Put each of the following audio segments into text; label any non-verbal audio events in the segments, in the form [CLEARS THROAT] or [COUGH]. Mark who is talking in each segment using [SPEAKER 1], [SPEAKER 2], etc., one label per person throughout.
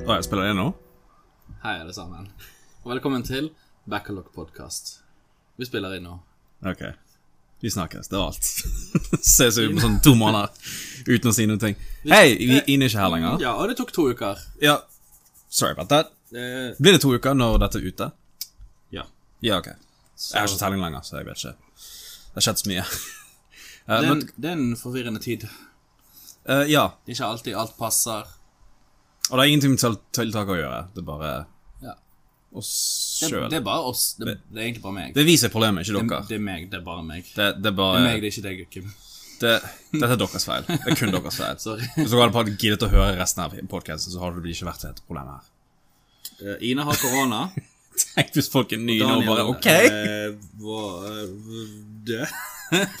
[SPEAKER 1] Spiller, spiller det nå?
[SPEAKER 2] Hei, alle sammen. Og velkommen til Backlog Podcast. Vi spiller inn nå.
[SPEAKER 1] Ok. Vi snakkes. Det var alt. [LAUGHS] Ses ut på sånn to måneder uten å si noen ting. Hei, vi Ine er ikke her lenger.
[SPEAKER 2] Ja, og det tok to uker.
[SPEAKER 1] Ja. Sorry about that.
[SPEAKER 2] Eh,
[SPEAKER 1] Blir det to uker når dette er ute?
[SPEAKER 2] ja.
[SPEAKER 1] Ja, ok. Jeg har ikke telling lenger, så jeg vet ikke. Det har skjedd så mye. [LAUGHS] Eh,
[SPEAKER 2] Det er, en,
[SPEAKER 1] men,
[SPEAKER 2] det er en forvirrende tid. Det
[SPEAKER 1] eh, ja,
[SPEAKER 2] er ikke alltid alt passer.
[SPEAKER 1] og det har ingenting med til- tiltak å gjøre. Det er bare
[SPEAKER 2] Ja.
[SPEAKER 1] oss
[SPEAKER 2] Det,
[SPEAKER 1] sjøl.
[SPEAKER 2] det
[SPEAKER 1] Det,
[SPEAKER 2] er bare oss. Det, det er egentlig bare meg.
[SPEAKER 1] det viser problemet, ikke
[SPEAKER 2] det,
[SPEAKER 1] dere.
[SPEAKER 2] det er meg, det er bare meg. Det
[SPEAKER 1] Det, det er
[SPEAKER 2] er
[SPEAKER 1] bare
[SPEAKER 2] meg, det er ikke deg, Kim.
[SPEAKER 1] det, Dette er deres feil. Det er kun deres [LAUGHS] feil.
[SPEAKER 2] Sorry.
[SPEAKER 1] Hvis dere hadde bare giddet å høre resten av podcasten, så hadde det ikke vært et problem her.
[SPEAKER 2] Eh, Ina har [LAUGHS] korona.
[SPEAKER 1] Tenk hvis folk er nye nå og bare OK!
[SPEAKER 2] eh, var eh, død.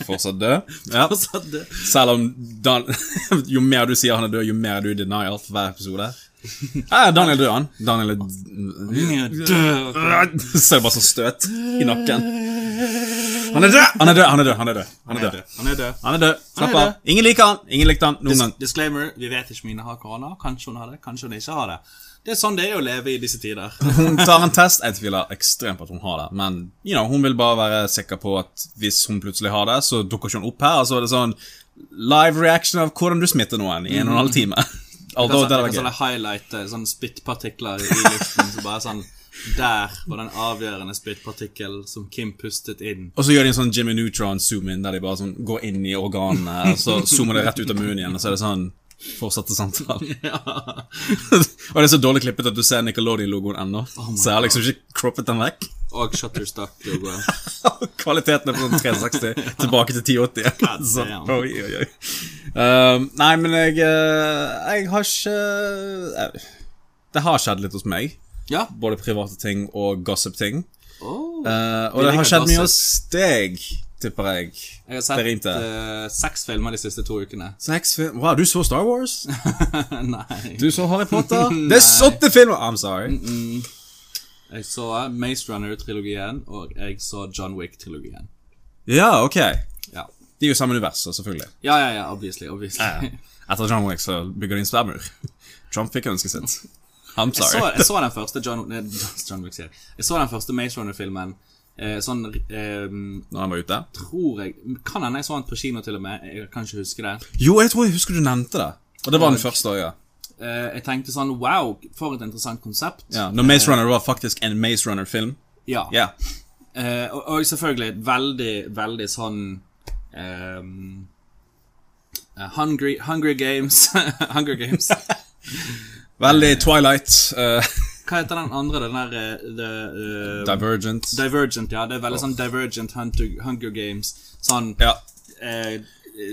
[SPEAKER 1] Fortsatt død.
[SPEAKER 2] [LAUGHS]
[SPEAKER 1] Ja.
[SPEAKER 2] Altså, det-
[SPEAKER 1] Selv om Dan [LAUGHS] Jo mer du sier han er død, jo mer er du i denial for hver episode. [LAUGHS] Ja, Daniel død, han. Daniel er [LAUGHS]
[SPEAKER 2] Ingen er død.
[SPEAKER 1] Ser bare sånn støt i nakken. Han er død! Han er død, han er død. Han er død. Han er død.
[SPEAKER 2] Han er død.
[SPEAKER 1] Han er død. Slapp
[SPEAKER 2] død.
[SPEAKER 1] av. Ingen liker han. Ingen likte han noen gang.
[SPEAKER 2] Disclaimer, vi vet ikke om Ine har korona. Kanskje hun har det, kanskje hun ikke har det. Det er sånn det er å leve i disse [LAUGHS] tider.
[SPEAKER 1] Hun tar en test. Jeg tviler ekstremt på at hun har det, men you know, hun vil bare være sikker på at hvis hun plutselig har det, så dukker ikke hun opp her. Og så er det sånn live reaction av hvordan du smitter noen i en og en halv time. Although, det
[SPEAKER 2] Sånn,
[SPEAKER 1] hadde
[SPEAKER 2] sånne
[SPEAKER 1] vært gøy.
[SPEAKER 2] highlighter, sånne spyttpartikler i luften. Så bare sånn Der var den avgjørende spyttpartikkelen som Kim pustet inn. [LAUGHS]
[SPEAKER 1] Og så gjør de en sånn Jimmy Neutron zoom in, der de bare sånn går inn i organene, og så zoomer det rett ut av munnen igjen, og så er det sånn Fortsatte samtalen. [LAUGHS] og det er så dårlig klippet at du ser Nickelodeon-logoen ennå. så jeg har liksom ikke croppet den vekk.
[SPEAKER 2] Og Shutterstock-logoen.
[SPEAKER 1] [LAUGHS] Kvaliteten er på sånn 360 tilbake til [LAUGHS] 1080. Så,
[SPEAKER 2] damn.
[SPEAKER 1] oi, oi, oi. Um, nei, men jeg eh, Jeg har ikke jeg, Det har skjedd litt hos meg.
[SPEAKER 2] Ja.
[SPEAKER 1] Både private ting og gossip-ting.
[SPEAKER 2] Oh.
[SPEAKER 1] Eh,
[SPEAKER 2] Vi
[SPEAKER 1] og det har
[SPEAKER 2] liker
[SPEAKER 1] skjedd mye hos deg, tipper jeg.
[SPEAKER 2] Jeg har
[SPEAKER 1] Det
[SPEAKER 2] sett
[SPEAKER 1] rimte.
[SPEAKER 2] eh, seks filmer de siste to ukene. [LAUGHS]
[SPEAKER 1] Seks film Wow, du så Star Wars?
[SPEAKER 2] Nei.
[SPEAKER 1] Du så Harry Potter? [LAUGHS] det er åtte filmer! I'm sorry.
[SPEAKER 2] Jeg så Maze Runner-trilogien, og jeg så John Wick-trilogien.
[SPEAKER 1] Ja, ok.
[SPEAKER 2] Ja.
[SPEAKER 1] De er jo samme univers, så selvfølgelig.
[SPEAKER 2] ja, ja, ja, obviously. obviously.
[SPEAKER 1] Ah,
[SPEAKER 2] [LAUGHS]
[SPEAKER 1] Etter John Wick så bygger de en sværmur. Trump fikk ønsket sitt. I'm
[SPEAKER 2] Jeg
[SPEAKER 1] sorry.
[SPEAKER 2] så, jeg så den første John, [LAUGHS] nei, John Wick sier jeg. Jeg så den første Maze Runner-filmen eh, Sånn eh,
[SPEAKER 1] Når han var ute.
[SPEAKER 2] Tror jeg Kan hende jeg så den på kino til og med Jeg kan ikke huske det
[SPEAKER 1] Jo, jeg tror jeg husker du nevnte det. Og det var den første også, ja.
[SPEAKER 2] eh, Jeg tenkte sånn Wow, for et interessant konsept
[SPEAKER 1] ja. Når Maze Runner var faktisk en Maze Runner-film.
[SPEAKER 2] Ja.
[SPEAKER 1] Ja.
[SPEAKER 2] Eh, og, og selvfølgelig Veldig, veldig sånn ehm, eh, Hungry, Hungry Games [LAUGHS] Hunger Games
[SPEAKER 1] Veldig Twilight, eh, [LAUGHS]
[SPEAKER 2] Hva heter den andre? Den der eh, the, eh,
[SPEAKER 1] Divergent
[SPEAKER 2] Divergent, ja Det er veldig sånn Divergent Hunter, Hunger Games Sånn
[SPEAKER 1] Ja.
[SPEAKER 2] eh,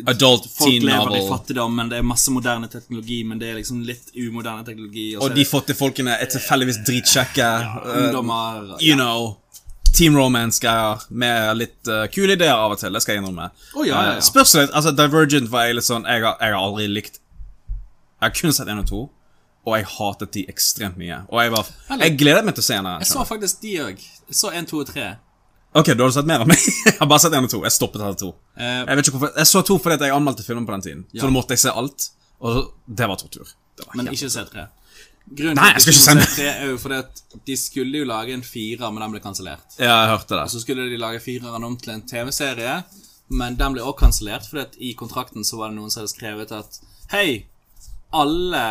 [SPEAKER 1] Adult
[SPEAKER 2] Folk
[SPEAKER 1] teen
[SPEAKER 2] lever i
[SPEAKER 1] novel.
[SPEAKER 2] fattigdom, men det er masse moderne teknologi, men det er liksom litt umoderne teknologi. Og, så
[SPEAKER 1] Og
[SPEAKER 2] er
[SPEAKER 1] de
[SPEAKER 2] det
[SPEAKER 1] fattigfolkene er tilfeldigvis dritkjekke. eh,
[SPEAKER 2] ungdommer
[SPEAKER 1] you know. Team romance-greier med litt eh, kule ideer av og til. Det skal jeg innrømme.
[SPEAKER 2] Å, ja, ja, ja.
[SPEAKER 1] Eh, spørs litt. Altså, Divergent var jeg litt sånn Jeg har, jeg har aldri likt Jeg har kun sett én og to, og jeg hatet de ekstremt mye. Og jeg var Jeg gledet meg til å se henne.
[SPEAKER 2] Jeg så faktisk de òg. Så én, to og tre.
[SPEAKER 1] Ok, du har sett mer av meg. [LAUGHS] Jeg har bare sett én og to. Jeg stoppet etter to.
[SPEAKER 2] Eh,
[SPEAKER 1] Jeg vet ikke hvorfor Jeg så to fordi at jeg anmeldte filmen på den tiden. Så da måtte jeg se alt, og det var tortur. Det var
[SPEAKER 2] Men ikke se tre. Grunnen
[SPEAKER 1] Nei,
[SPEAKER 2] til at
[SPEAKER 1] jeg skal
[SPEAKER 2] de
[SPEAKER 1] ikke se
[SPEAKER 2] se tre, er jo fordi at de skulle jo lage en firer, men den ble kansellert.
[SPEAKER 1] Ja, jeg hørte det.
[SPEAKER 2] Så skulle de lage fireren om til en TV-serie, men den ble også kansellert, fordi at i kontrakten så var det noen som hadde skrevet at Hei, alle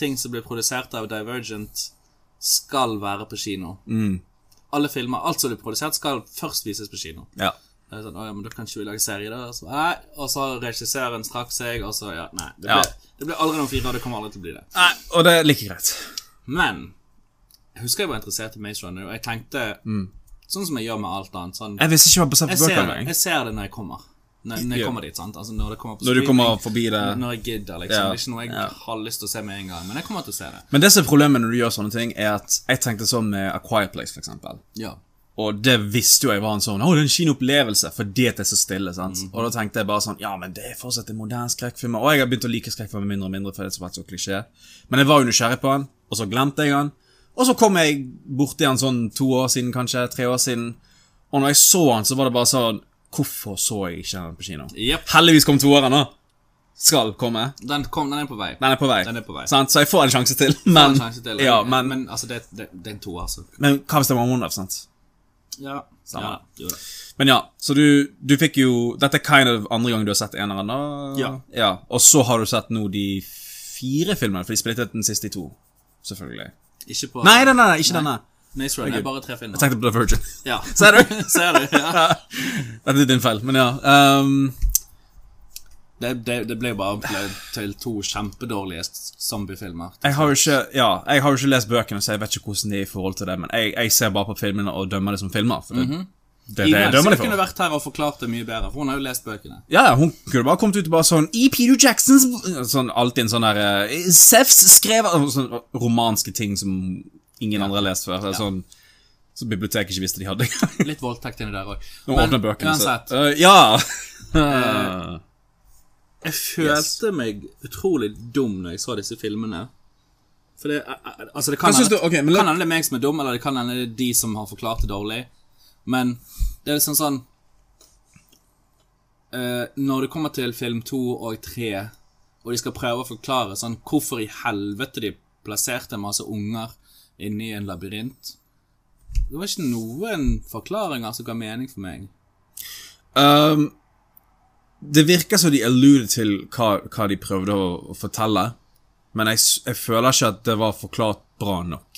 [SPEAKER 2] ting som blir produsert av Divergent, skal være på kino.
[SPEAKER 1] Mm.
[SPEAKER 2] Alle filmer, alt som blir produsert, skal først vises på kino.
[SPEAKER 1] Ja.
[SPEAKER 2] Det er Sånn, «Å ja, men da kan ikke vi lage serie der. Og så, nei, og så regissøren strakk seg, og så ja, nei. Det ble,
[SPEAKER 1] Ja.
[SPEAKER 2] det ble aldri noen fire, og det kommer aldri til å bli det.
[SPEAKER 1] Nei, og det er like greit.
[SPEAKER 2] Men jeg husker jeg var interessert i Maze Runner, og jeg tenkte Sånn som jeg gjør med alt annet. Sånn,
[SPEAKER 1] Mm. Jeg visste ikke hva basert
[SPEAKER 2] jeg,
[SPEAKER 1] på bøker
[SPEAKER 2] ser,
[SPEAKER 1] engang.
[SPEAKER 2] jeg ser det når jeg kommer. Når, når
[SPEAKER 1] Ja.
[SPEAKER 2] jeg kommer dit, sant. Altså, når, det kommer på
[SPEAKER 1] Når du kommer
[SPEAKER 2] streaming,
[SPEAKER 1] forbi det
[SPEAKER 2] Når jeg gidder, liksom.
[SPEAKER 1] Ja.
[SPEAKER 2] Det er ikke noe jeg
[SPEAKER 1] Ja.
[SPEAKER 2] har lyst til å se med en gang, men jeg kommer til å se det.
[SPEAKER 1] Men det som er problemet når du gjør sånne ting, er at jeg tenkte sånn med A Quiet Place, for eksempel.
[SPEAKER 2] Ja.
[SPEAKER 1] Og det visste jo jeg var en sånn Å, det er en kinoopplevelse fordi at det er så stille. sant?
[SPEAKER 2] Mhm.
[SPEAKER 1] Og da tenkte jeg bare sånn Ja, men det er fortsatt en moderne skrekkfilm. Og jeg har begynt å like skrekkfilmer mindre og mindre fordi det har vært så klisjé. Men jeg var jo nysgjerrig på den, og så glemte jeg den. Og så kom jeg borti den sånn to år siden, kanskje. Tre år siden. Og når jeg så den, så var det bare sånn Hvorfor så jeg ikke den på kino?
[SPEAKER 2] Jep.
[SPEAKER 1] Heldigvis kom toeren, da. skal komme.
[SPEAKER 2] Den, kom, den er på vei.
[SPEAKER 1] Den er på vei.
[SPEAKER 2] Den er på vei.
[SPEAKER 1] Sant? Så jeg får en sjanse til, men
[SPEAKER 2] En sjanse til.
[SPEAKER 1] Ja,
[SPEAKER 2] men,
[SPEAKER 1] men, men,
[SPEAKER 2] altså, det, det, det er en toer, altså.
[SPEAKER 1] hva hvis det var One Love, sant?
[SPEAKER 2] Ja.
[SPEAKER 1] Samme.
[SPEAKER 2] ja jo da.
[SPEAKER 1] Men ja, så du, du fikk jo Dette er kind of andre gang du har sett en eller annen.
[SPEAKER 2] Ja.
[SPEAKER 1] Og så har du sett nå de fire filmene, for de splittet den siste i to. Selvfølgelig.
[SPEAKER 2] Ikke på
[SPEAKER 1] Nei, nei, nei, nei, ikke denne.
[SPEAKER 2] Maze Runner. Det er bare tre filmer.
[SPEAKER 1] Jeg tenkte på The Virgin.
[SPEAKER 2] Ja.
[SPEAKER 1] Ser du?
[SPEAKER 2] [LAUGHS] Ser du? Ja.
[SPEAKER 1] [LAUGHS] Dette er din feil, men ja. ehm,
[SPEAKER 2] Det, det, det ble jo bare til- til to kjempedårlige s- zombiefilmer.
[SPEAKER 1] jeg har jo ikke Ja, jeg har jo ikke lest bøkene, så jeg vet ikke hvordan de er i forhold til det, men jeg, jeg ser bare på filmene og dømmer det som filmer. For det, det, er det jeg
[SPEAKER 2] Ine,
[SPEAKER 1] dømmer
[SPEAKER 2] så
[SPEAKER 1] det
[SPEAKER 2] kunne
[SPEAKER 1] for.
[SPEAKER 2] vært her og forklart det mye bedre, for hun har jo lest bøkene.
[SPEAKER 1] Ja, ja, hun kunne bare kommet ut og bare sånn I Peter Jacksons Sånn alltid en sånn der eh, Sefs skrev sånn romanske ting som ingen andre har lest før. eller Sånn Som biblioteket ikke visste de
[SPEAKER 2] [LAUGHS]
[SPEAKER 1] hadde.
[SPEAKER 2] Litt voldtekt inni der òg.
[SPEAKER 1] Nå åpner bøkene
[SPEAKER 2] uansett,
[SPEAKER 1] så
[SPEAKER 2] eh,
[SPEAKER 1] Eh, Ja!
[SPEAKER 2] jeg følte meg utrolig dum når jeg så disse filmene. For det, altså det kan
[SPEAKER 1] Hva syns
[SPEAKER 2] hende
[SPEAKER 1] du- ok, men
[SPEAKER 2] det
[SPEAKER 1] la-
[SPEAKER 2] kan hende det er meg som er dum, eller det kan hende det er de som har forklart det dårlig. Men det er liksom sånn eh, Når det kommer til film to og tre, og de skal prøve å forklare sånn hvorfor i helvete de plasserte masse unger inni en labyrint Det var ikke noen forklaringer som ga mening for meg.
[SPEAKER 1] Um, det virker som de alluded til hva, hva de prøvde å, å fortelle, men jeg, s- jeg føler ikke at det var forklart bra nok.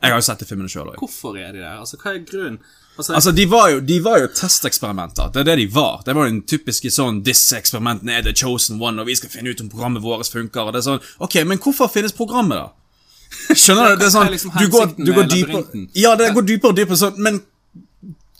[SPEAKER 1] Jeg har jo sett de filmene sjøl òg.
[SPEAKER 2] Hvorfor er de der? Altså, hva er grunnen? Altså,
[SPEAKER 1] Altså, de var, jo, de var jo testeksperimenter. Det er det de var. Det var den typiske sånn 'Disse eksperimentene er the chosen one', og vi skal finne ut om programmet vårt funker. Og det er sånn Ok, men hvorfor finnes programmet, da? [LAUGHS] Skjønner du? Det er
[SPEAKER 2] hva er
[SPEAKER 1] sånn
[SPEAKER 2] liksom
[SPEAKER 1] Du går,
[SPEAKER 2] hensikten
[SPEAKER 1] du går
[SPEAKER 2] med
[SPEAKER 1] dypere
[SPEAKER 2] labyrinten?
[SPEAKER 1] Ja, det går dypere og dypere sånn, men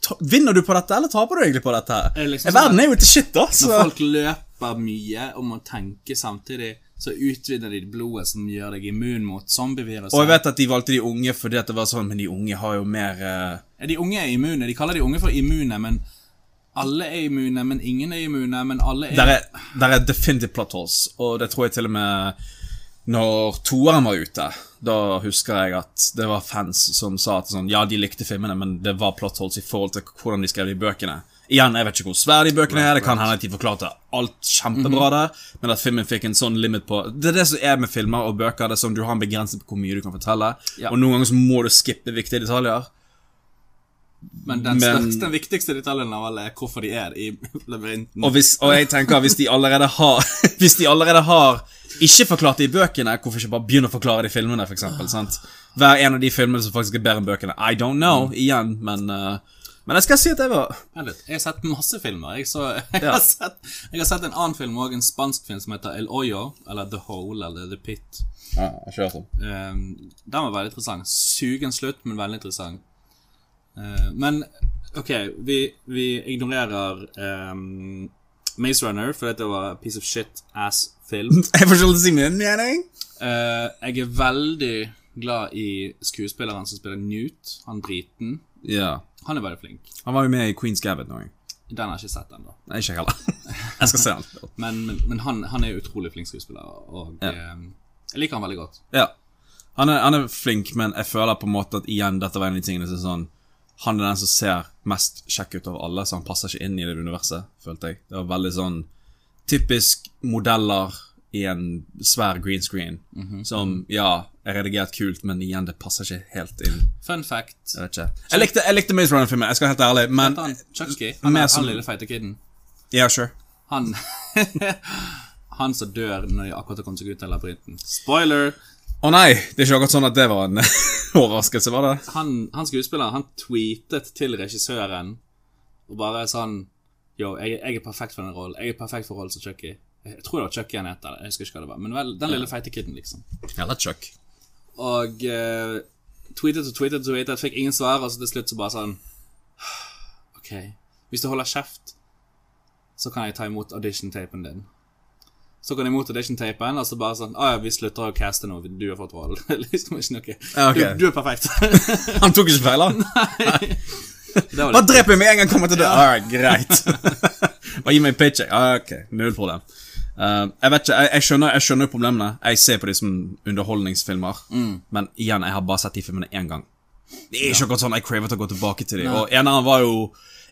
[SPEAKER 1] ta, vinner du på dette, eller taper du egentlig på dette? her?
[SPEAKER 2] Er det liksom
[SPEAKER 1] Verden
[SPEAKER 2] sånn-
[SPEAKER 1] er jo til shit, da. Så.
[SPEAKER 2] Når folk løper mye og må tenke samtidig, så utvinner de blodet som gjør deg immun mot zombieviruset.
[SPEAKER 1] Og jeg vet at de valgte de unge fordi at det var sånn, men de unge har jo mer eh,
[SPEAKER 2] Ja, De unge er immune. De kaller de unge for immune, men alle er immune, men ingen er immune, men alle
[SPEAKER 1] der,
[SPEAKER 2] er
[SPEAKER 1] er, der er definitive plot holes, og det tror jeg til og med når toeren var ute, da husker jeg at det var fans som sa at sånn, ja, de likte filmene, men det var plot holes i forhold til hvordan de skrev de bøkene. Igjen, jeg vet ikke hvor svære de bøkene er, det kan hende at de forklarte alt kjempebra der, men at filmen fikk en sånn limit på Det er det som er med filmer og bøker, det er sånn du har en begrensning på hvor mye du kan fortelle,
[SPEAKER 2] Ja.
[SPEAKER 1] og noen ganger så må du skippe viktige detaljer.
[SPEAKER 2] Men den,
[SPEAKER 1] men-
[SPEAKER 2] største, den viktigste detaljen av alle er hvorfor de er i [LAUGHS] labyrinten.
[SPEAKER 1] Og, hvis, og jeg tenker hvis de allerede har [LAUGHS] Hvis de allerede har ikke forklart det i bøkene, hvorfor ikke bare begynne å forklare det i filmene? For eksempel, sant? Hver en av de filmene som faktisk er bedre enn bøkene. I don't know, igjen, men eh, Men jeg skal si at jeg var
[SPEAKER 2] Vent litt, Jeg har sett masse filmer. Jeg, så, [LAUGHS] jeg, har, sett, jeg har sett en annen film òg, en spansk film som heter El Hoyo, eller The Hole, eller The Pit.
[SPEAKER 1] ja, jeg kjører sånn.
[SPEAKER 2] Um, den var veldig interessant. Sugen slutt, men veldig interessant. Eh, men OK, vi, vi ignorerer um, Maze Runner, for det var piece of shit ass-film.
[SPEAKER 1] [LAUGHS] Jeg får ikke lov til å si min mening.
[SPEAKER 2] Eh, jeg er veldig glad i skuespilleren som spiller Newt, han briten.
[SPEAKER 1] Ja.
[SPEAKER 2] Han er veldig flink.
[SPEAKER 1] Han var jo med i Queen's Gambit nå. jeg.
[SPEAKER 2] Den har jeg ikke sett ennå.
[SPEAKER 1] Nei, ikke jeg heller. [LAUGHS] Jeg skal se han.
[SPEAKER 2] Men, men, men han, han er utrolig flink skuespiller, og eh, jeg liker han veldig godt.
[SPEAKER 1] Ja. Han er, han er flink, men jeg føler på en måte at igjen, dette var en av de tingene som er sånn Han er den som ser mest kjekk ut av alle, så han passer ikke inn i det universet, følte jeg. Det var veldig sånn typisk modeller i en svær green screen. Som, ja, er redigert kult, men igjen, det passer ikke helt inn.
[SPEAKER 2] Fun fact
[SPEAKER 1] Jeg vet ikke. Jeg likte, jeg likte Maze Runner-filmen, jeg skal være helt ærlig, men
[SPEAKER 2] Han Chucky, han,
[SPEAKER 1] Mer
[SPEAKER 2] er
[SPEAKER 1] som-
[SPEAKER 2] han lille feite kiden.
[SPEAKER 1] Ja, sure.
[SPEAKER 2] Han [LAUGHS] Han som dør når de akkurat har kommet seg ut av labyrinten. Spoiler!
[SPEAKER 1] Å nei, det er ikke akkurat sånn at det var en [LAUGHS] overraskelse, var det?
[SPEAKER 2] Han, han skuespilleren han tweetet til regissøren og bare sånn Yo, jeg, jeg er perfekt for den rollen. Jeg er perfekt for rollen som Chucky. Jeg tror det var Chucky han het. eller Jeg husker ikke hva det var. Men vel, den lille feite kiden, liksom.
[SPEAKER 1] Ja, det er Chuck.
[SPEAKER 2] Og eh, tweetet og tweetet og tweetet, fikk ingen svar, og så til slutt så bare sånn [SIGHS] OK, hvis du holder kjeft, så kan jeg ta imot audition-tapen din. Så kan jeg imot audition-tapen, og så bare sånn Å ja, vi slutter å caste nå, du har fått rollen. [LAUGHS] liksom ikke noe.
[SPEAKER 1] Ja, ok.
[SPEAKER 2] Du, du er perfekt. [LAUGHS]
[SPEAKER 1] Han tok ikke feil, han.
[SPEAKER 2] det var
[SPEAKER 1] Bare
[SPEAKER 2] litt
[SPEAKER 1] drep meg med en gang jeg kommer til døra! Alright, greit. [LAUGHS] Bare gi meg en paycheck. Ah, ok, Null problem. Eh, jeg vet ikke, jeg, jeg skjønner jeg skjønner jo problemene. Jeg ser på de som underholdningsfilmer. Men igjen, jeg har bare sett de filmene én gang. Det er ikke akkurat sånn jeg craver til å gå tilbake til de Og eneren var jo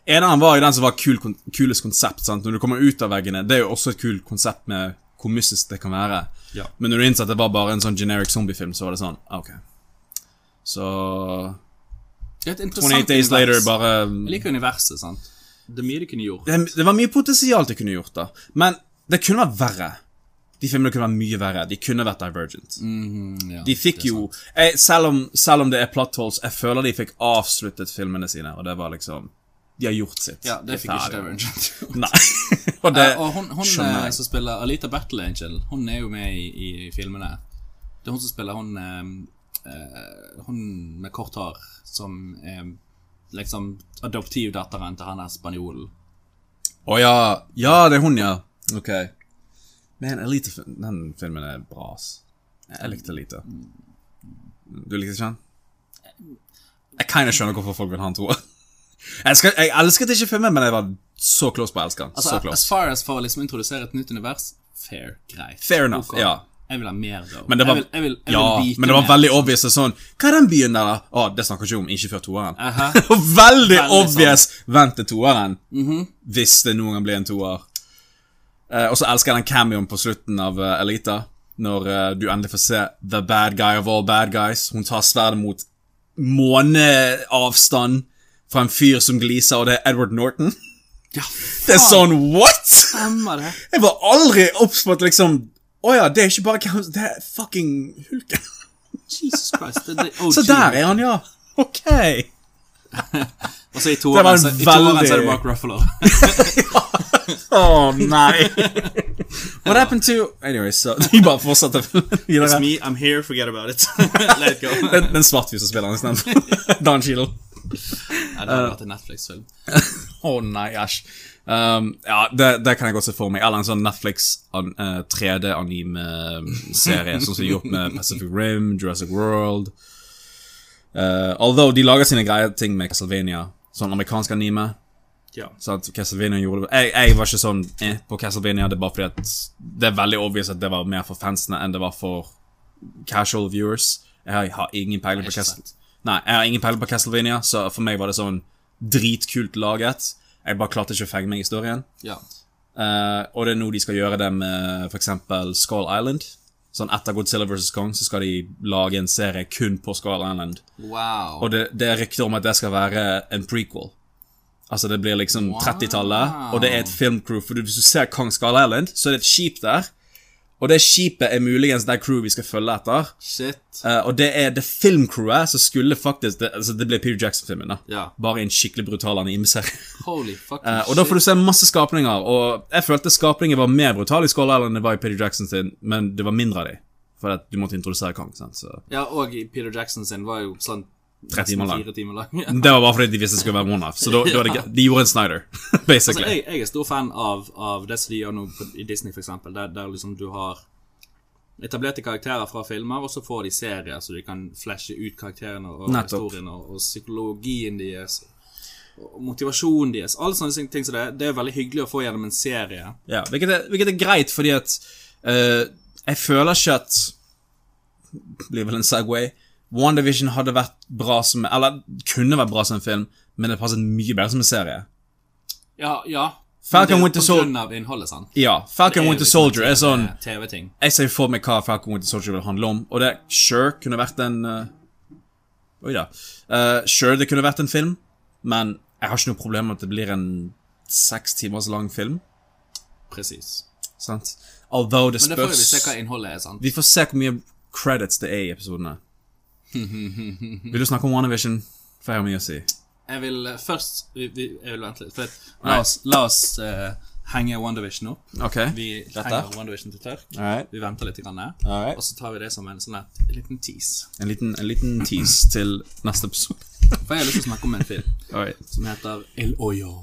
[SPEAKER 1] Eneren var jo den som var kul, kon kulest konsept. sant? Når du kommer ut av veggene, det er jo også et kult konsept med hvor mystisk det kan være.
[SPEAKER 2] Ja.
[SPEAKER 1] Men når du innså at det var bare en sånn generic zombiefilm, så var det sånn ah, OK. Så
[SPEAKER 2] Det er et interessant
[SPEAKER 1] 28 Days Later
[SPEAKER 2] univers.
[SPEAKER 1] bare
[SPEAKER 2] Jeg liker universet, sant. Det er mye de kunne gjort.
[SPEAKER 1] det, det var mye potensial de kunne gjort, da. Men det kunne vært verre. De filmene kunne vært mye verre. De kunne vært divergent.
[SPEAKER 2] Mhm, Ja,
[SPEAKER 1] De fikk jo jeg, selv, om, selv om det er plot holes, jeg føler de fikk avsluttet filmene sine, og det var liksom De har gjort sitt.
[SPEAKER 2] ja, det fikk ikke
[SPEAKER 1] ferdig.
[SPEAKER 2] Divergent.
[SPEAKER 1] Nei. [LAUGHS] og det
[SPEAKER 2] og hun, hun
[SPEAKER 1] skjønner
[SPEAKER 2] eh,
[SPEAKER 1] jeg.
[SPEAKER 2] som spiller Alita Battle Angel, hun er jo med i, i filmene. Det er hun som spiller hun eh, eh, Hun med kort hår som er liksom adoptivdatteren til han er spanjolen.
[SPEAKER 1] Å ja. Ja, det er hun, ja. Ok. Men Elite, fil- den filmen er bra, ass. Jeg likte Elite. Du likte ikke den? Jeg kinda skjønner hvorfor folk vil ha den, tror jeg. [LAUGHS] Jeg, skal, jeg elsket ikke filmen, men jeg var så close på å elske den.
[SPEAKER 2] Altså,
[SPEAKER 1] så
[SPEAKER 2] as
[SPEAKER 1] close.
[SPEAKER 2] far as for å liksom introdusere et nytt univers, fair, greit.
[SPEAKER 1] Fair enough,
[SPEAKER 2] Ok.
[SPEAKER 1] ja.
[SPEAKER 2] Jeg vil ha mer, da.
[SPEAKER 1] Men det var,
[SPEAKER 2] jeg vil, jeg vil, jeg
[SPEAKER 1] ja,
[SPEAKER 2] vil vite
[SPEAKER 1] men det var
[SPEAKER 2] mer.
[SPEAKER 1] veldig obvious det er sånn Hva er den byen der, da? Å, det snakker vi ikke om. Ikke før toeren.
[SPEAKER 2] Aha.
[SPEAKER 1] [LAUGHS] Og veldig,
[SPEAKER 2] Veldig sånn. Mhm.
[SPEAKER 1] obvious vent til toeren. Hvis det noen gang blir en toer. Eh, og så elsker jeg den cameoen på slutten av eh, Elita. Når eh, du endelig får se the bad guy of all bad guys. Hun tar sverdet mot måneavstand fra en fyr som gliser, og det er Edward Norton. [LAUGHS]
[SPEAKER 2] Ja,
[SPEAKER 1] Det
[SPEAKER 2] Ah.
[SPEAKER 1] er sånn what?!
[SPEAKER 2] stemmer det.
[SPEAKER 1] Jeg var aldri obs på at liksom Å ja, det er ikke bare Counts, det er fucking hulken.
[SPEAKER 2] Jesus Christ. Det, det, oh,
[SPEAKER 1] [LAUGHS] Så der er han, ja. Ok.
[SPEAKER 2] Og så Altså, i
[SPEAKER 1] Det var en
[SPEAKER 2] toeren så, i toeren så er
[SPEAKER 1] veldig-
[SPEAKER 2] det Mark [LAUGHS] Ruffalo.
[SPEAKER 1] Å nei. [LAUGHS] What happened to Anyway, så [LAUGHS] de bare fortsetter videre.
[SPEAKER 2] me, I'm here, forget about it. [LAUGHS] Let it go.
[SPEAKER 1] Den, den svartfyr som spiller han isteden. [LAUGHS] Dan Shield.
[SPEAKER 2] Ja, det
[SPEAKER 1] eh,
[SPEAKER 2] hadde vært en Netflix-film.
[SPEAKER 1] Å nei, æsj. Um, ja, det, det kan jeg godt se for meg. Eller en sånn Netflix an, eh, 3D-anime-serie, sånn som de gjort med Pacific Rim, Jurassic World. Eh, although de lager sine greie ting med Castlevania. Sånn amerikansk anime.
[SPEAKER 2] Ja.
[SPEAKER 1] Sant? Castlevania gjorde det jeg, jeg var ikke sånn eh, på Castlevania. Det er bare fordi at Det er veldig obvious at det var mer for fansene enn det var for casual viewers. Jeg har, jeg har ingen peiling på
[SPEAKER 2] ikke
[SPEAKER 1] Castlevania. Nei, jeg har ingen peiling på Castlevania, så for meg var det sånn dritkult laget. Jeg bare klarte ikke å fenge meg i historien.
[SPEAKER 2] ja.
[SPEAKER 1] Eh, og det er nå de skal gjøre det med f.eks. Skull Island. Sånn Etter Godzilla vs. Kong så skal de lage en serie kun på Skull Island.
[SPEAKER 2] Wow.
[SPEAKER 1] Og det, det er rykter om at det skal være en prequel. Altså det blir liksom 30-tallet, og det er et filmcrew. For hvis du ser Kong Skull Island, så er det et skip der. Og det skipet er muligens det crew vi skal følge etter.
[SPEAKER 2] Shit.
[SPEAKER 1] Eh, og det er det filmcrewet som skulle faktisk Det, altså det ble Peter Jackson-filmen, da.
[SPEAKER 2] Ja.
[SPEAKER 1] Bare i en skikkelig brutal anime-serie.
[SPEAKER 2] Holy fucking
[SPEAKER 1] Eh,
[SPEAKER 2] shit.
[SPEAKER 1] og da får du se masse skapninger, og jeg følte skapninger var mer brutale i Skull Island enn det var i Peter Jackson sin, men det var mindre av dem. For at du måtte introdusere Kong, sant. Så.
[SPEAKER 2] Ja, og i Peter Jackson sin var jo sånn
[SPEAKER 1] Tre timer lang.
[SPEAKER 2] Fire timer lang. Ja.
[SPEAKER 1] Det var bare fordi de visste det skulle være one-off. Så da, da var det, gre- de gjorde en Snyder, [LAUGHS]
[SPEAKER 2] Så
[SPEAKER 1] basically.
[SPEAKER 2] jeg, jeg er stor fan av, av det som de gjør nå på, i Disney, for eksempel, der, der liksom du har etablerte karakterer fra filmer, og så får de serier, så de kan flashe ut karakterene og
[SPEAKER 1] Nettopp.
[SPEAKER 2] historien og, og psykologien deres. Og motivasjonen deres. Alle sånne ting som det er. Det er veldig hyggelig å få gjennom en serie.
[SPEAKER 1] Ja, hvilket er, hvilket er greit, fordi at eh, Jeg føler ikke at Blir vel en Segway. WandaVision hadde vært bra som Eller kunne vært bra som en film, men det passet mye bedre som en serie.
[SPEAKER 2] Ja, ja.
[SPEAKER 1] Falcon
[SPEAKER 2] Men det er
[SPEAKER 1] Winter
[SPEAKER 2] på
[SPEAKER 1] Sol-
[SPEAKER 2] grunn av innholdet, sant?
[SPEAKER 1] Ja, Falcon Winter Soldier er sånn
[SPEAKER 2] liksom eh, TV-ting.
[SPEAKER 1] Jeg ser for meg hva Falcon Winter Soldier vil handle om, og det sure kunne vært en eh, Oi da. Eh, sure, det kunne vært en film, men jeg har ikke noe problem med at det blir en seks timers lang film.
[SPEAKER 2] Presis.
[SPEAKER 1] Sant? Although det
[SPEAKER 2] Men det får vi
[SPEAKER 1] spørs
[SPEAKER 2] se hva innholdet er, sant?
[SPEAKER 1] Vi får se hvor mye credits det er i
[SPEAKER 2] [LAUGHS]
[SPEAKER 1] episodene. Vil du snakke om WandaVision? For jeg har mye å si.
[SPEAKER 2] Jeg vil eh, først vi, vi, Jeg vil vente litt. For at, la oss, la oss eh, henge WandaVision opp.
[SPEAKER 1] Ok.
[SPEAKER 2] Vi
[SPEAKER 1] Dette?
[SPEAKER 2] henger WandaVision til tørk.
[SPEAKER 1] Alright.
[SPEAKER 2] Vi venter litt, grann,
[SPEAKER 1] Alright.
[SPEAKER 2] og så tar vi det som en, sånn her, en liten tease.
[SPEAKER 1] En liten, en liten tease til neste episode.
[SPEAKER 2] For jeg har lyst til å snakke om en film
[SPEAKER 1] Alright.
[SPEAKER 2] som heter El Oyo.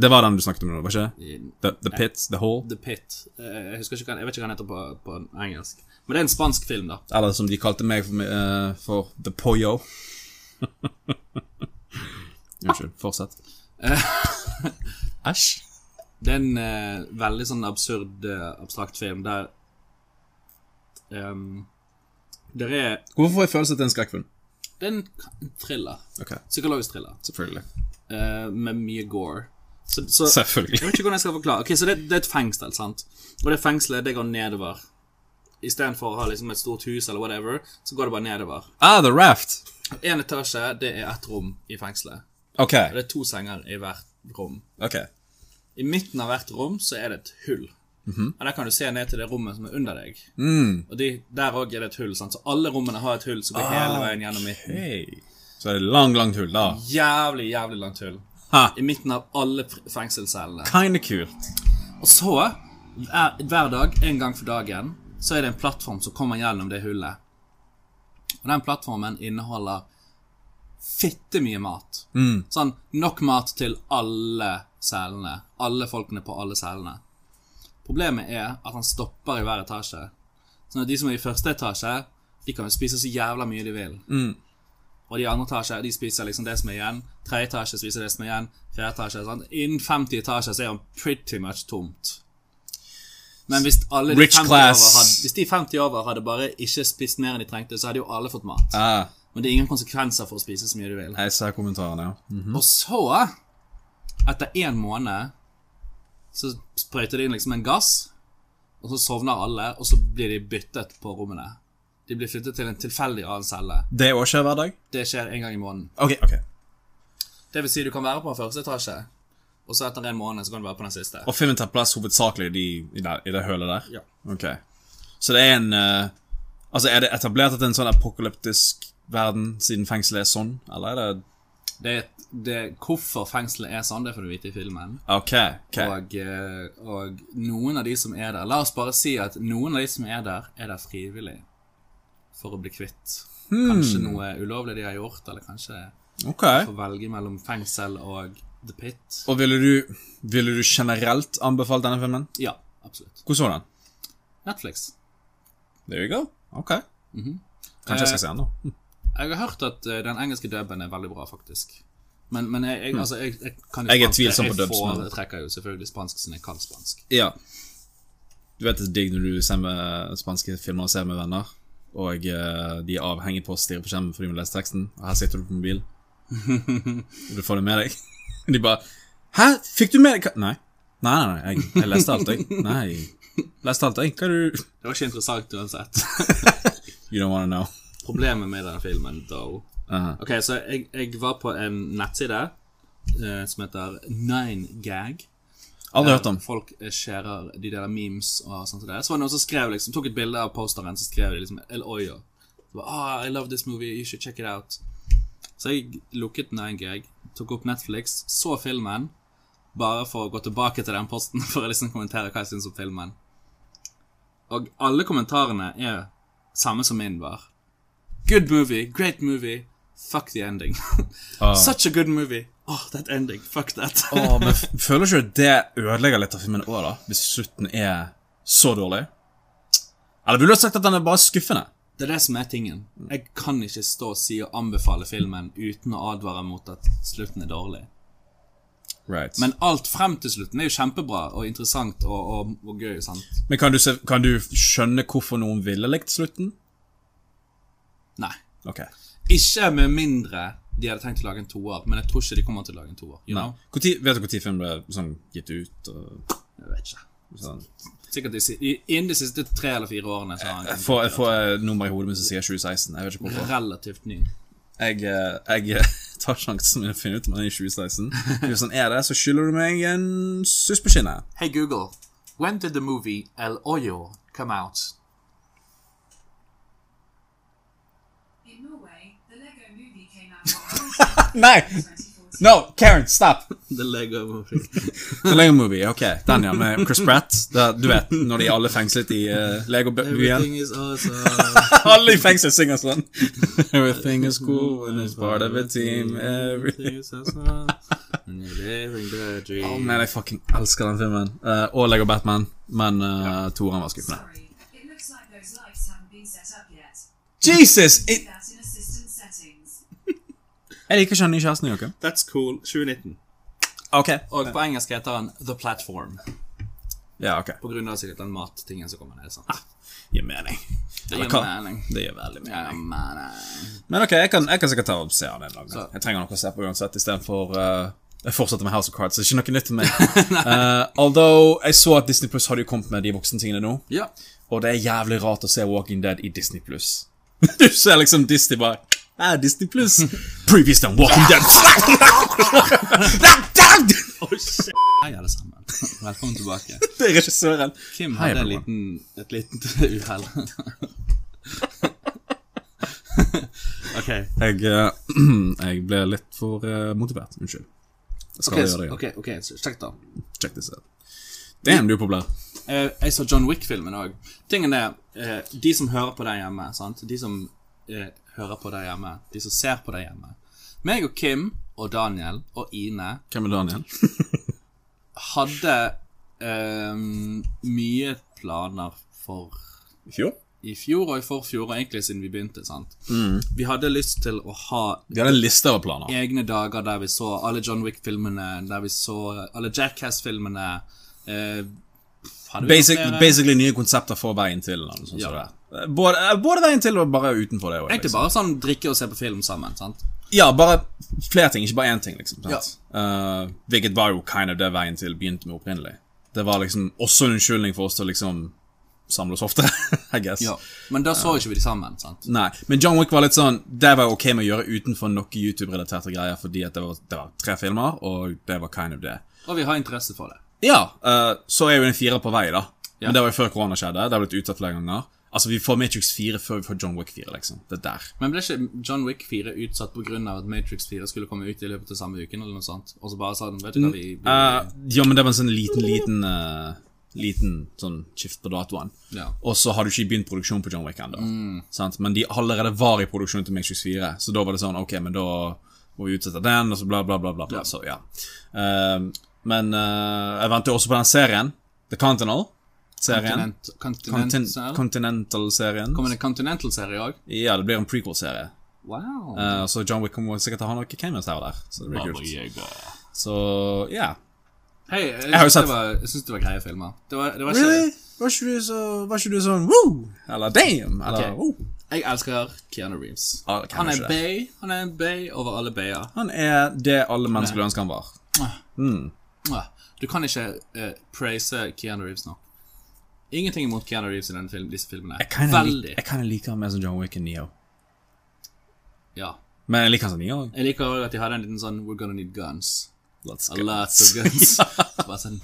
[SPEAKER 1] Det var den du snakket om nå, var ikke det?
[SPEAKER 2] The
[SPEAKER 1] The, the Pit? The Hole?
[SPEAKER 2] Pit. Eh, jeg, husker ikke, hva- jeg vet ikke hva den heter på, på engelsk. Men det er en spansk film, da.
[SPEAKER 1] Eller som de kalte meg for, eh, for The
[SPEAKER 2] [LAUGHS]
[SPEAKER 1] Poyo. Unnskyld.
[SPEAKER 2] [LAUGHS]
[SPEAKER 1] Fortsett. Æsj.
[SPEAKER 2] Det er en eh, veldig sånn absurd, eh, abstrakt film der um, Der er
[SPEAKER 1] Hvorfor får jeg følelsen at det er en skrekkfilm?
[SPEAKER 2] Det er en k- en thriller.
[SPEAKER 1] Ok,
[SPEAKER 2] Psykologisk thriller.
[SPEAKER 1] selvfølgelig.
[SPEAKER 2] eh, med mye gore. Så, så,
[SPEAKER 1] Selvfølgelig.
[SPEAKER 2] jeg vet ikke hvordan jeg skal forklare. Ok, Så det, det er et fengsel, sant? Og det fengselet, det går nedover. Istedenfor å ha liksom et stort hus eller whatever, så går det bare nedover.
[SPEAKER 1] Ah, The Raft.
[SPEAKER 2] Én etasje, det er ett rom i fengselet.
[SPEAKER 1] Ok.
[SPEAKER 2] Og det er to senger i hvert rom.
[SPEAKER 1] ok.
[SPEAKER 2] I midten av hvert rom så er det et hull. Og Der kan du se ned til det rommet som er under deg. Og de, Der òg er det et hull. Sant? Så alle rommene har et hull som går hele veien gjennom midten.
[SPEAKER 1] Hei. Så er det langt, langt hull, da.
[SPEAKER 2] Jævlig, jævlig langt hull.
[SPEAKER 1] Ha.
[SPEAKER 2] I midten av alle pr- fengselscellene.
[SPEAKER 1] Kinda kult.
[SPEAKER 2] Og så, hver, hver dag, en gang for dagen, så er det en plattform som kommer gjennom det hullet. Og den plattformen inneholder fitte mye mat.
[SPEAKER 1] Mm.
[SPEAKER 2] Sånn nok mat til alle selene. Alle folkene på alle selene. Problemet er at han stopper i hver etasje. Sånn at de som er i første etasje, de kan jo spise så jævla mye de vil.
[SPEAKER 1] Mm.
[SPEAKER 2] Og de i andre etasje, de spiser liksom det som er igjen. Tredje etasje spiser det som er igjen. Fjerde etasje, sant? Innen 50 etasjer så er han pretty much tomt. Men hvis alle de
[SPEAKER 1] Rich
[SPEAKER 2] 50
[SPEAKER 1] class.
[SPEAKER 2] over hadde, hvis de 50 over hadde bare ikke spist mer enn de trengte, så hadde jo alle fått mat.
[SPEAKER 1] Ah,
[SPEAKER 2] Men det er ingen konsekvenser for å spise så mye du vil.
[SPEAKER 1] jeg ser kommentarene, ja.
[SPEAKER 2] Og så, etter en måned, så sprøyter de inn liksom en gass, og så sovner alle, og så blir de byttet på rommene. De blir flyttet til en tilfeldig annen celle.
[SPEAKER 1] Det òg skjer hver dag?
[SPEAKER 2] Det skjer en gang i måneden.
[SPEAKER 1] Ok, ok.
[SPEAKER 2] Det vil si du kan være på første etasje, og så etter en måned så kan du være på den siste.
[SPEAKER 1] Og filmen tar plass hovedsakelig i, de- i, der, i det hølet der?
[SPEAKER 2] Ja.
[SPEAKER 1] Ok. Så det er en eh, Altså, er det etablert at det er en sånn apokalyptisk verden siden fengselet er sånn, eller er det
[SPEAKER 2] Det, det, hvorfor fengselet er sånn, det får du vite i filmen.
[SPEAKER 1] Ok. ok.
[SPEAKER 2] Og, eh, og noen av de som er der, la oss bare si at noen av de som er der, er der frivillig for å bli kvitt.
[SPEAKER 1] Hmm.
[SPEAKER 2] Kanskje noe ulovlig de har gjort, eller kanskje
[SPEAKER 1] ok.
[SPEAKER 2] få velge mellom fengsel og The Pit.
[SPEAKER 1] Og ville du, ville du generelt anbefalt denne filmen?
[SPEAKER 2] Ja, absolutt.
[SPEAKER 1] Hvor så du den?
[SPEAKER 2] Netflix.
[SPEAKER 1] There you go. Mm-hmm. Ok. Kanskje jeg skal se den nå. Hm.
[SPEAKER 2] Jeg har hørt at eh, den engelske dubben er veldig bra, faktisk. Men, men jeg, jeg, altså, jeg, jeg kan jo
[SPEAKER 1] Hmm. Jeg er
[SPEAKER 2] spansk.
[SPEAKER 1] tvilsom på dubs,
[SPEAKER 2] Jeg
[SPEAKER 1] men-
[SPEAKER 2] foretrekker jo selvfølgelig spansk siden jeg kan spansk.
[SPEAKER 1] Ja. Du vet det er digg når du ser med spanske filmer og ser med venner, og eh, de er avhengig på å stirre på skjermen fordi de må lese teksten, og her sitter du på mobilen. og du får det med deg. [LAUGHS] De bare Hæ? Fikk du med deg hva- Nei. Nei, nei, nei. Jeg, jeg leste alt, jeg. Nei. Leste alt, jeg. Hva er det du [LAUGHS]
[SPEAKER 2] Det var ikke interessant uansett. [LAUGHS]
[SPEAKER 1] You don't wanna know.
[SPEAKER 2] Problemet med den filmen, though
[SPEAKER 1] Uh,
[SPEAKER 2] Ok, så jeg, jeg var på en nettside eh, som heter 9gag.
[SPEAKER 1] aldri hørt om.
[SPEAKER 2] Folk eh, sharer, de deler memes og sånt. og det. Så var det noen som skrev, liksom, tok et bilde av posteren, så skrev de liksom El Oyo. Så bare, ah, I love this movie, you should check it out. Så jeg lukket 9gag, tok opp Netflix, så filmen, bare for å gå tilbake til den posten [LAUGHS] for å liksom kommentere hva jeg syns om filmen. Og alle kommentarene er samme som min var. Good movie, great movie, fuck the ending. [LAUGHS]
[SPEAKER 1] Ah.
[SPEAKER 2] Such a good movie. Oh, that ending, fuck that.
[SPEAKER 1] Åh, men f- føler ikke du det ødelegger litt av filmen òg, da? Hvis slutten er så dårlig? Eller ville du ha sagt at den er bare skuffende?
[SPEAKER 2] Det er det som er tingen. Jeg kan ikke stå og si og anbefale filmen uten å advare mot at slutten er dårlig.
[SPEAKER 1] Right. Men,
[SPEAKER 2] Men alt frem til slutten er jo kjempebra og interessant og, og, og gøy. sant?
[SPEAKER 1] kan, du se, kan du skjønne hvorfor noen ville likt slutten?
[SPEAKER 2] Nei.
[SPEAKER 1] Ok.
[SPEAKER 2] Ikke med mindre de hadde tenkt å lage en toer, men jeg tror ikke de kommer til å lage en toer. You know?
[SPEAKER 1] Hvor tid, vet du når filmen ble sånn, gitt ut? Og,
[SPEAKER 2] Jeg vet ikke.
[SPEAKER 1] sånn.
[SPEAKER 2] Sikkert de, si- i- Innen de siste tre eller fire årene så har
[SPEAKER 1] Jeg
[SPEAKER 2] han
[SPEAKER 1] får, jeg får et nummer i hodet mitt som sier 2016. Jeg vet ikke hvorfor.
[SPEAKER 2] relativt ny.
[SPEAKER 1] Jeg, eh, [LAUGHS] jeg tar sjansen min å finne ut om den er i [LAUGHS] 2016. Hvis den er det, så skylder du meg en suss på kinnet.
[SPEAKER 2] Hey Google, when did the movie El Oyo come out?
[SPEAKER 3] In Norway, the Lego movie came out on
[SPEAKER 1] Nei!
[SPEAKER 3] 2014.
[SPEAKER 1] No, Karen, stop!
[SPEAKER 2] The Lego movie.
[SPEAKER 1] [LAUGHS] The Lego Movie, ok. Den, ja, med Chris Pratt. Da, du vet, når de er alle fengslet i uh, Lego-byen.
[SPEAKER 2] Everything is awesome.
[SPEAKER 1] [LAUGHS] Alle i fengsel synger sånn. [LAUGHS] Everything is cool when it's part of a team. Everything.
[SPEAKER 2] is awesome. And you're living the dream.
[SPEAKER 1] Å, Men jeg fucking elsker den filmen. Eh, og Lego Batman, men uh, toeren var skuffende.
[SPEAKER 3] Sorry, it looks like those lights haven't been set up yet.
[SPEAKER 1] Jesus!
[SPEAKER 3] Do
[SPEAKER 1] It,
[SPEAKER 3] that in assistant settings.
[SPEAKER 1] jeg liker ikke den nye kjæresten, Joakim.
[SPEAKER 2] That's cool. 2019.
[SPEAKER 1] Ok.
[SPEAKER 2] Og på engelsk heter han The Platform.
[SPEAKER 1] Ja, ok.
[SPEAKER 2] På grunn av sikkert den mattingen som kommer. Det er sant.
[SPEAKER 1] Gir mening.
[SPEAKER 2] Det
[SPEAKER 1] Eller
[SPEAKER 2] gir
[SPEAKER 1] kan-
[SPEAKER 2] mening.
[SPEAKER 1] Det gjør veldig mening.
[SPEAKER 2] Ja, men eh,
[SPEAKER 1] Men ok, jeg kan, jeg kan sikkert ta og se han en gang.
[SPEAKER 2] Så.
[SPEAKER 1] Jeg trenger noe å se på uansett, istedenfor uh, Jeg fortsetter med House of Cards, så det er ikke noe
[SPEAKER 2] [LAUGHS]
[SPEAKER 1] nytt for meg. Eh, although, jeg så at Disney Plus hadde jo kommet med de voksentingene nå,
[SPEAKER 2] Ja.
[SPEAKER 1] og det er jævlig rart å se Walking Dead i Disney Plus. [LAUGHS] du ser liksom Disney bare Ja, Disney Plus. Previous than Walking Dead. [LAUGHS]
[SPEAKER 2] Hei, alle sammen. Velkommen tilbake.
[SPEAKER 1] det er regissøren.
[SPEAKER 2] [LAUGHS] Kim
[SPEAKER 1] Hei,
[SPEAKER 2] hadde en
[SPEAKER 1] everyone.
[SPEAKER 2] liten, et liten [LAUGHS] uhell. ok.
[SPEAKER 1] Jeg, eh, [CLEARS THROAT] jeg ble litt for eh, motivert. Unnskyld. Jeg skal
[SPEAKER 2] Ok,
[SPEAKER 1] gjøre det igjen.
[SPEAKER 2] ok, ok, så sjekk da.
[SPEAKER 1] Check this out. Damn, du er populær.
[SPEAKER 2] Eh, Jeg så John Wick-filmen òg. Tingen er, eh, de som hører på deg hjemme, sant? De som eh, hører på deg hjemme, de som ser på deg hjemme. Meg og Kim og Daniel og Ine
[SPEAKER 1] Hvem er Daniel?
[SPEAKER 2] hadde eh, mye planer for
[SPEAKER 1] [LAUGHS] Jo.
[SPEAKER 2] i fjor og i forfjor, og egentlig siden vi begynte. sant? Vi hadde lyst til å ha
[SPEAKER 1] Vi hadde en liste over planer.
[SPEAKER 2] egne dager der vi så alle John Wick-filmene, der vi så alle Jackass-filmene eh, hadde vi
[SPEAKER 1] Basic,
[SPEAKER 2] noen flere?
[SPEAKER 1] basically nye konsepter for veien til. eller noe sånt
[SPEAKER 2] Ja.
[SPEAKER 1] som det er. Både, eh, både veien til og bare utenfor det. også,
[SPEAKER 2] Egentlig
[SPEAKER 1] liksom.
[SPEAKER 2] bare sånn drikke og se på film sammen, sant?
[SPEAKER 1] Ja, bare flere ting, ikke bare én ting. liksom. Sant? Eh, hvilket var jo kind of det veien til begynte med opprinnelig. Det var liksom også en unnskyldning for oss til å liksom samle oss oftere, [LAUGHS] I guess.
[SPEAKER 2] Men da så ikke vi de sammen, sant?
[SPEAKER 1] Nei, men John Wick var litt sånn Det var ok med å gjøre utenfor noe YouTube-relaterte greier, fordi at det var, det var tre filmer, og det var kind of det.
[SPEAKER 2] Og vi har interesse for det.
[SPEAKER 1] Ja, eh, så er jo en fire på vei, da.
[SPEAKER 2] Ja.
[SPEAKER 1] Men det var jo før korona skjedde. Det har blitt utsatt flere ganger. Altså, Vi får Matrix 4 før vi får John Wick 4, liksom. Det er der.
[SPEAKER 2] Men ble ikke John Wick 4 utsatt pga. at Matrix 4 skulle komme ut i løpet av samme uken? eller noe sånt? Og så bare sånn, vet du hva vi... vi
[SPEAKER 1] Eh, ja, men det var en sånn liten, liten eh, Liten sånn skift på datoen.
[SPEAKER 2] Ja.
[SPEAKER 1] Og så har du ikke begynt produksjon på John Wick ennå.
[SPEAKER 2] Mm.
[SPEAKER 1] sant? Men de allerede var i produksjon til Matrix 4, så da var det sånn Ok, men da må vi utsette den, og så bla, bla, bla. bla, bla. Så, ja. Eh, men eh, jeg venter jo også på den serien. The Continental. Serien.
[SPEAKER 2] Continent, Continental,
[SPEAKER 1] Continental-serien. Continental-serien.
[SPEAKER 2] Kommer det en Continental-serie òg?
[SPEAKER 1] Ja, det blir en prequel-serie.
[SPEAKER 2] Wow.
[SPEAKER 1] Eh, så John Wick kommer sikkert til å ha noen cameos her og der. Så det blir kult. Så ja.
[SPEAKER 2] Hei, jeg,
[SPEAKER 1] har jo
[SPEAKER 2] synes
[SPEAKER 1] sett-
[SPEAKER 2] det var- jeg syns det var greie filmer. Det var, det var ikke,
[SPEAKER 1] Really? Var ikke du, så, var ikke du sånn woo? Eller damn? Eller
[SPEAKER 2] Ok.
[SPEAKER 1] woo?
[SPEAKER 2] Jeg elsker Keanu Reeves.
[SPEAKER 1] Ja, det kan
[SPEAKER 2] Han
[SPEAKER 1] jeg
[SPEAKER 2] er
[SPEAKER 1] ikke.
[SPEAKER 2] bay, han er en bay over alle bayer.
[SPEAKER 1] Han er det alle menn skulle ønske han var.
[SPEAKER 2] Mwah. Du kan ikke eh, praise Keanu Reeves nå. Ingenting imot Keanu Reeves i denne film, disse filmene.
[SPEAKER 1] Jeg kinda lik-
[SPEAKER 2] Veldig.
[SPEAKER 1] jeg kinda liker han mer som John Wick enn Neo.
[SPEAKER 2] Ja.
[SPEAKER 1] Men jeg liker han som Neo.
[SPEAKER 2] Jeg liker også at de hadde en liten sånn We're gonna need guns.
[SPEAKER 1] Let's
[SPEAKER 2] A
[SPEAKER 1] [LAUGHS]
[SPEAKER 2] lot of guns. Bare sånn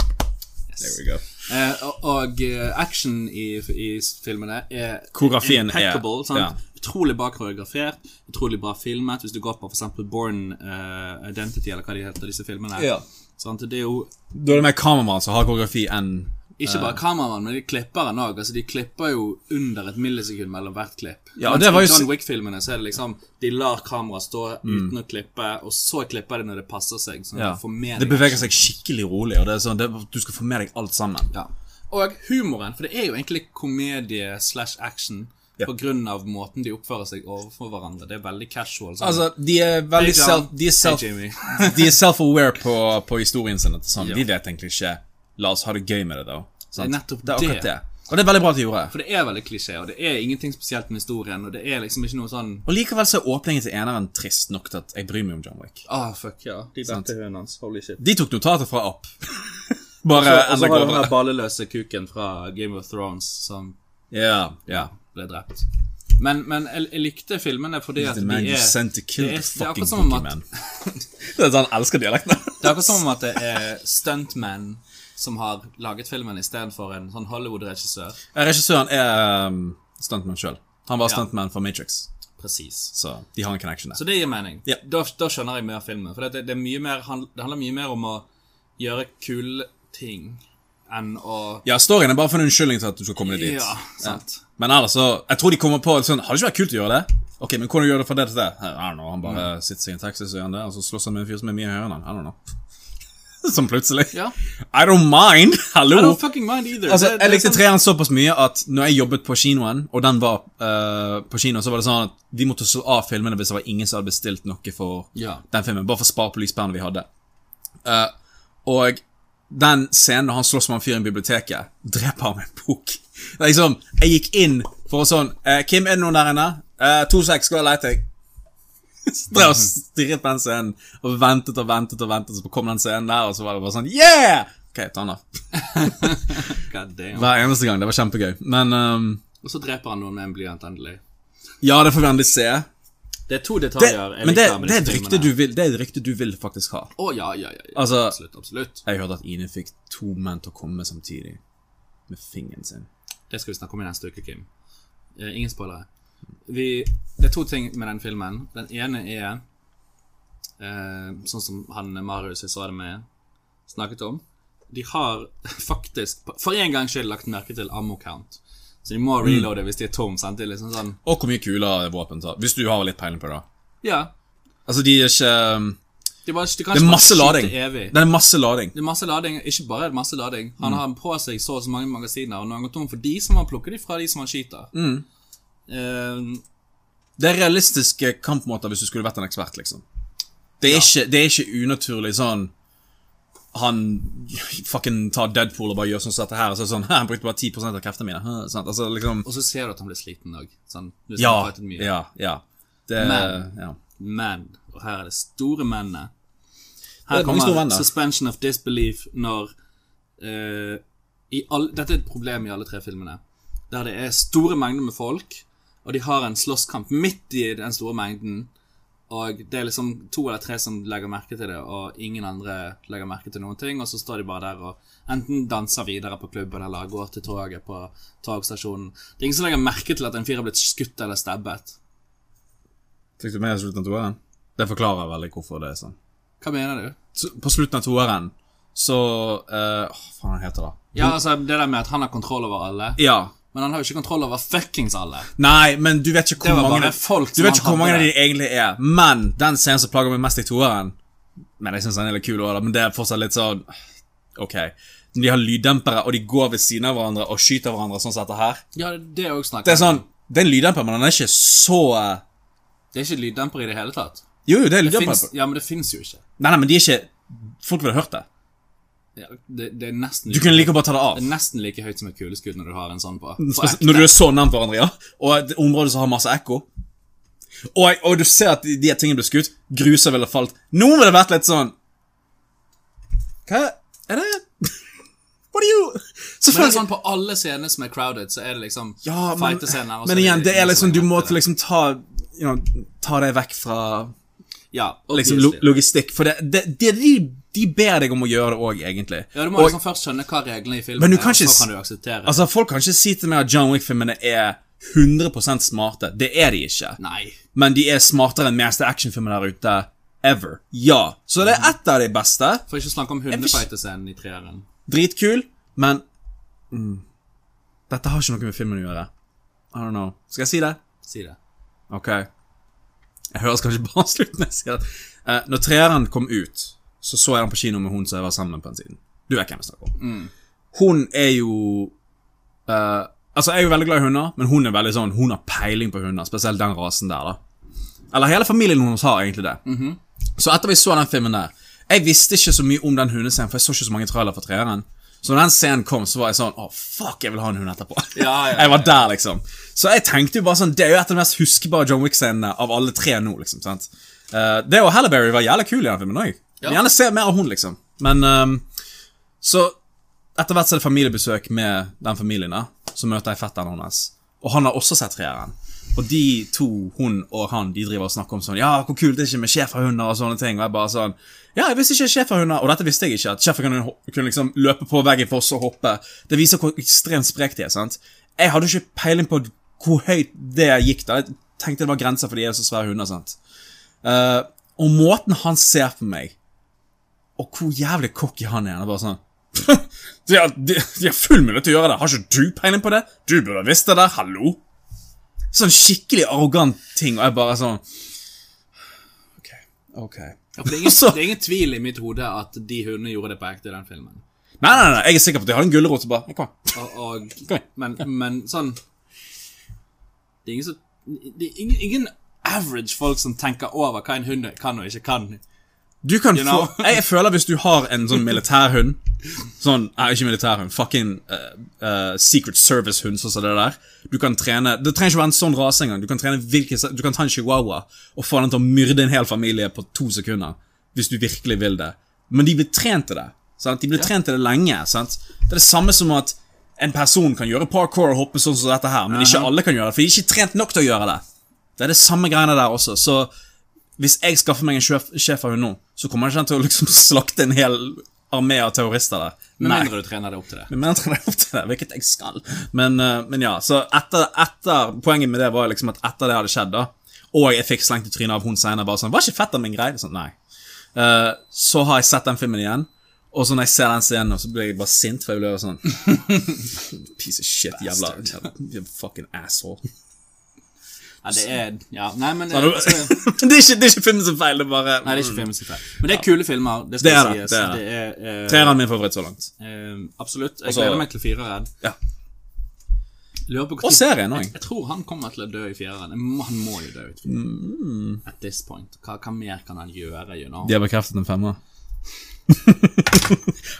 [SPEAKER 1] There we go.
[SPEAKER 2] Eh, og- og eh, action i, i filmene er
[SPEAKER 1] Koreografien er-
[SPEAKER 2] impeccable. sant?
[SPEAKER 1] ja.
[SPEAKER 2] Utrolig bra koreografert, utrolig bra filmet. Hvis du går på for eksempel Born eh, Identity, eller hva de heter, disse filmene.
[SPEAKER 1] Ja.
[SPEAKER 2] Sant? Det er jo
[SPEAKER 1] Da er det mer kameramann som har koreografi enn
[SPEAKER 2] ikke bare kameramann, men de klipper den òg. Altså, de klipper jo under et millisekund mellom hvert klipp.
[SPEAKER 1] Ja,
[SPEAKER 2] Mens
[SPEAKER 1] det var
[SPEAKER 2] I
[SPEAKER 1] jo s- Mm.
[SPEAKER 2] John Wick-filmene så er det liksom De lar kameraet stå uten å klippe, og så klipper de når det passer seg. Sånn at
[SPEAKER 1] ja.
[SPEAKER 2] du får med
[SPEAKER 1] Det
[SPEAKER 2] deg
[SPEAKER 1] beveger seg skikkelig rolig, og det er sånn, det, du skal få med deg alt sammen.
[SPEAKER 2] Ja. Og humoren, for det er jo egentlig komedie slash action
[SPEAKER 1] Ja.
[SPEAKER 2] på grunn av måten de oppfører seg overfor hverandre. Det er veldig casual. sånn.
[SPEAKER 1] Altså, de er veldig
[SPEAKER 2] John.
[SPEAKER 1] self, de er self,
[SPEAKER 2] Hey, Jamie.
[SPEAKER 1] [LAUGHS]
[SPEAKER 2] [LAUGHS]
[SPEAKER 1] de er self-aware på, på historien sin. at det er Sånn.
[SPEAKER 2] Ja.
[SPEAKER 1] De vet egentlig ikke La oss ha det gøy med det, da. Sant?
[SPEAKER 2] Det er nettopp
[SPEAKER 1] det. er akkurat
[SPEAKER 2] det.
[SPEAKER 1] det. Og det er veldig bra at de gjorde.
[SPEAKER 2] for det er veldig klisjé, og det er ingenting spesielt med historien, og det er liksom ikke noe sånn
[SPEAKER 1] Og likevel så er åpningen til eneren trist nok til at jeg bryr meg om John Wick.
[SPEAKER 2] Ah, fuck, ja. De
[SPEAKER 1] Sant.
[SPEAKER 2] hunden hans. Holy shit.
[SPEAKER 1] De tok notater fra opp. [LAUGHS] Bare
[SPEAKER 2] Og så
[SPEAKER 1] enda
[SPEAKER 2] Altså, har du den der
[SPEAKER 1] grovere.
[SPEAKER 2] balleløse kuken fra Game of Thrones som
[SPEAKER 1] Ja, ja.
[SPEAKER 2] ble drept. Men, men jeg, jeg likte filmene fordi at
[SPEAKER 1] The
[SPEAKER 2] de
[SPEAKER 1] man you
[SPEAKER 2] er
[SPEAKER 1] sent to kill
[SPEAKER 2] det er-
[SPEAKER 1] the
[SPEAKER 2] det
[SPEAKER 1] fucking
[SPEAKER 2] er akkurat som om
[SPEAKER 1] Cookie
[SPEAKER 2] at-
[SPEAKER 1] Man. [LAUGHS] det er sånn, han elsker dialekten.
[SPEAKER 2] Det er akkurat som om at det er stuntmenn som har laget filmen istedenfor en sånn Hollywood-regissør.
[SPEAKER 1] Regissøren er um, stuntman sjøl. Han var
[SPEAKER 2] Ja.
[SPEAKER 1] stuntman for Matrix,
[SPEAKER 2] Presis.
[SPEAKER 1] så de har en connection der.
[SPEAKER 2] Så det gir mening.
[SPEAKER 1] Ja.
[SPEAKER 2] Da, da skjønner jeg mer filmen. For det, det, er mye mer, han- det handler mye mer om å gjøre kule ting enn å
[SPEAKER 1] Ja, storyen er bare for en unnskyldning til at du skal komme deg dit.
[SPEAKER 2] Ja, sant.
[SPEAKER 1] Men ellers så Jeg tror de kommer på sånn Har det ikke vært kult å gjøre det? Ok, men hvordan gjør du det fra det til det? I don't know, Han bare
[SPEAKER 2] Mm.
[SPEAKER 1] sitter seg i en taxi, så gjør han det, og så slåss han med en fyr som er mye høyere enn han. I don't know. [LAUGHS] Som plutselig.
[SPEAKER 2] Ja.
[SPEAKER 1] I don't mind! Hallo!
[SPEAKER 2] I don't fucking mind either.
[SPEAKER 1] Altså,
[SPEAKER 2] Det- det
[SPEAKER 1] jeg
[SPEAKER 2] er
[SPEAKER 1] likte
[SPEAKER 2] sånn-
[SPEAKER 1] treeren såpass mye at når jeg jobbet på kinoen, og den var eh, på kino, så var det sånn at vi måtte slå av filmene hvis det var ingen som hadde bestilt noe for
[SPEAKER 2] Ja.
[SPEAKER 1] den filmen, bare for å spare på lyspærene vi hadde. Eh, og den scenen når han slåss med han fyren i biblioteket, dreper han med en bok. Det er liksom, jeg gikk inn for å sånn eh, Kim, er det noen der inne? Eh, 2-6, gå og let deg. Så [LAUGHS] drev jeg og stirret på den scenen og ventet og ventet og ventet, så kom den scenen der, og så var det bare sånn Yeah! Ok, ta den av.
[SPEAKER 2] God damn.
[SPEAKER 1] Hver eneste gang. Det var kjempegøy. Men ehm,
[SPEAKER 2] Og så dreper han noen med en blyant endelig.
[SPEAKER 1] ja, det får vi endelig se.
[SPEAKER 2] Det er to
[SPEAKER 1] Det,
[SPEAKER 2] detaljer jeg
[SPEAKER 1] men det,
[SPEAKER 2] liker med
[SPEAKER 1] det, er
[SPEAKER 2] disse
[SPEAKER 1] et rykte
[SPEAKER 2] filmene.
[SPEAKER 1] du vil, det er et rykte du vil faktisk ha.
[SPEAKER 2] Å, ja, ja, ja. ja.
[SPEAKER 1] Altså-
[SPEAKER 2] absolutt, absolutt.
[SPEAKER 1] Jeg hørte at Ine fikk to menn til å komme samtidig. Med fingeren sin.
[SPEAKER 2] Det skal vi snakke om i neste uke, Kim. Eh, ingen spoilere. Vi, det er to ting med den filmen. Den ene er eh, sånn som han Marius jeg sa det med, snakket om. De har [LAUGHS] faktisk, for en gangs skyld, lagt merke til ammo count. Så de
[SPEAKER 1] Mm.
[SPEAKER 2] må reloade hvis de er tom. Sant? Det er liksom sånn
[SPEAKER 1] Og hvor mye kulere våpen tar. Hvis du har litt peiling på det. da.
[SPEAKER 2] Ja.
[SPEAKER 1] Altså, de er ikke um,
[SPEAKER 2] De bare, de kan
[SPEAKER 1] Det er
[SPEAKER 2] ikke bare
[SPEAKER 1] masse
[SPEAKER 2] skyte
[SPEAKER 1] lading.
[SPEAKER 2] Evig.
[SPEAKER 1] Det er masse lading.
[SPEAKER 2] Det er masse lading, ikke bare er det masse lading. Han
[SPEAKER 1] Mm.
[SPEAKER 2] har på seg så og så mange magasiner, og når han går tom for de, så må han plukke de fra de som han skyter.
[SPEAKER 1] Mm.
[SPEAKER 2] Eh,
[SPEAKER 1] Det er realistiske kampmåter hvis du skulle vært en ekspert, liksom. Det er, ikke, det er ikke unaturlig sånn Han fucking tar Deadpool og bare gjør sånn som dette her, og så er det sånn [LAUGHS] Han brukte bare 10 av kreftene mine. Hæ, sant? Altså, liksom
[SPEAKER 2] og så ser du at han blir sliten òg. Sånn, du
[SPEAKER 1] Ja.
[SPEAKER 2] har fightet mye.
[SPEAKER 1] Ja. ja. Det,
[SPEAKER 2] Men-
[SPEAKER 1] ja.
[SPEAKER 2] Men, og her er det store mennene.
[SPEAKER 1] Det
[SPEAKER 2] Her
[SPEAKER 1] er mange store
[SPEAKER 2] kommer
[SPEAKER 1] menn, da.
[SPEAKER 2] suspension of disbelief når eh, i all, Dette er et problem i alle tre filmene. Der det er store mengder med folk, og de har en slåsskamp midt i den store mengden. Og det er liksom to eller tre som legger merke til det, og ingen andre legger merke til noen ting. Og så står de bare der og enten danser videre på klubben eller går til toget på togstasjonen. Det er ingen som legger merke til at en fyr har blitt skutt eller stabbet.
[SPEAKER 1] Fikk du med deg slutten av toeren? Det forklarer veldig hvorfor det er sånn.
[SPEAKER 2] Hva mener du?
[SPEAKER 1] Så, på slutten av toeren så eh, Åh, faen, hva heter det?
[SPEAKER 2] Ja, altså det der med at han har kontroll over alle.
[SPEAKER 1] Ja.
[SPEAKER 2] Men han har jo ikke kontroll over fuckings alle.
[SPEAKER 1] Nei, men du vet ikke
[SPEAKER 2] Det
[SPEAKER 1] hvor
[SPEAKER 2] var
[SPEAKER 1] mange
[SPEAKER 2] bare folk
[SPEAKER 1] Du
[SPEAKER 2] som
[SPEAKER 1] vet ikke
[SPEAKER 2] han
[SPEAKER 1] hvor mange av
[SPEAKER 2] hadde
[SPEAKER 1] de egentlig er, men den scenen som plager meg mest i toeren Men jeg syns den er litt kul også, da, men det er fortsatt litt sånn OK. Når de har lyddempere, og de går ved siden av hverandre og skyter hverandre sånn som dette her
[SPEAKER 2] Ja, det er jo snakk
[SPEAKER 1] Det er sånn Det er en lyddemper, men den er ikke så eh,
[SPEAKER 2] Det er ikke lyddemper i det hele tatt.
[SPEAKER 1] Jo, jo, det er
[SPEAKER 2] Det
[SPEAKER 1] lyddemper.
[SPEAKER 2] finnes, ja, men det fins jo ikke.
[SPEAKER 1] Nei, nei, men de er ikke Folk ville hørt det.
[SPEAKER 2] Ja, det, det, er nesten,
[SPEAKER 1] Du kunne like godt ta det av.
[SPEAKER 2] det er nesten like høyt som et kuleskudd når du har en sånn på. på
[SPEAKER 1] Spes-
[SPEAKER 2] ekte.
[SPEAKER 1] Når du er så nærmt hverandre, ja. Og et område som har masse ekko. Og, og du ser at de, de her tingene blir skutt. Gruser ville falt. Noen ville vært litt sånn Hva er det [LAUGHS] What are you
[SPEAKER 2] Men det er
[SPEAKER 1] Selvfølgelig.
[SPEAKER 2] sånn på alle scener som er crowded, så er det liksom
[SPEAKER 1] Ja, men,
[SPEAKER 2] fightescener. og så
[SPEAKER 1] men igjen, det er
[SPEAKER 2] ingen
[SPEAKER 1] liksom
[SPEAKER 2] som
[SPEAKER 1] Du
[SPEAKER 2] legger
[SPEAKER 1] må
[SPEAKER 2] merke
[SPEAKER 1] til
[SPEAKER 2] til det.
[SPEAKER 1] liksom ta you know, Ta det vekk fra
[SPEAKER 2] Ja,
[SPEAKER 1] liksom, lo
[SPEAKER 2] obviously.
[SPEAKER 1] logistikk. For det, det, det de, de ber deg om å gjøre det òg, egentlig.
[SPEAKER 2] ja, du må
[SPEAKER 1] Og,
[SPEAKER 2] liksom først skjønne hva reglene i filmen
[SPEAKER 1] Men du
[SPEAKER 2] er,
[SPEAKER 1] kan
[SPEAKER 2] og
[SPEAKER 1] ikke
[SPEAKER 2] så
[SPEAKER 1] s-
[SPEAKER 2] kan du akseptere det.
[SPEAKER 1] altså, folk kan ikke si til meg at John Wick-filmene er 100 smarte. Det er de ikke.
[SPEAKER 2] Nei.
[SPEAKER 1] men de er smartere enn meste actionfilmer der ute ever. Ja, så det
[SPEAKER 2] Mhm.
[SPEAKER 1] er ett av de beste.
[SPEAKER 2] For ikke å snakke om hundefightescenen i treeren.
[SPEAKER 1] Dritkul, men mm, Dette har ikke noe med filmen å gjøre. I don't know. Skal jeg si det?
[SPEAKER 2] Si det.
[SPEAKER 1] Ok. Jeg høres kanskje bare [LAUGHS] slutt når jeg sier det. Eh, når treeren kom ut, så så jeg den på kino med hun som jeg var sammen med på den tiden. Du vet hvem jeg snakker om. Hun er jo eh, Altså, jeg er jo veldig glad i hunder, men hun er veldig sånn Hun har peiling på hunder, spesielt den rasen der, da. Eller hele familien hennes har egentlig det.
[SPEAKER 2] Mhm.
[SPEAKER 1] Så etter vi så den filmen der Jeg visste ikke så mye om den hundescenen, for jeg så ikke så mange trailere for treeren. Så når den scenen kom, så var jeg sånn Å, fuck, jeg vil ha en hund etterpå. [LAUGHS]
[SPEAKER 2] Ja, ja,
[SPEAKER 1] jeg var der, liksom. Så jeg tenkte jo bare sånn Det er jo et av de mest huskbare John Wick-scenene av alle tre nå, liksom. sant? Eh, det og Halliberry var jævlig kul i den filmen òg.
[SPEAKER 2] Ja.
[SPEAKER 1] Gjerne se mer av hun, liksom. Men ehm, så etter hvert så er det familiebesøk med den familien der. Så møter jeg fetteren hennes. Og han har også sett treeren. Og de to, hun og han, de driver og snakker om sånn Ja, hvor kult det er ikke med schæferhunder og sånne ting. Og jeg bare sånn Ja, jeg visste ikke schæferhunder Og dette visste jeg ikke, at schæfer kunne, kunne liksom løpe på veggen for oss og hoppe. Det viser hvor ekstremt sprek de er, sant. Jeg hadde ikke peiling på hvor høyt det gikk, da. Jeg tenkte det var grenser for de er så svære hunder, sant. Eh, og måten han ser på meg, og hvor jævlig cocky han er, han er bare sånn de har, de, de har full mulighet til å gjøre det. Har ikke du peiling på det? Du burde ha visst det der. Hallo? Sånn skikkelig arrogant ting, og jeg bare sånn Ok. ok.
[SPEAKER 2] Ja, for det, er ingen,
[SPEAKER 1] Så-
[SPEAKER 2] det er ingen tvil i mitt hode at de hundene gjorde det på ekte i den filmen.
[SPEAKER 1] Nei, nei, nei, jeg er sikker på at de har en gulrot. så bare, Kom her.
[SPEAKER 2] Og, og,
[SPEAKER 1] Kom her.
[SPEAKER 2] men, men sånn Det er ingen som Det er ingen, ingen average folk som tenker over hva en hund kan og ikke kan
[SPEAKER 1] Du kan
[SPEAKER 2] You know?
[SPEAKER 1] få Jeg føler hvis du har en sånn militærhund Sånn, nei, ikke militærhund, fucking eh, eh, Secret Service-hund, sånn som det der. Du kan trene Det trenger ikke være en sånn rase engang. Du kan trene hvilken som- Du kan ta en chihuahua og få den til å myrde en hel familie på to sekunder. Hvis du virkelig vil det. Men de blir trent til det. Sant? De blir trent til det lenge. Sant? Det er det samme som at en person kan gjøre parkour og hoppe sånn som dette her, men ikke alle kan gjøre det, for de er ikke trent nok til å gjøre det. Det er det samme greiene der også. Så hvis jeg skaffer meg en sjef, sjef av henne nå, så kommer han ikke til å liksom [LAUGHS] slakte en hel armé av terrorister der.
[SPEAKER 2] Med
[SPEAKER 1] Nei.
[SPEAKER 2] mindre du trener deg opp til det.
[SPEAKER 1] Men jeg trener opp til det, hvilket jeg skal. Men, eh, men ja, så etter, etter Poenget med det var liksom at etter det hadde skjedd, da, og jeg fikk slengt i trynet av hun senere bare sånn 'Var ikke fetteren min grei?' Sånn, nei. Eh, så har jeg sett den filmen igjen, og så når jeg ser den scenen, nå, så blir jeg bare sint, for jeg blir sånn [LAUGHS] Piece of shit, jævla jævla fucking asshole.
[SPEAKER 2] Ja, det er Ja, nei, men
[SPEAKER 1] det,
[SPEAKER 2] eh, så-
[SPEAKER 1] er ikke, [LAUGHS] det er ikke filmen som feil, det er bare
[SPEAKER 2] Nei, det er ikke filmen sin feil. Men det er kule filmer. Det
[SPEAKER 1] Det
[SPEAKER 2] skal
[SPEAKER 1] er det,
[SPEAKER 2] sies.
[SPEAKER 1] det er
[SPEAKER 2] Det
[SPEAKER 1] det.
[SPEAKER 2] er, eh,
[SPEAKER 1] Treeren er min favoritt så langt.
[SPEAKER 2] eh, absolutt. Jeg
[SPEAKER 1] Også-
[SPEAKER 2] gleder meg til fireren.
[SPEAKER 1] Ja.
[SPEAKER 2] Lurer på hvor
[SPEAKER 1] Og
[SPEAKER 2] tid-
[SPEAKER 1] serien òg.
[SPEAKER 2] Jeg tror han kommer til å dø i fireren. Jeg må- Han må jo dø ut.
[SPEAKER 1] Mm.
[SPEAKER 2] At this point. Hva, hva mer kan han gjøre? You know?
[SPEAKER 1] De har bekreftet en femmer. [LAUGHS]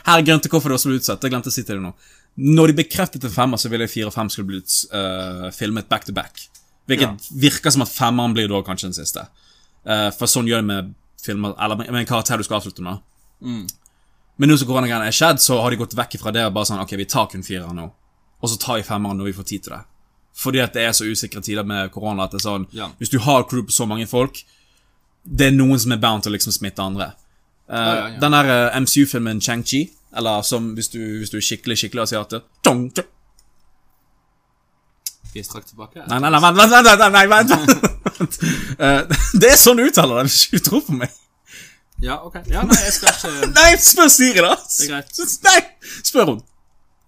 [SPEAKER 1] Her er grunnen til hvorfor det også ble utsatt. Jeg glemte å si til deg nå. Når de bekreftet en femmer, så ville jeg fire og fem skulle blitt eh, filmet back to back. Hvilket virker som at femmeren blir da kanskje den siste. Eh, for sånn gjør de med filmer Eller med med en karakter du skal avslutte med. Men nå som koronagreiene er skjedd, så har de gått vekk fra det og bare sånn Ok, vi tar kun fireren nå. Og så tar vi femmeren når vi får tid til det. Fordi at det er så usikre tider med korona at det er sånn
[SPEAKER 2] Ja.
[SPEAKER 1] Hvis du har crew på så mange folk, det er noen som er bound til å liksom smitte andre. Eh,
[SPEAKER 2] ja, ja.
[SPEAKER 1] Den der eh, MCU-filmen Chang-Chi, eller som hvis du, hvis du er skikkelig, skikkelig asiater Tong, tong.
[SPEAKER 2] Vi er straks tilbake.
[SPEAKER 1] Nei, nei, nei, vent, vent, vent, vent, nei, vent,
[SPEAKER 2] [LAUGHS]
[SPEAKER 1] vent. Eh, [LAUGHS] Det er sånn du uttaler det, hvis ikke du tror på meg.
[SPEAKER 2] Ja, ok. Ja, nei, jeg skal ikke
[SPEAKER 1] Nei, spør Siri, da!
[SPEAKER 2] er greit.
[SPEAKER 1] [LAUGHS] Nei, spør hun.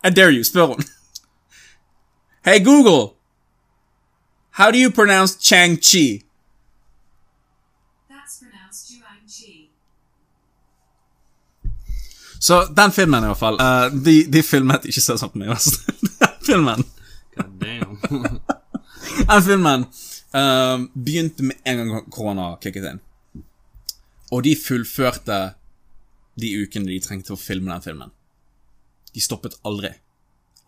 [SPEAKER 1] I dare you, spør hun. [LAUGHS] Hey Google, how do you pronounce Chang-Chi?
[SPEAKER 3] That's pronounced Juang Chi.
[SPEAKER 1] Så den filmen, i hvert fall. eh, de, de filmet Ikke se sånn på meg, altså. [LAUGHS] Den filmen.
[SPEAKER 2] God damn.
[SPEAKER 1] Den filmen eh, begynte med en gang korona kicket inn. Og de fullførte de ukene de trengte å filme den filmen. De stoppet aldri.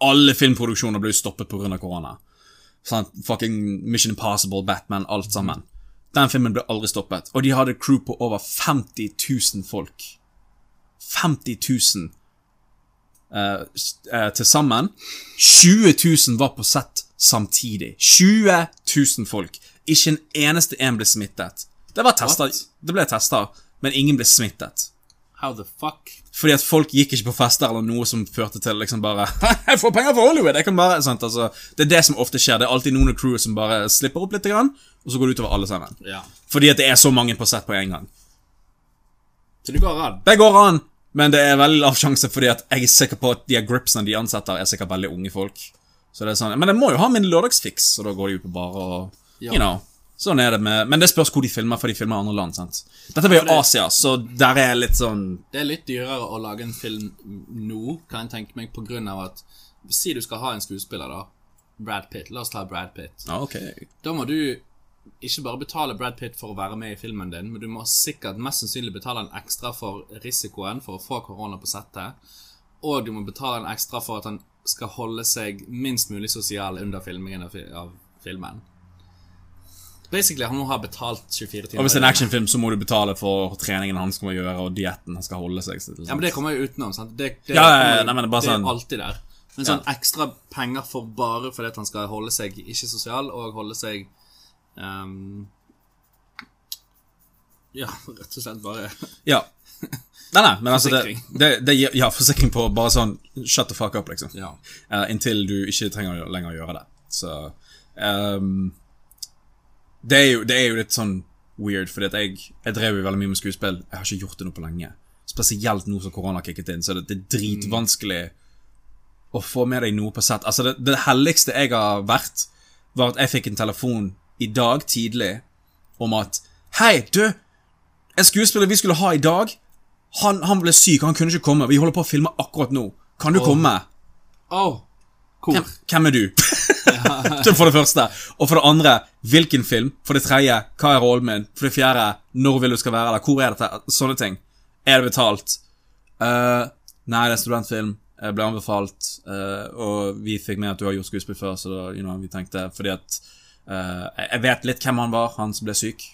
[SPEAKER 1] Alle filmproduksjoner ble jo stoppet pga. korona. Sant? Fucking Mission Impossible, Batman, alt sammen. Den filmen ble aldri stoppet. Og de hadde crew på over 50 000 folk. 50 000 eh, s- eh, til sammen. 20 000 var på sett samtidig. 20 000 folk. Ikke en eneste en ble smittet. Det, var tester,
[SPEAKER 2] What?
[SPEAKER 1] det ble testa, men ingen ble smittet.
[SPEAKER 2] How the fuck?
[SPEAKER 1] Fordi at folk gikk ikke på fester eller noe som førte til liksom bare [LAUGHS] Jeg får penger fra Hollywood! Jeg kan bare, sant, altså, Det er det som ofte skjer. Det er alltid noen av crewet som bare slipper opp litt, grann, og så går det utover alle sammen.
[SPEAKER 2] Ja.
[SPEAKER 1] Fordi at det er så mange på sett på en gang.
[SPEAKER 2] Så det går an.
[SPEAKER 1] Det går an, men det er veldig lav sjanse, fordi at jeg er sikker på at de her gripsene de ansetter, er sikkert veldig unge folk. Så det er sånn, Men jeg må jo ha min lørdagsfiks, og da går de ut på barer og
[SPEAKER 2] Ja.
[SPEAKER 1] You know. Sånn er det med Men det spørs hvor de filmer, for de filmer i andre land. sant? Dette blir jo
[SPEAKER 2] det-
[SPEAKER 1] Asia, så der er litt sånn
[SPEAKER 2] Det er litt dyrere å lage en film nå, kan jeg tenke meg, på grunn av at Si du skal ha en skuespiller, da. Brad Pitt. La oss ta Brad Pitt.
[SPEAKER 1] Ja, ok.
[SPEAKER 2] Da må du ikke bare betale Brad Pitt for å være med i filmen din, men du må sikkert mest sannsynlig betale en ekstra for risikoen for å få korona på settet. Og du må betale en ekstra for at han skal holde seg minst mulig sosial under filmingen av, fi- av filmen. Basically, han må ha betalt 24 timer.
[SPEAKER 1] Og hvis det er en actionfilm, så må du betale for treningen han skal gjøre, og dietten han skal holde seg til. liksom.
[SPEAKER 2] Ja, men det kommer jo utenom, sant? Det, det,
[SPEAKER 1] Ja, ja, ja, nei, men det er bare
[SPEAKER 2] det
[SPEAKER 1] sånn-
[SPEAKER 2] er alltid der. Men sånn ekstra penger for bare fordi at han skal holde seg ikke sosial, og holde seg ehm, Ja, [LAUGHS] rett og slett bare [LAUGHS]
[SPEAKER 1] Ja. Nei, nei, men altså det,
[SPEAKER 2] Forsikring.
[SPEAKER 1] det, det gir Ja, forsikring på bare sånn Shut the fuck up, liksom.
[SPEAKER 2] Ja.
[SPEAKER 1] Eh, inntil du ikke trenger å- lenger å gjøre det. Så ehm, det, er jo, det er jo litt sånn weird, fordi at jeg, jeg drev jo veldig mye med skuespill. Jeg har ikke gjort det nå på lenge. Spesielt nå som korona har kicket inn, så det, det er dritvanskelig å få med deg noe på sett. Altså, det, det helligste jeg har vært, var at jeg fikk en telefon i dag tidlig om at Hei, du! En skuespiller vi skulle ha i dag, han, han ble syk, han kunne ikke komme. Vi holder på å filme akkurat nå. Kan du komme?
[SPEAKER 2] Åh, Hvor?
[SPEAKER 1] Hvem er du? [LAUGHS] Så for det første. Og for det andre, hvilken film? For det tredje, hva er rollen min? For det fjerde, når vil du skal være der? Hvor er dette? Altså, Sånne ting. Er det betalt? Eh, nei, det er studentfilm. Jeg ble anbefalt, eh, og vi fikk med at du har gjort skuespill før, så da, you know, vi tenkte fordi at eh, jeg- Jeg vet litt hvem han var, han som ble syk,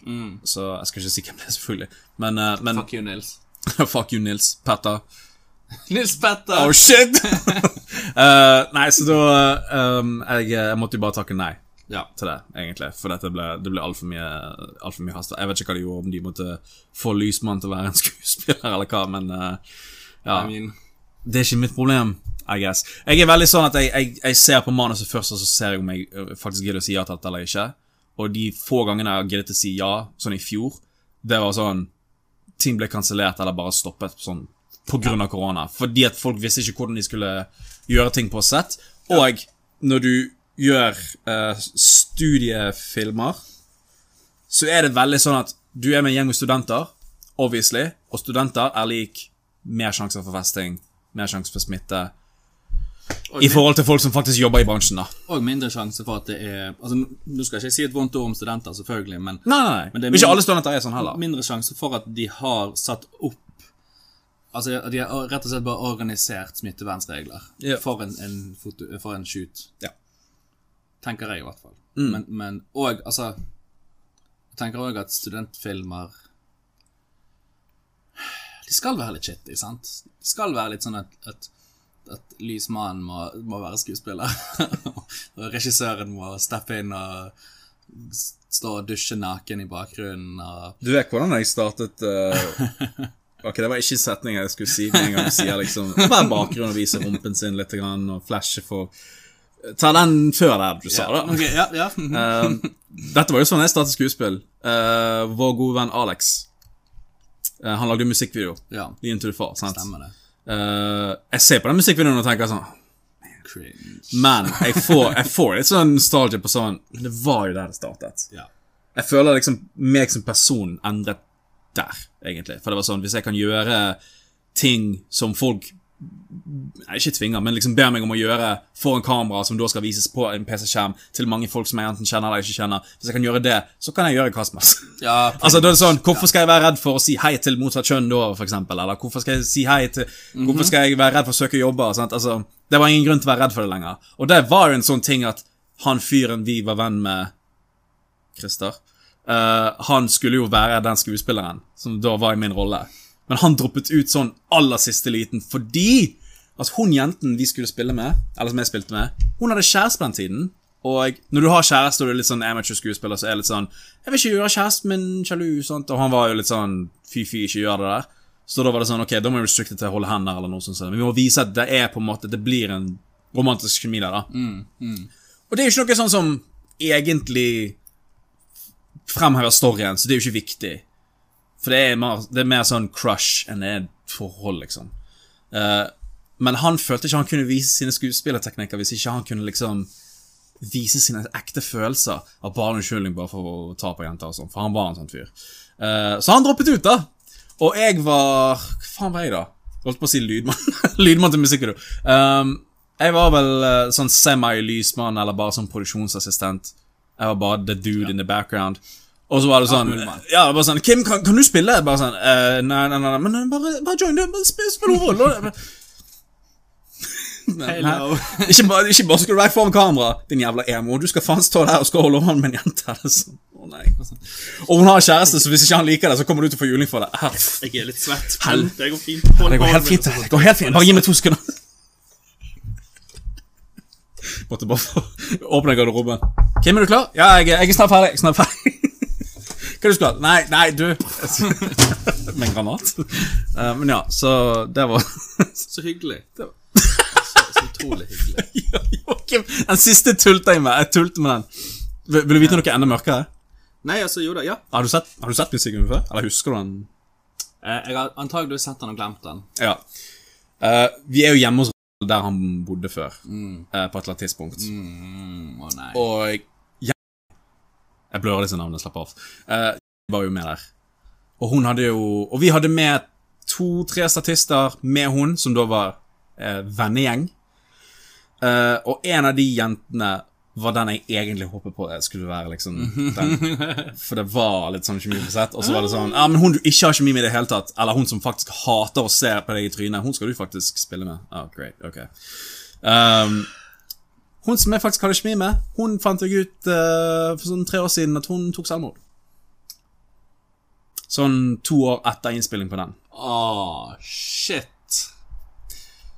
[SPEAKER 1] så jeg skal ikke si hvem det er, selvfølgelig. Men, eh, men
[SPEAKER 2] Fuck you, Nils.
[SPEAKER 1] [LAUGHS] Fuck you, Nils. Petter.
[SPEAKER 2] Nils Petter!
[SPEAKER 1] Oh shit! [LAUGHS] Eh, nei, så da eh, um, jeg, jeg måtte jo bare takke nei
[SPEAKER 2] ja.
[SPEAKER 1] til det, egentlig. For dette ble, det ble altfor mye, alt for mye hastverk. Jeg vet ikke hva de gjorde, om de måtte få Lysmann til å være en skuespiller, eller hva, men eh, ja.
[SPEAKER 2] I mean,
[SPEAKER 1] Det er ikke mitt problem, I guess. Jeg er veldig sånn at jeg, jeg, jeg ser på manuset først, og så ser jeg om jeg ø, faktisk gidder å si ja til dette eller ikke. Og de få gangene jeg har giddet å si ja, sånn i fjor, det var sånn Ting ble kansellert eller bare stoppet sånn på grunn av korona. Fordi at folk visste ikke hvordan de skulle gjøre ting på sett. Og når du gjør eh, studiefilmer, så er det veldig sånn at du er med en gjeng med studenter, obviously, og studenter er lik mer sjanser for festing, mer sjanser for smitte,
[SPEAKER 2] og,
[SPEAKER 1] i forhold til folk som faktisk jobber i bransjen, da.
[SPEAKER 2] min- og mindre sjanse for at det er Altså, Nå skal jeg ikke si et vondt ord om studenter, selvfølgelig, men
[SPEAKER 1] Nei, nei,
[SPEAKER 2] Men
[SPEAKER 1] nei.
[SPEAKER 2] det er
[SPEAKER 1] Men
[SPEAKER 2] min-
[SPEAKER 1] ikke alle studenter er sånn heller.
[SPEAKER 2] mindre sjanse for at de har satt opp Altså, at de har rett og slett bare organisert smittevernregler
[SPEAKER 1] Ja.
[SPEAKER 2] for, en, en foto, for en shoot.
[SPEAKER 1] Ja. Mm.
[SPEAKER 2] Tenker jeg, i hvert fall. Men, men og, altså Jeg tenker òg at studentfilmer De skal være litt shitty, sant? De skal være litt sånn at, at, at lysmannen må, må være skuespiller. [LAUGHS] og regissøren må steppe inn og s- stå og dusje naken i bakgrunnen. og
[SPEAKER 1] Du vet hvordan jeg startet [LAUGHS] eh, Ok, det var ikke setningen jeg skulle si, men en gang sier liksom Vær bakgrunn og vise rumpen sin litt, grann, og flashe for Ta den før der du sa det.
[SPEAKER 2] Ok, ja, [LAUGHS] ja. Mhm.
[SPEAKER 1] Um, dette var jo sånn jeg startet skuespill. Eh, vår gode venn Alex. eh, han lagde jo musikkvideo.
[SPEAKER 2] ja.
[SPEAKER 1] Lien til du far, sant?
[SPEAKER 2] Stemmer det.
[SPEAKER 1] Eh, jeg ser på den musikkvideoen og tenker sånn
[SPEAKER 2] Cringe.
[SPEAKER 1] Men jeg får, jeg får litt sånn nostalgia på sånn Men det var jo der det startet.
[SPEAKER 2] Ja.
[SPEAKER 1] Jeg føler liksom meg som person endret der, egentlig. For det var sånn, hvis jeg kan gjøre ting som folk Nei, ikke tvinger, men liksom ber meg om å gjøre foran kamera, som da skal vises på en PC-skjerm til mange folk som jeg enten kjenner eller ikke kjenner. Hvis jeg kan gjøre det, så kan jeg gjøre hva som helst.
[SPEAKER 2] Ja,
[SPEAKER 1] Altså, da er det sånn, Hvorfor skal jeg være redd for å si hei til motsatt kjønn da, for eksempel? Eller hvorfor skal jeg si hei til Hvorfor skal jeg være redd for å søke jobber? Sant? Altså, det var ingen grunn til å være redd for det lenger. Og det var jo en sånn ting at han fyren vi var venn med Christer eh, Han skulle jo være den skuespilleren som da var i min rolle. Men han droppet ut sånn aller siste liten fordi at hun jenten vi skulle spille med, eller som jeg spilte med, hun hadde kjæreste på den tiden. Og når du har kjæreste og du er litt sånn amateur skuespiller, så er det litt sånn 'Jeg vil ikke gjøre kjæresten min sjalu', sant? og han var jo litt sånn 'fy-fy, ikke gjør det der'. Så da var det sånn 'ok, da må vi restrikte til å holde hender', eller noe sånt. sånn. Men vi må vise at det er på en måte Det blir en romantisk kjemi der, da. Og det er jo ikke noe sånn som egentlig fremhever storyen, så det er jo ikke viktig. For det er mer, det er mer sånn crush enn det er forhold, liksom. Eh, men han følte ikke han kunne vise sine skuespillerteknikker hvis ikke han kunne liksom vise sine ekte følelser av bare en unnskyldning bare for å ta på jenter og sånn, for han var en sånn fyr. Eh, så han droppet ut, da. Og jeg var Hva faen var jeg, da? Jeg holdt på å si lydmann. [LAUGHS] lydmann til musikkvideo. Um, jeg var vel eh, sånn semi-lysmann, eller bare sånn produksjonsassistent. Jeg var bare the dude in the background. Og så var det sånn
[SPEAKER 2] mulig mann.
[SPEAKER 1] Ja, det var sånn Kim, kan, kan du spille? Bare sånn «Eh, Nei, nei, nei, nei, men eh, bare, bare join, du. Bare spill, spill hovedrollen.
[SPEAKER 2] Hello.
[SPEAKER 1] [LAUGHS] Ikke bare, ikke bare skal du være foran kamera, din jævla emo. Du skal faen stå der og skal holde hånd med en jente. eller sånn. Å nei. Og hun har kjæreste, så hvis ikke han liker det, så kommer du til å få juling for det. Her,
[SPEAKER 4] Jeg er litt svett.
[SPEAKER 1] Hel-
[SPEAKER 4] men Det går fint. Hold
[SPEAKER 1] Det går helt fint. det går helt fint. Bare gi meg to sekunder. Måtte bare få åpne garderoben. Kim, er du klar? Ja, jeg, er- jeg er snart ferdig. Jeg er Snart ferdig. Hva er du skal ha? Nei, nei, du [LAUGHS] Med en granat? Eh, men ja, så det var
[SPEAKER 2] Så [LAUGHS] hyggelig. Så, så utrolig [LAUGHS] hyggelig.
[SPEAKER 1] Joakim, Den siste tulta jeg med. Jeg tulte med den. Vil, vil du vite noe enda mørkere?
[SPEAKER 2] Nei, altså, jo da, ja.
[SPEAKER 1] Har du sett, har du sett musikken før? Eller husker du den?
[SPEAKER 2] Eh, Jeg har antageligvis sett den og glemt den.
[SPEAKER 1] Ja. Eh, vi er jo hjemme hos Ronald, der han bodde før, eh, på et eller annet tidspunkt.
[SPEAKER 2] Mm, Å nei.
[SPEAKER 1] Og jeg, jeg blør disse navnene, slapp av. Eh, jeg var jo med der. Og hun hadde jo Og vi hadde med to-tre statister med hun, som da var eh, vennegjeng. Eh, og en av de jentene var den jeg egentlig håpet på eh, skulle være liksom den. For det var litt sånn kjemi på sett, og så var det sånn Ja, men hun du ikke har kjemi med i det hele tatt, eller hun som faktisk hater å se på deg i trynet, hun skal du faktisk spille med. Ah, great, ok. Ehm, hun som jeg faktisk hadde kjemi med, hun fant jeg ut eh, for sånn tre år siden at hun tok selvmord. Sånn to år etter innspilling på den.
[SPEAKER 2] Ah, shit.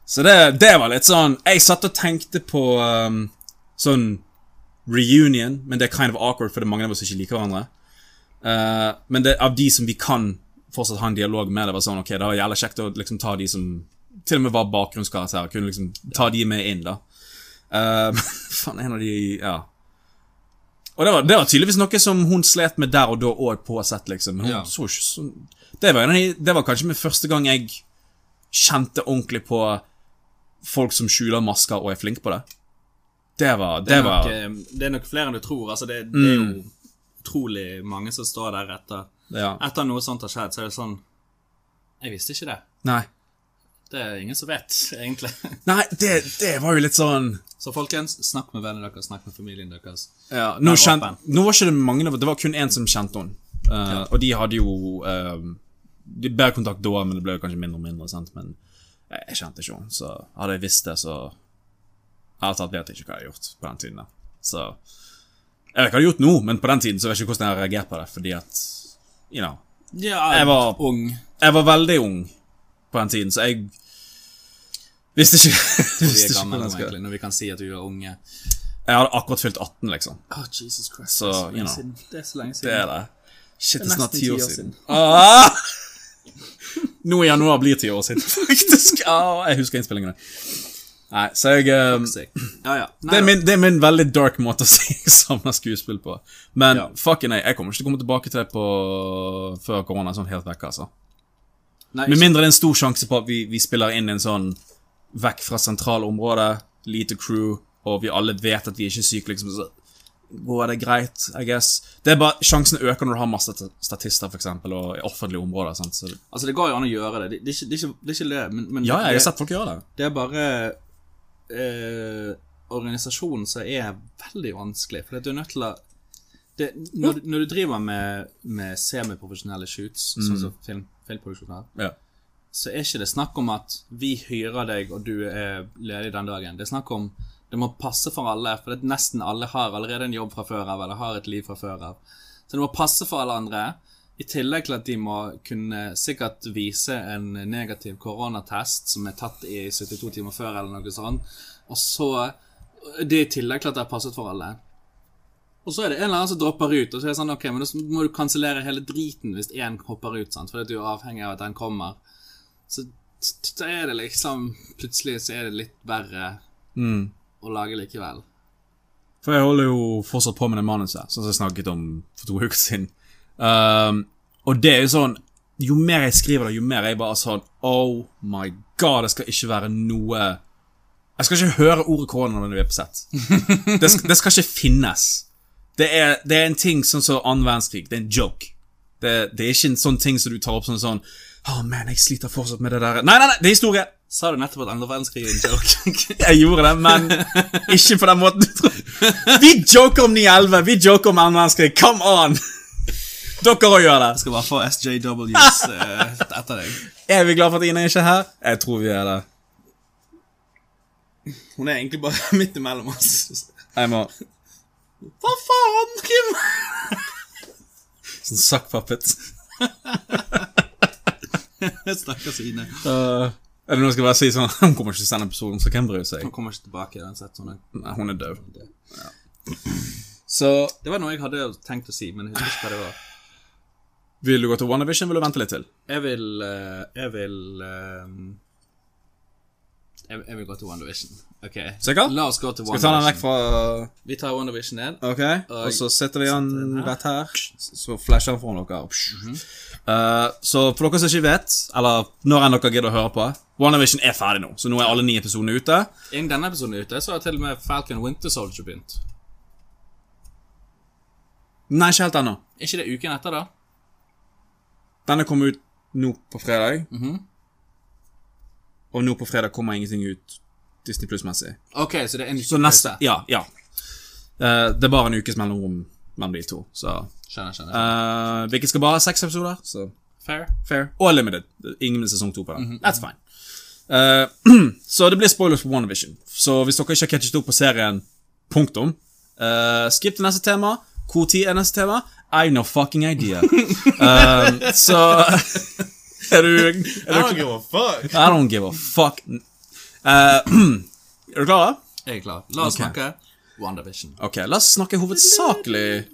[SPEAKER 1] Så det, det var litt sånn Jeg satt og tenkte på um, sånn reunion, men det er kind of awkward, for det er mange av oss som ikke liker hverandre. Eh, men det, av de som vi kan fortsatt ha en dialog med, det var sånn Ok, det var jævla kjekt å liksom ta de som til og med var bakgrunnskarakterer, kunne liksom ta de med inn, da. Eh, [LAUGHS] faen, en av de Ja. Og det var, det var tydeligvis noe som hun slet med der og da òg, på sett, liksom. Men hun
[SPEAKER 2] Ja.
[SPEAKER 1] så ikke sånn det var, en av de- det var kanskje min første gang jeg kjente ordentlig på folk som skjuler masker og er flink på det. Det var Det,
[SPEAKER 2] Det er,
[SPEAKER 1] var
[SPEAKER 2] nok, eh, det er nok flere enn du tror. Altså, det, det er jo utrolig mange som står der etter,
[SPEAKER 1] ja.
[SPEAKER 2] etter noe sånt har skjedd. Så er det sånn Jeg visste ikke det.
[SPEAKER 1] Nei.
[SPEAKER 2] Det er ingen som vet, [LAUGHS] egentlig.
[SPEAKER 1] Nei, det, det var jo litt sånn
[SPEAKER 2] Så folkens, snakk med vennene deres, snakk med familien deres.
[SPEAKER 1] ja, nå,
[SPEAKER 2] var
[SPEAKER 1] kjent,
[SPEAKER 2] åpen.
[SPEAKER 1] nå var ikke det mange Det var- det var kun én som kjente henne. Eh, Og de hadde jo eh, De Bedre kontakt da, men det ble jo kanskje mindre og mindre. Sant? Men jeg, jeg kjente ikke henne, så hadde jeg visst det, så Ærlig talt vet jeg ikke hva jeg har gjort på den tiden. der. Så Jeg vet hva jeg har gjort nå, men på den tiden så vet jeg ikke hvordan jeg har reagert på det, fordi at You know.
[SPEAKER 2] Ja,
[SPEAKER 1] Jeg var-
[SPEAKER 2] ung.
[SPEAKER 1] Jeg var veldig ung på den tiden, så jeg visste ikke, [LAUGHS] visste
[SPEAKER 2] Vi er
[SPEAKER 1] ikke
[SPEAKER 2] gamle
[SPEAKER 1] hvordan
[SPEAKER 2] nå,
[SPEAKER 1] jeg skulle
[SPEAKER 2] egentlig, når vi kan si at vi er unge.
[SPEAKER 1] Jeg hadde akkurat fylt 18, liksom.
[SPEAKER 2] Oh, Jesus Christ.
[SPEAKER 1] Så,
[SPEAKER 2] det er så lenge
[SPEAKER 1] you know.
[SPEAKER 2] siden. Det er så lenge
[SPEAKER 1] Det
[SPEAKER 2] siden.
[SPEAKER 1] er det. Shit, det er
[SPEAKER 2] nesten
[SPEAKER 1] snart ti år siden. Ah! [LAUGHS] Nå i januar blir ti år siden, [LAUGHS] faktisk. Ah, jeg husker innspillingene. Nei, så jeg eh,
[SPEAKER 2] Sick. Ja, ja. Nei,
[SPEAKER 1] det, er
[SPEAKER 2] da.
[SPEAKER 1] min, det er min veldig dark måte å [LAUGHS] si savner skuespill på. Men
[SPEAKER 2] Ja.
[SPEAKER 1] fucking nei, jeg kommer ikke til å komme tilbake til det på før korona er sånn helt vekk, altså.
[SPEAKER 2] Nei,
[SPEAKER 1] Med mindre det er en stor sjanse på at vi, vi spiller inn en sånn vekk fra sentrale områder, lite crew, og vi alle vet at vi er ikke syke, liksom. Så går det greit, I guess. Det er bare, Sjansen øker når du har masse stat- statister, for eksempel, og i offentlige områder. sant? Så,
[SPEAKER 2] Altså, det går jo an å gjøre det. Det, det, er, ikke, det, er, ikke, det er ikke det, men, men
[SPEAKER 1] ja, jeg
[SPEAKER 2] det,
[SPEAKER 1] har sett folk gjøre det.
[SPEAKER 2] det er bare eh, organisasjonen som er veldig vanskelig. For at du er nødt til å det, når, du- når du driver med, med semiprofesjonelle shoots, sånn
[SPEAKER 1] Mm.
[SPEAKER 2] som film, filmproduksjoner,
[SPEAKER 1] Ja.
[SPEAKER 2] så er ikke det snakk om at vi hyrer deg og du er ledig den dagen. Det er snakk om det må passe for alle, for det er nesten alle har allerede en jobb fra før av, eller har et liv fra før av. Så det må passe for alle andre, i tillegg til at de må kunne sikkert vise en negativ koronatest som er tatt i 72 timer før, eller noe sånt. Og så Det er i tillegg til at det har passet for alle. Og så er det en eller annen som dropper ut, og så er det sånn, ok, men da må du kansellere hele driten hvis én hopper ut, sant? fordi at du er avhengig av at den kommer. Så t- da er det liksom Plutselig så er det litt verre
[SPEAKER 1] Mm.
[SPEAKER 2] å lage likevel.
[SPEAKER 1] For jeg holder jo fortsatt på med det manuset, sånn som jeg snakket om for to [LAUGHS] uker siden. Ehm, og det er jo sånn Jo mer jeg skriver det, jo mer er jeg bare sånn Oh my god, det skal ikke være noe Jeg skal ikke høre ordet korona når vi er på sett. Det, skal- det skal ikke finnes. Det er, det er en ting sånn som annen verdenskrig. Det er en joke. Det, det er ikke en sånn ting som du tar opp sånn sånn Å, man, jeg sliter fortsatt med det der. Nei, nei, nei, det er historie!
[SPEAKER 2] Sa du nettopp at andre verdenskrig er en joke? [LAUGHS]
[SPEAKER 1] [LAUGHS] Jeg gjorde det, men ikke på den måten du tror. Vi joker om 9-11, vi joker om annen verdenskrig. Come on! Dere òg gjør det.
[SPEAKER 2] Skal bare få SJWs eh, etter deg.
[SPEAKER 1] Er vi glad for at Ine ikke er her? Jeg tror vi er det.
[SPEAKER 2] Hun er egentlig bare midt imellom oss.
[SPEAKER 1] Jeg må
[SPEAKER 2] Hva faen, Kim?
[SPEAKER 1] Sånn suck puppet.
[SPEAKER 2] Stakkars Ine.
[SPEAKER 1] Uh, eller nå skal jeg bare si sånn Hun kommer ikke til å sende episoden, så hvem bryr seg?
[SPEAKER 2] Hun kommer ikke tilbake uansett. Hun er.
[SPEAKER 1] Nei, hun er død. Så
[SPEAKER 2] Det var noe jeg hadde tenkt å si, men jeg husker ikke hva det var.
[SPEAKER 1] vil du gå til WandaVision, vil du vente litt til?
[SPEAKER 2] Jeg vil eh, Jeg vil eh, jeg, jeg vil gå til WandaVision. Ok,
[SPEAKER 1] Sikker?
[SPEAKER 2] La oss gå til
[SPEAKER 1] Skal vi ta den vekk
[SPEAKER 2] WandaVision.
[SPEAKER 1] fra
[SPEAKER 2] Vi tar WandaVision ned.
[SPEAKER 1] Ok, og så setter vi
[SPEAKER 2] den
[SPEAKER 1] den
[SPEAKER 2] her. Mhm.
[SPEAKER 1] rett her, så flasher den foran dere. Eh, så for dere som ikke vet, eller når enn dere gidder å høre på, WandaVision er ferdig nå, så nå er alle ni episodene ute.
[SPEAKER 2] Innen denne episoden er ute, så har til og med Falcon Winter Soldier begynt.
[SPEAKER 1] Nei, ikke helt ennå.
[SPEAKER 2] Er ikke det uken etter, da?
[SPEAKER 1] Denne kommer ut nå på fredag.
[SPEAKER 2] Mhm.
[SPEAKER 1] Og nå på fredag kommer ingenting ut Disney Pluss-messig.
[SPEAKER 2] Ok, så det er en
[SPEAKER 1] Så neste, ja, ja. Eh, det er bare en ukes mellomrom mellom de to, så
[SPEAKER 2] Skjønner, skjønner.
[SPEAKER 1] eh, Hvilket skal bare ha seks episoder, så
[SPEAKER 2] Fair.
[SPEAKER 1] Fair. Og Limited. Ingen sesong to på den. That's fine. Eh, [CLEARS THROAT] så det blir spoilers for WandaVision. Så hvis dere ikke har catchet opp på serien, punktum. Uh, skip til neste tema. Hvor tid er neste tema? I have no fucking [LAUGHS] idea. Um, så [LAUGHS] Er du, er
[SPEAKER 4] I
[SPEAKER 1] du
[SPEAKER 4] don't give a fuck.
[SPEAKER 1] I don't give a fuck. Eh, [CLEARS THROAT] er du klare?
[SPEAKER 2] Jeg er klar. La oss
[SPEAKER 1] Ok.
[SPEAKER 2] snakke WandaVision.
[SPEAKER 1] Ok, la oss snakke hovedsakelig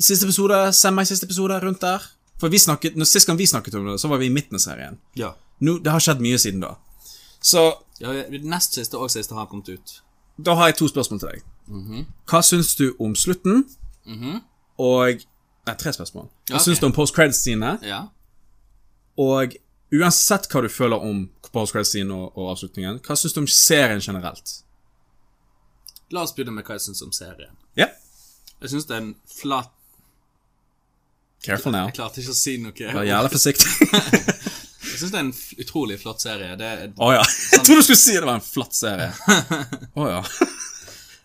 [SPEAKER 1] Siste episode, semi-siste episode, rundt der. For vi snakket, når Sist gang vi snakket om det, så var vi i midten av serien.
[SPEAKER 2] Ja.
[SPEAKER 1] Nå, det har skjedd mye siden da. Så
[SPEAKER 2] ja vi- nest siste og siste har kommet ut.
[SPEAKER 1] da har jeg to spørsmål til deg. Hva syns du om slutten? Og Nei, tre spørsmål. Hva
[SPEAKER 2] Ja, ok.
[SPEAKER 1] syns du om post-credits-scenene?
[SPEAKER 2] Ja.
[SPEAKER 1] Og uansett hva du føler om post-credits-scenen og, og avslutningen, hva syns du om serien generelt?
[SPEAKER 2] La oss begynne med hva jeg syns om serien.
[SPEAKER 1] Ja.
[SPEAKER 2] Jeg syns det er en flat
[SPEAKER 1] Careful now.
[SPEAKER 2] Jeg klarte ikke å si noe.
[SPEAKER 1] Vær
[SPEAKER 2] Jeg
[SPEAKER 1] jævlig forsiktig.
[SPEAKER 2] syns det er en f- utrolig flott serie. Det er,
[SPEAKER 1] Å ja. [LAUGHS] Jeg trodde du skulle si det var en flatt serie. [LAUGHS] Å ja.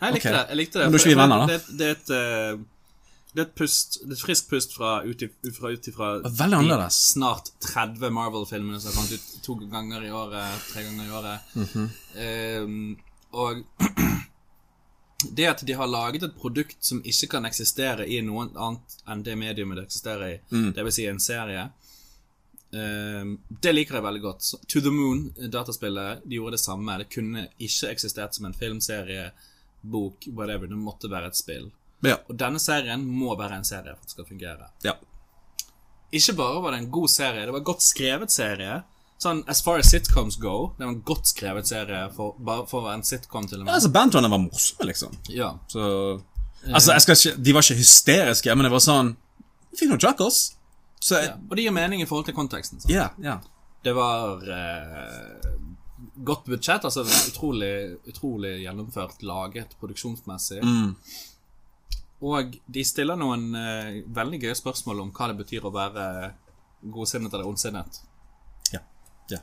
[SPEAKER 2] jeg likte
[SPEAKER 1] ok.
[SPEAKER 2] det. jeg likte det.
[SPEAKER 1] Men du er ikke vi venner, da?
[SPEAKER 2] Det, det, er et, eh, det er et pust Det er et friskt pust fra ut i- fra ut ifra
[SPEAKER 1] Veldig
[SPEAKER 2] de
[SPEAKER 1] annerledes.
[SPEAKER 2] snart 30 Marvel-filmene som har kommet ut to ganger i året, tre ganger i året.
[SPEAKER 1] Mhm.
[SPEAKER 2] Ehm, og [CLEARS THROAT] det at de har laget et produkt som ikke kan eksistere i noe annet enn det mediumet det eksisterer i,
[SPEAKER 1] Mm.
[SPEAKER 2] det vil si en serie, ehm, det liker jeg veldig godt. Så, to the Moon, dataspillet, de gjorde det samme. Det kunne ikke eksistert som en filmserie, bok, whatever. Det måtte være et spill.
[SPEAKER 1] Ja.
[SPEAKER 2] Og denne serien må være en serie for at det skal fungere
[SPEAKER 1] ja.
[SPEAKER 2] ikke bare var det en god serie, det var en godt skrevet serie. Sånn, As far as sitcoms go, det var en godt skrevet serie for, bare for å være en sitcom, til og med.
[SPEAKER 1] Altså, Banjoene var morsomme, liksom.
[SPEAKER 2] Ja.
[SPEAKER 1] Så Altså, jeg skal ikke De var ikke hysteriske, men det var sånn Vi fikk noen jackals. Så jeg-
[SPEAKER 2] Og det gir mening i forhold til konteksten. sant?
[SPEAKER 1] Ja, ja.
[SPEAKER 2] Det var eh, godt budsjett, altså det var utrolig, utrolig gjennomført, laget produksjonsmessig.
[SPEAKER 1] Mm.
[SPEAKER 2] Og de stiller noen eh, veldig gøye spørsmål om hva det betyr å være godsinnet eller ondsinnet.
[SPEAKER 1] ja. ja.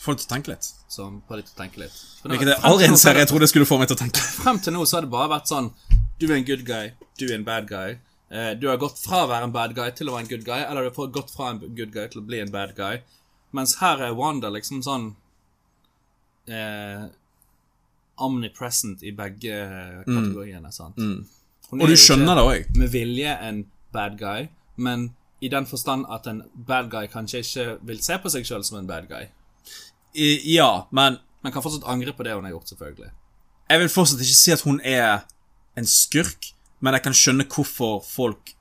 [SPEAKER 1] Får deg til å tenke litt.
[SPEAKER 2] Som får litt å tenke litt. For nå-
[SPEAKER 1] Hvilket er
[SPEAKER 2] frem til
[SPEAKER 1] aldri
[SPEAKER 2] nå
[SPEAKER 1] en
[SPEAKER 2] så er
[SPEAKER 1] serie
[SPEAKER 2] det-
[SPEAKER 1] jeg trodde skulle få meg til å tenke. [LAUGHS]
[SPEAKER 2] frem til nå så har det bare vært sånn Du er en good guy, du er en bad guy. Eh, du har gått fra å være en bad guy til å være en good guy, eller du har gått fra en good guy til å bli en bad guy. Mens her er Wanda liksom sånn eh, Omnipresent i begge eh, kategoriene, sant. Hun
[SPEAKER 1] Mm. Og du skjønner det òg.
[SPEAKER 2] med vilje en bad guy, men i den forstand at en bad guy kanskje ikke vil se på seg sjøl som en bad guy.
[SPEAKER 1] Ja, men
[SPEAKER 2] Men kan fortsatt angre på det hun har gjort, selvfølgelig.
[SPEAKER 1] jeg vil fortsatt ikke si at hun er en skurk, men jeg kan skjønne hvorfor folk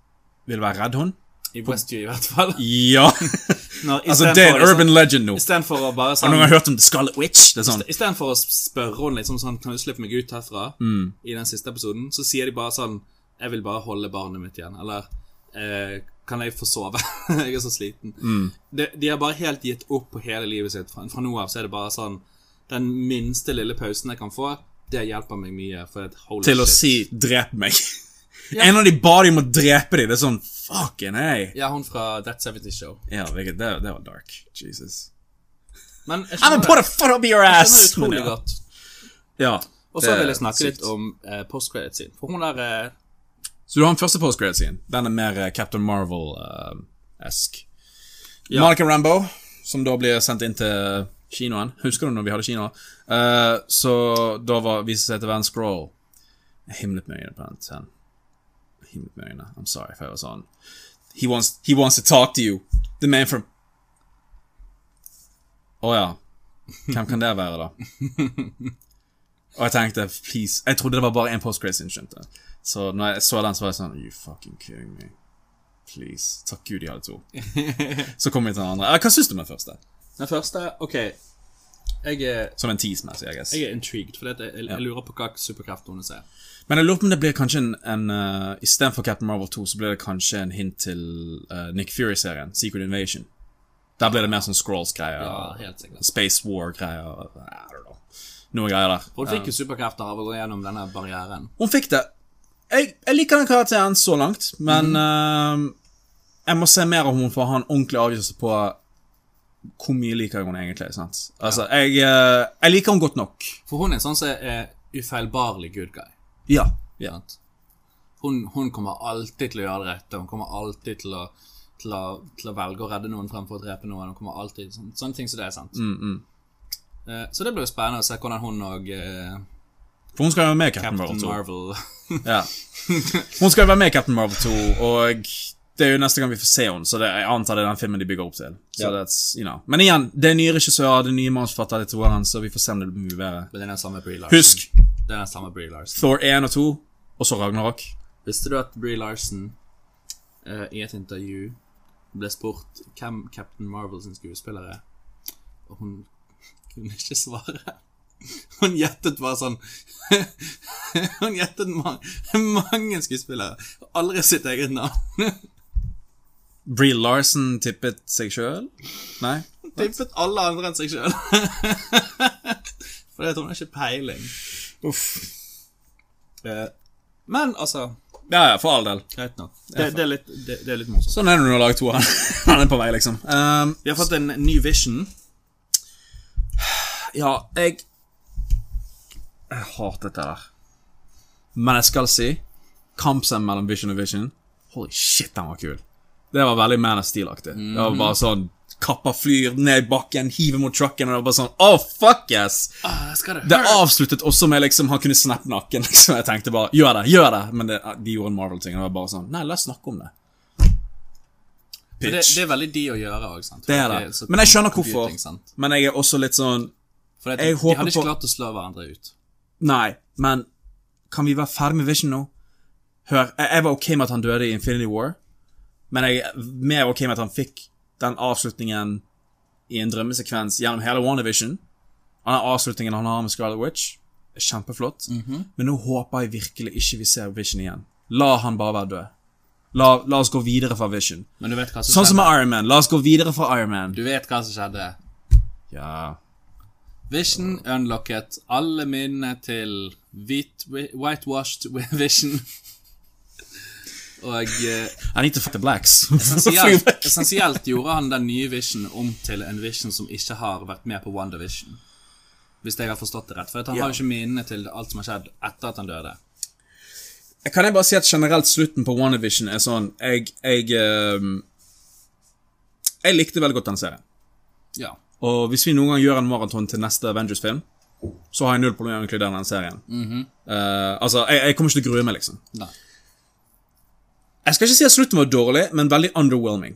[SPEAKER 1] vil være redd hun.
[SPEAKER 2] I Westview, i hvert fall.
[SPEAKER 1] Ja.
[SPEAKER 2] Når,
[SPEAKER 1] altså, [LAUGHS]
[SPEAKER 2] istedenfor
[SPEAKER 1] det er en
[SPEAKER 2] liksom-
[SPEAKER 1] urban legend nå.
[SPEAKER 2] Istedenfor å
[SPEAKER 1] [LAUGHS]
[SPEAKER 2] bare
[SPEAKER 1] Har
[SPEAKER 2] sånn
[SPEAKER 1] noen gang hørt om The Scarlet Witch? Det er sånn
[SPEAKER 2] Istedenfor å spørre henne liksom sånn Kan du slippe meg ut herfra?
[SPEAKER 1] Mm.
[SPEAKER 2] I den siste episoden Så sier de bare sånn Jeg vil bare holde barnet mitt igjen Eller eh, Kan jeg få sove? [LAUGHS] jeg er så sliten
[SPEAKER 1] Mm.
[SPEAKER 2] de, de har bare helt gitt opp på hele livet sitt Fra, fra nå av så er det bare sånn Den minste lille pausen jeg kan få Det hjelper meg mye For at holy
[SPEAKER 1] til å si
[SPEAKER 2] shit
[SPEAKER 1] 'drep meg'. [LAUGHS] En av de ba de om å drepe dem. Det er sånn fucking hey.
[SPEAKER 2] Ja, hun fra That 70 Show
[SPEAKER 1] Ja, det, det, det var dark. Jesus.
[SPEAKER 2] Men jeg
[SPEAKER 1] I'm gonna
[SPEAKER 2] skjønner
[SPEAKER 1] put a
[SPEAKER 2] det
[SPEAKER 1] foot up your
[SPEAKER 2] Jeg
[SPEAKER 1] ass!
[SPEAKER 2] skjønner det
[SPEAKER 1] Men
[SPEAKER 2] utrolig
[SPEAKER 1] ja.
[SPEAKER 2] godt
[SPEAKER 1] Ja,
[SPEAKER 2] Og
[SPEAKER 1] det
[SPEAKER 2] så
[SPEAKER 1] er
[SPEAKER 2] vil jeg snakke
[SPEAKER 1] sykt.
[SPEAKER 2] litt om eh, post-credit sin For hun der eh,
[SPEAKER 1] Så du har en første postgrad scene Den er mer eh, Captain Marvel-esk. Monica Rambo, som da blir sendt inn til kinoen. Husker du når vi hadde kino? Eh, så da var, viser det seg til å være en scroll. Jeg himlet med øynene på den. scenen. Jeg Himlet med øynene. I'm sorry for jeg var sånn. He wants, he wants to talk to you. The man from Å ja. Hvem kan det være, da? Og jeg tenkte please Jeg trodde det var bare én postgrad scene, skjønte jeg. Så når jeg så den, så var jeg sånn You fucking kidding me. Please. Takk Gud de hadde
[SPEAKER 2] [LAUGHS]
[SPEAKER 1] to. Så kom vi til den andre. Eh, Hva syns du om den første?
[SPEAKER 2] Den første Ok Jeg er
[SPEAKER 1] Som en tease-messig, I guess.
[SPEAKER 2] Jeg er intrigued, for jeg, jeg, jeg lurer på hva superkraft hun ser.
[SPEAKER 1] Men jeg lurer på om det blir kanskje en, en uh, Istedenfor Captain Marvel 2, så blir det kanskje en hint til eh, Nick Fury-serien, Secret Invasion. Der blir det mer sånn Scrolls-greier.
[SPEAKER 2] Ja, helt sikkert.
[SPEAKER 1] Space War-greier. I don't know. Noe greier der.
[SPEAKER 2] Hun fikk jo superkrefter av å gå gjennom denne barrieren.
[SPEAKER 1] Hun fikk det. Jeg, jeg liker den karakteren så langt, men eh, jeg må se mer om hun får ha en ordentlig avgjørelse på hvor mye liker jeg hun egentlig. sant? Altså, jeg, eh, jeg liker hun godt nok.
[SPEAKER 2] For hun er en sånn som er ufeilbarlig good guy.
[SPEAKER 1] Ja. ja.
[SPEAKER 2] Sant? Hun, hun kommer alltid til å gjøre det rette. Hun kommer alltid til å, til å, til å velge å redde noen fremfor å drepe noen. Hun kommer alltid, sånne, sånne ting som det er sant.
[SPEAKER 1] Mm,
[SPEAKER 2] Eh, så det blir jo spennende å se hvordan hun og eh,
[SPEAKER 1] For hun skal jo være med i Captain,
[SPEAKER 2] Captain
[SPEAKER 1] Marvel 2.
[SPEAKER 2] Marvel [LAUGHS]
[SPEAKER 1] Ja. Hun skal jo være med i Captain Marvel 2, og det er jo neste gang vi får se henne, så det, jeg antar det er den filmen de bygger opp til. Så
[SPEAKER 2] Ja.
[SPEAKER 1] that's, you know. Men igjen, det er nye regissører, det er nye manusforfattere, det tror jeg, så vi får se om det blir mye bedre.
[SPEAKER 2] Men det er den samme Brie Larson.
[SPEAKER 1] Husk
[SPEAKER 2] Det er den samme Brie Larson.
[SPEAKER 1] Thor 1 og 2, og så Ragnarok.
[SPEAKER 2] Visste du at Brie Larson eh, i et intervju ble spurt hvem Captain Marvel sin skuespiller er? Og hun [LAUGHS] kunne ikke svare. Hun gjettet bare sånn [LAUGHS] Hun gjettet ma mange skuespillere. Aldri sitt eget navn.
[SPEAKER 1] Bree Larson tippet seg sjøl? Nei?
[SPEAKER 2] Tippet alle andre enn seg [LAUGHS] sjøl. Fordi at hun har ikke peiling.
[SPEAKER 1] Uff.
[SPEAKER 2] Eh, Men altså,
[SPEAKER 1] Ja, ja, for all del.
[SPEAKER 2] greit nok. Det, det, er, litt, det, det er litt morsomt.
[SPEAKER 1] Sånn er det når du har laget to han. [LAUGHS] Han er på vei, liksom. Ehm,
[SPEAKER 2] Vi har fått en ny vision.
[SPEAKER 1] ja, jeg Jeg hater dette der. Men jeg skal si kampscenen mellom Vision og Vision Holy shit, den var kul. Det var veldig Man of Steel-aktig. Det var bare sånn Kappa flyr ned i bakken, hiver mot trucken, og det var bare sånn Oh, fuck yes!
[SPEAKER 2] Ah, skal det
[SPEAKER 1] Det avsluttet også med liksom han kunne snappe nakken. [LAUGHS] liksom Jeg tenkte bare gjør det, gjør det! Men det, de gjorde en Marvel-ting. og Det var bare sånn Nei, la oss snakke om det.
[SPEAKER 2] Men Det,
[SPEAKER 1] Bitch.
[SPEAKER 2] det er veldig de å gjøre òg, sant?
[SPEAKER 1] Det er det.
[SPEAKER 2] så
[SPEAKER 1] Men jeg skjønner
[SPEAKER 2] computing,
[SPEAKER 1] hvorfor.
[SPEAKER 2] sant?
[SPEAKER 1] Men jeg er også litt sånn
[SPEAKER 2] For det,
[SPEAKER 1] Jeg
[SPEAKER 2] de
[SPEAKER 1] håper
[SPEAKER 2] hadde ikke
[SPEAKER 1] på-
[SPEAKER 2] klart å slå hverandre ut.
[SPEAKER 1] Nei, men kan vi være ferdig med Vision nå? Hør, jeg, jeg var ok med at han døde i Infinity War, men jeg er mer ok med at han fikk den avslutningen i en drømmesekvens gjennom hele WandaVision. Den avslutningen han har med Scarlet Witch, er kjempeflott. Men nå håper jeg virkelig ikke vi ser Vision igjen. La han bare være død. La, la oss gå videre fra Vision.
[SPEAKER 2] Men du vet hva som
[SPEAKER 1] Sånn som
[SPEAKER 2] skjedde?
[SPEAKER 1] med Iron Man. La oss gå videre fra Iron Man.
[SPEAKER 2] Du vet hva som skjedde.
[SPEAKER 1] Ja.
[SPEAKER 2] Vision unlocket alle minnene til hvit, whitewashed [LAUGHS] Vision. Og
[SPEAKER 1] [LAUGHS]
[SPEAKER 2] eh,
[SPEAKER 1] I need to fuck the blacks. Sånn
[SPEAKER 2] essensielt, essensielt gjorde han den nye Vision om til en Vision som ikke har vært med på WandaVision. Hvis jeg har forstått det rett. For at han
[SPEAKER 1] Ja.
[SPEAKER 2] har jo ikke minnene til alt som har skjedd etter at han døde.
[SPEAKER 1] Kan jeg bare si at generelt slutten på WandaVision er sånn Jeg, jeg ehm, Jeg likte veldig godt den serien.
[SPEAKER 2] Ja.
[SPEAKER 1] Og hvis vi noen gang gjør en maraton til neste Avengers-film, så har jeg null problem med å inkludere den serien. Eh, altså, jeg, jeg kommer ikke til å grue meg, liksom.
[SPEAKER 2] Nei.
[SPEAKER 1] Jeg skal ikke si at slutten var dårlig, men veldig underwhelming.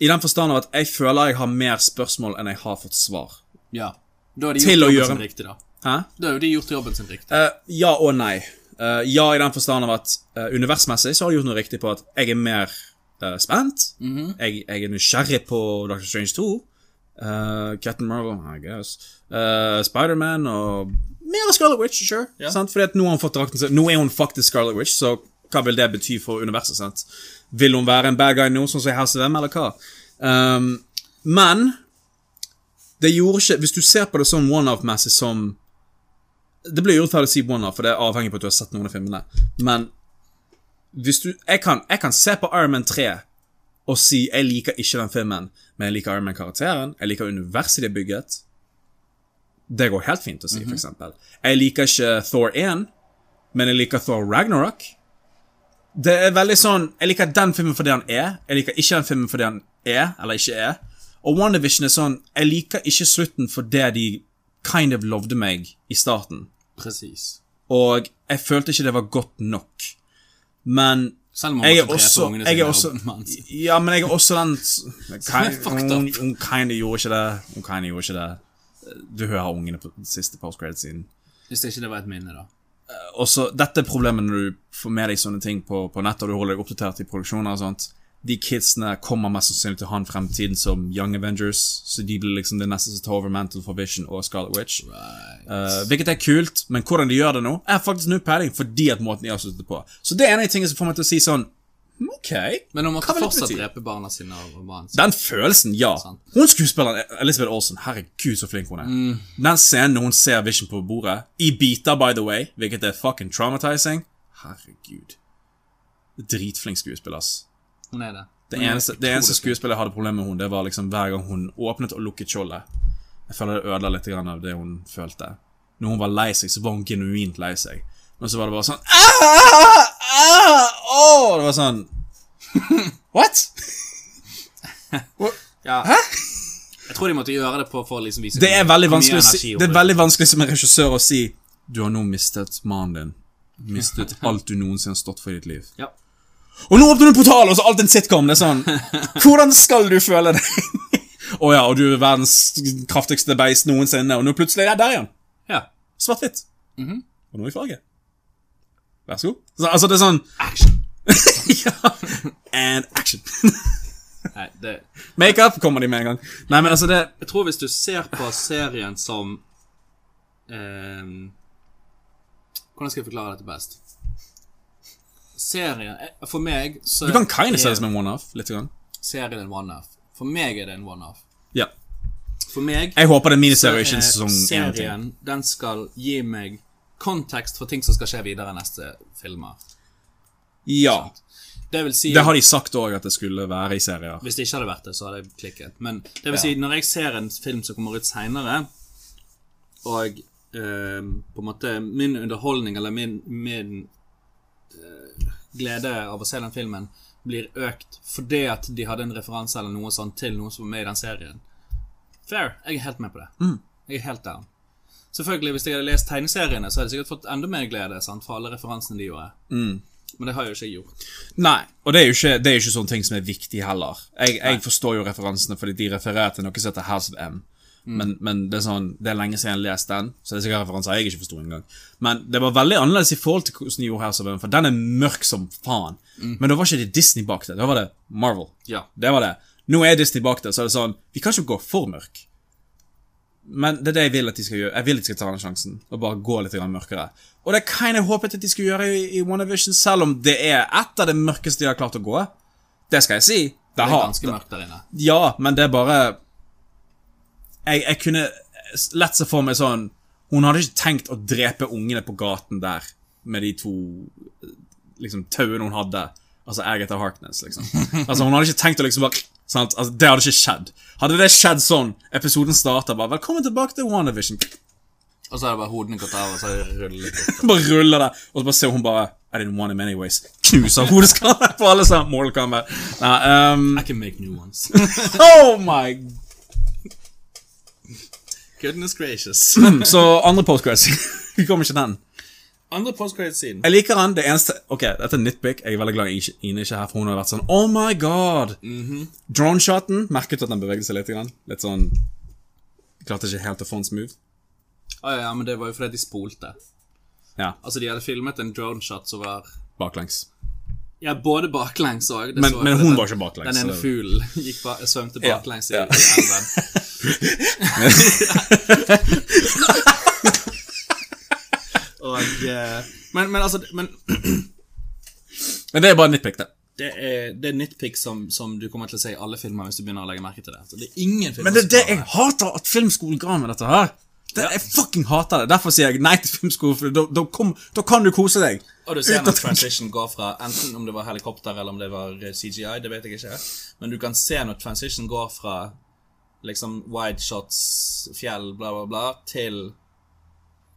[SPEAKER 1] I den forstand av at jeg føler jeg har mer spørsmål enn jeg har fått svar.
[SPEAKER 2] Ja. Da har de
[SPEAKER 1] Til
[SPEAKER 2] gjort
[SPEAKER 1] å
[SPEAKER 2] jobben
[SPEAKER 1] gjøre-
[SPEAKER 2] sin riktig, da.
[SPEAKER 1] Hæ?
[SPEAKER 2] Da har jo de gjort jobben sin riktig.
[SPEAKER 1] Eh, ja og nei. Eh, ja i den forstand av at eh, universmessig så har de gjort noe riktig på at jeg er mer eh, spent. jeg, jeg er nysgjerrig på Doctor Strange 2. eh, Captain Marvel, I guess. Uh, Spiderman og mer Scarlet Witch, sure.
[SPEAKER 2] Ja.
[SPEAKER 1] Sant? Fordi at nå, har hun fått drakten, sin- nå er hun faktisk Scarlet Witch, så hva vil det bety for universet? sant? Vil hun være en bad guy nå, sånn som i House of M, eller hva? Um, men det gjorde ikke Hvis du ser på det som one-off-messig som det blir urettferdig å si one-off, for det er avhengig på at du har sett noen av filmene. Men hvis du Jeg kan, jeg kan se på Iron Man 3 og si jeg liker ikke den filmen, men jeg liker Iron Man-karakteren, jeg liker universet de har bygget. Det går helt fint å si, for eksempel. Jeg liker ikke Thor 1, men jeg liker Thor Ragnarok. Det er veldig sånn Jeg liker den filmen for det han er, jeg liker ikke den filmen for det han er, eller ikke er. Og WandaVision er sånn Jeg liker ikke slutten for det de kind of lovde meg i starten.
[SPEAKER 2] Precis.
[SPEAKER 1] Og jeg følte ikke det var godt nok. Men
[SPEAKER 2] Selv om man
[SPEAKER 1] jeg er
[SPEAKER 2] måtte drepe
[SPEAKER 1] også,
[SPEAKER 2] ungene
[SPEAKER 1] jeg er
[SPEAKER 2] sine,
[SPEAKER 1] også
[SPEAKER 2] og mannen sin.
[SPEAKER 1] Ja, men jeg er også
[SPEAKER 2] [LAUGHS]
[SPEAKER 1] den
[SPEAKER 2] er fucked
[SPEAKER 1] Hun,
[SPEAKER 2] up.
[SPEAKER 1] hun kinda gjorde ikke det. Hun kinda gjorde ikke det. Du hører ungene på den siste postgrad-siden.
[SPEAKER 2] Hvis ikke det var et minne, da.
[SPEAKER 1] Også, dette er problemet når du får med deg sånne ting på, på nettet og du holder deg oppdatert i produksjoner og sånt. De kidsene kommer mest sannsynlig til å ha en fremtid som Young Avengers, så de blir liksom det neste som tar over Mantle for Vision og Scarlet Witch. Eh, hvilket er kult, men hvordan de gjør det nå, er faktisk null peiling fordi at måten de avslutter det på. Så det er en av de tingene som får meg til å si sånn «Hm, OK.
[SPEAKER 2] Men hun måtte
[SPEAKER 1] Hva vil det
[SPEAKER 2] fortsatt
[SPEAKER 1] bety?
[SPEAKER 2] drepe barna sine og mannen sin.
[SPEAKER 1] Den følelsen, ja.
[SPEAKER 2] Sant.
[SPEAKER 1] Hun skuespilleren Elizabeth Olsen, herregud så flink hun er. Den scenen når hun ser Vision på bordet, i biter, by the way, hvilket er fucking traumatizing. Herregud. Dritflink skuespiller, ass.
[SPEAKER 2] Hun er det.
[SPEAKER 1] Det
[SPEAKER 2] Hun er
[SPEAKER 1] eneste, det
[SPEAKER 2] utrolig
[SPEAKER 1] eneste
[SPEAKER 2] flink.
[SPEAKER 1] skuespillet jeg hadde problemer med hun, det var liksom hver gang hun åpnet og lukket skjoldet. Jeg føler det ødela litt grann av det hun følte. Når hun var lei seg, så var hun genuint lei seg. Men så var det bare sånn «Ah, ah, åh!» Det var sånn [LAUGHS] What?
[SPEAKER 2] Ja.
[SPEAKER 1] Hæ?
[SPEAKER 2] Jeg tror de måtte gjøre det på for å liksom vise
[SPEAKER 1] Det er veldig
[SPEAKER 2] hvor mye
[SPEAKER 1] vanskelig, å si,
[SPEAKER 2] energi hun
[SPEAKER 1] det er
[SPEAKER 2] brukte.
[SPEAKER 1] veldig vanskelig som en regissør å si Du har nå mistet mannen din. Mistet alt du noensinne har stått for i ditt liv.
[SPEAKER 2] Ja.
[SPEAKER 1] Og nå åpner du en portal, og så er alt en sitcom! Det er sånn [LAUGHS] Hvordan skal du føle deg? [LAUGHS] Å ja, og du er verdens kraftigste beist noensinne, og nå plutselig ja, der igjen!
[SPEAKER 2] ja.
[SPEAKER 1] Svart-hvitt. Og nå i farge. Vær så god. Så, altså, det er sånn
[SPEAKER 2] Action.
[SPEAKER 1] ja. [LAUGHS] And action.
[SPEAKER 2] Nei, det
[SPEAKER 1] Makeup kommer de med en gang. Nei, men altså, det
[SPEAKER 2] Jeg tror hvis du ser på serien som ehm, Hvordan skal jeg forklare dette best? Serien eh, For meg så
[SPEAKER 1] Du kan kinda se
[SPEAKER 2] er
[SPEAKER 1] det som en one-off. Litt. Grann.
[SPEAKER 2] serien en one-off. For meg er det en one-off.
[SPEAKER 1] Ja.
[SPEAKER 2] For meg
[SPEAKER 1] Jeg håper det er miniserie,
[SPEAKER 2] er
[SPEAKER 1] ikke en sesong én. og ting.
[SPEAKER 2] serien Den skal gi meg kontekst for ting som skal skje videre i neste filmer.
[SPEAKER 1] Ja.
[SPEAKER 2] Det vil si
[SPEAKER 1] Det har de sagt òg, at det skulle være i serier.
[SPEAKER 2] Hvis det ikke hadde vært det, så hadde jeg klikket. Men det vil si, når jeg ser en film som kommer ut seinere, og eh, på en måte min underholdning eller min, min eh, glede av å se den filmen blir økt fordi at de hadde en referanse eller noe sånt til noe som var med i den serien. Fair. Jeg er helt med på det. Jeg er helt down. Selvfølgelig, Hvis jeg hadde lest tegneseriene, så hadde jeg sikkert fått enda mer glede sant, for alle referansene de gjorde. Men det har jeg jo ikke jeg gjort.
[SPEAKER 1] Nei, og det er jo ikke, det er jo ikke sånne ting som er viktig heller. Jeg, jeg forstår jo referansene, fordi de refererer til noe som heter House of M. Men, men det er sånn, det er lenge siden jeg har lest den, så det er sikkert referanser jeg ikke forsto engang. Men det var veldig annerledes i forhold til hvordan de gjorde House of M, for den er mørk som faen. Men da var ikke det Disney bak det, da var det Marvel.
[SPEAKER 2] Ja.
[SPEAKER 1] Det var det. Nå er Disney bak det, så er det sånn, vi kan ikke gå for mørk. Men det er det jeg vil at de skal gjøre. Jeg vil at de skal ta den sjansen og bare gå litt grann mørkere. Og det er kind of håpet at de skulle gjøre i, i WandaVision, selv om det er et av det mørkeste de har klart å gå. Det skal jeg si. Det
[SPEAKER 2] Det er
[SPEAKER 1] har-
[SPEAKER 2] ganske mørkt der inne.
[SPEAKER 1] Ja, men det er bare Jeg, jeg kunne lett se for meg sånn Hun hadde ikke tenkt å drepe ungene på gaten der med de to liksom tauene hun hadde. Altså Agatha Harkness, liksom. Altså Hun hadde ikke tenkt å liksom bare sant? Altså, Det hadde ikke skjedd. Hadde det skjedd sånn, episoden starter bare 'Velkommen tilbake til WandaVision'.
[SPEAKER 2] Og så er det bare hodene gått av, og så ruller det litt.
[SPEAKER 1] Bare ruller det, og så bare ser hun bare I didn't want him anyways. Knuser hodeskallen på alle sammen. Mortal Kombat. Nei, ehm,
[SPEAKER 2] I can make new ones.
[SPEAKER 1] [LAUGHS] oh my
[SPEAKER 2] [LAUGHS] Goodness gracious.
[SPEAKER 1] [CLEARS THROAT] Så andre postcreds. Vi kommer ikke til den.
[SPEAKER 2] Andre postcredit-siden.
[SPEAKER 1] Jeg liker han, det eneste Ok, dette er nitpick. Jeg er veldig glad Ine- Ine ikke er her, for hun har vært sånn Oh my god!
[SPEAKER 2] Mhm.
[SPEAKER 1] Drone-shoten merket at den bevegde seg litt. Grann. Litt sånn Klarte ikke helt å få en smooth.
[SPEAKER 2] Å ja, men det var jo fordi de spolte.
[SPEAKER 1] Ja,
[SPEAKER 2] Altså, de hadde filmet en droneshot som var
[SPEAKER 1] baklengs.
[SPEAKER 2] Ja, både baklengs òg.
[SPEAKER 1] Men- men hun var ikke baklengs,
[SPEAKER 2] Den ene
[SPEAKER 1] så-
[SPEAKER 2] fuglen [LAUGHS] gikk ba svømte
[SPEAKER 1] Ja,
[SPEAKER 2] baklengs
[SPEAKER 1] ja.
[SPEAKER 2] i, i
[SPEAKER 1] [LAUGHS]
[SPEAKER 2] elven. Og eh, Men, men altså men
[SPEAKER 1] Men det er bare nitpick, det.
[SPEAKER 2] det, er, det er nitpick som, som du kommer til å se i alle filmer hvis du begynner å legge merke til det. Så det er ingen filmer
[SPEAKER 1] Men det er det
[SPEAKER 2] som
[SPEAKER 1] jeg hater at filmskolen ga meg dette her. Det, Jeg fucking hater det. Derfor sier jeg nei til filmskolen, for da, da, kom, da kan du kose deg.
[SPEAKER 2] Og du ser
[SPEAKER 1] Uten
[SPEAKER 2] når
[SPEAKER 1] at-
[SPEAKER 2] transition går fra Enten om det var helikopter eller om det var eh, CGI, det vet jeg ikke. Men du kan se når transition går fra liksom wide shots, fjell, bla, bla, bla, til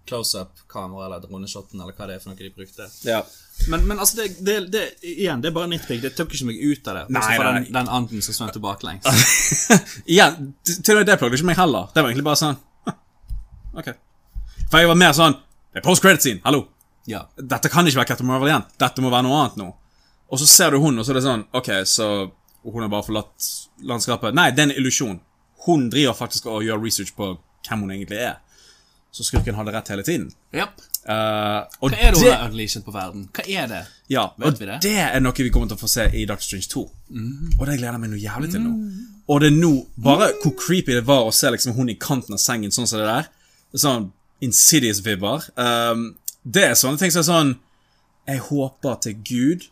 [SPEAKER 2] close-up-kamera eller droneshoten eller hva det er for noe de brukte.
[SPEAKER 1] Ja.
[SPEAKER 2] Men, men altså, det, det, det, igjen, det er bare nitpick. Det tok ikke meg ut av det.
[SPEAKER 1] Nei,
[SPEAKER 2] Nei, nei,
[SPEAKER 1] nei,
[SPEAKER 2] den, den anden som svømte baklengs. [LAUGHS]
[SPEAKER 1] Igjen, t- til og med det plagde ikke meg heller. Det var egentlig bare sånn «Hm, Ok. For jeg var mer sånn Det er post-credit-scene, hallo!
[SPEAKER 2] Ja.
[SPEAKER 1] Dette kan ikke være Captain Marvel igjen. Dette må være noe annet nå. Og så ser du hun, og så er det sånn Ok, så hun har bare forlatt landskapet. Nei, det er en illusjon. Hun driver faktisk og gjør research på hvem hun egentlig er. Så skurken hadde rett hele tiden.
[SPEAKER 2] ja.
[SPEAKER 1] Eh, og
[SPEAKER 2] Hva er det hun
[SPEAKER 1] det,
[SPEAKER 2] har unleashed på verden? Hva er det?
[SPEAKER 1] ja, og
[SPEAKER 2] vi det? Mm.
[SPEAKER 1] det er noe vi kommer til å få se i Doctor Strange 2. Og det gleder jeg meg noe jævlig til nå. Og det er nå Bare hvor creepy det var å se liksom hun i kanten av sengen sånn som det der. Sånn Insidious-vibber. Um, det er sånne ting som er sånn Jeg håper til Gud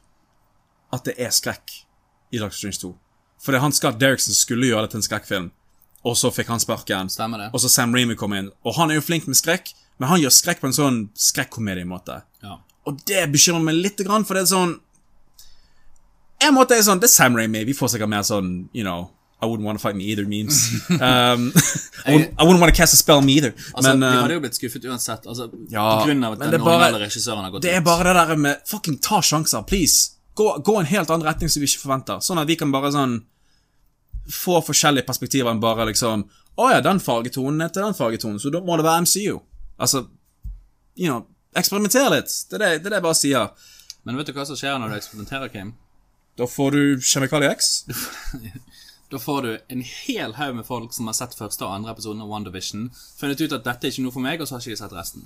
[SPEAKER 1] at det er skrekk i Doctor Strange 2. For det er han Scott Derrickson skulle gjøre det til en skrekkfilm, og så fikk han sparken.
[SPEAKER 2] Stemmer det.
[SPEAKER 1] Og så Sam Remy kom inn. Og han er jo flink med skrekk, men han gjør skrekk på en sånn skrekkomediemåte.
[SPEAKER 2] Ja.
[SPEAKER 1] Og det bekymrer meg litt, grann, for det er sånn En måte er sånn Det er Sam Raimi. Vi får sikkert mer sånn, you know I wouldn't want to fight me either
[SPEAKER 2] [LAUGHS]
[SPEAKER 1] memes. Um, [LAUGHS] I, wouldn't, I wouldn't want to cast a spell me either.
[SPEAKER 2] Altså,
[SPEAKER 1] men,
[SPEAKER 2] Vi
[SPEAKER 1] eh,
[SPEAKER 2] hadde jo blitt skuffet uansett. Altså,
[SPEAKER 1] Ja,
[SPEAKER 2] på grunn av at
[SPEAKER 1] men
[SPEAKER 2] den
[SPEAKER 1] det er bare-
[SPEAKER 2] originale regissøren har gått
[SPEAKER 1] Det er
[SPEAKER 2] ut.
[SPEAKER 1] bare det der med Fucking ta sjanser, please. Gå, gå en helt annen retning som vi ikke forventer. Sånn at vi kan bare sånn Få forskjellige perspektiver enn bare liksom Å ja, den fargetonen er til den fargetonen, så da må det være MCU. Altså You know Eksperimenter litt. Det er det, det er det jeg bare sier.
[SPEAKER 2] Men vet du hva som skjer når du eksperimenterer, Kim?
[SPEAKER 1] Da får du Kjemikalie X.
[SPEAKER 2] Da får du en hel haug med folk som har sett første og andre episoden av WandaVision, funnet ut at dette er ikke noe for meg, og så har ikke de sett resten.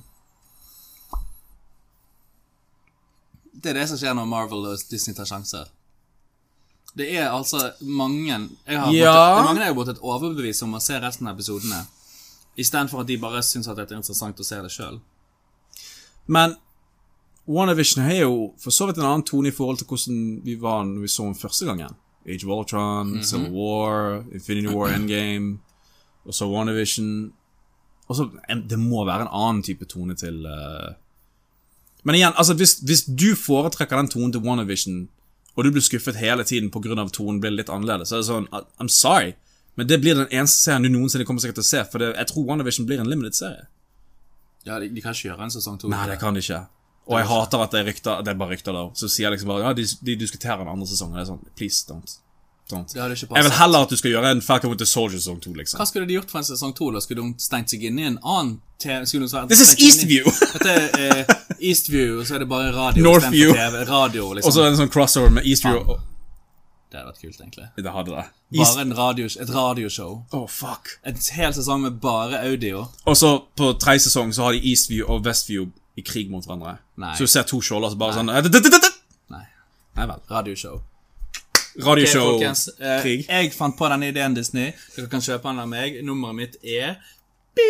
[SPEAKER 2] Det er det som skjer når Marvel og Disney tar sjanser. Det er altså mange Jeg har
[SPEAKER 1] Ja.
[SPEAKER 2] måttet, det er mange jeg har blitt et overbevis om å se resten av episodene, istedenfor at de bare syns at det er interessant å se det sjøl.
[SPEAKER 1] Men WandaVision har jo for så vidt en annen tone i forhold til hvordan vi var når vi så den første gangen. Age of Ultron, Civil War, Infinity War Endgame, og så WandaVision. Og så, en- det må være en annen type tone til eh. Men igjen, altså hvis, hvis du foretrekker den tonen til WandaVision, og du blir skuffet hele tiden pga. tonen blir litt annerledes, så er det sånn I- I'm sorry. Men det blir den eneste serien du noensinne kommer sikkert til å se, for det, jeg tror WandaVision blir en limited serie.
[SPEAKER 2] Ja, de, de kan ikke gjøre en sesong to.
[SPEAKER 1] Nei, det kan de ikke. Og jeg hater at det er rykter, det er bare rykter der. Så sier jeg liksom bare ja, de, de diskuterer den andre sesongen. Det er sånn, please, don't. don't.
[SPEAKER 2] Det hadde ikke
[SPEAKER 1] Jeg vil
[SPEAKER 2] passet.
[SPEAKER 1] heller at du skal gjøre en Falcon with the Soldier sesong 2, liksom.
[SPEAKER 2] Hva skulle de gjort for en sesong to? Da skulle de stengt seg inn i en annen TV? Skulle de
[SPEAKER 1] This is
[SPEAKER 2] stengt seg inn i-
[SPEAKER 1] Eastview.
[SPEAKER 2] Dette er eh, Eastview, og så er det bare
[SPEAKER 1] [LAUGHS]
[SPEAKER 2] radio
[SPEAKER 1] Northview.
[SPEAKER 2] istedenfor TV. Radio,
[SPEAKER 1] [LAUGHS] Og
[SPEAKER 2] liksom.
[SPEAKER 1] så en sånn crossover med Eastview og
[SPEAKER 2] Det hadde vært kult, egentlig.
[SPEAKER 1] Det hadde det. East...
[SPEAKER 2] Bare en radio, et radioshow.
[SPEAKER 1] Oh, fuck.
[SPEAKER 2] En hel sesong med bare audio.
[SPEAKER 1] Og så på tredje sesong så har de Eastview og Westview i krig mot hverandre.
[SPEAKER 2] Nei.
[SPEAKER 1] Så du ser to skjolder som bare sånn [LAUGHS] eh, d- d- d- d- d-
[SPEAKER 2] Nei. Nei vel. Radioshow. Ok,
[SPEAKER 1] Radioshow.
[SPEAKER 2] folkens, eh,
[SPEAKER 1] krig.
[SPEAKER 2] jeg fant på denne ideen, Disney. Dere kan kjøpe den av meg. Nummeret mitt er Pi!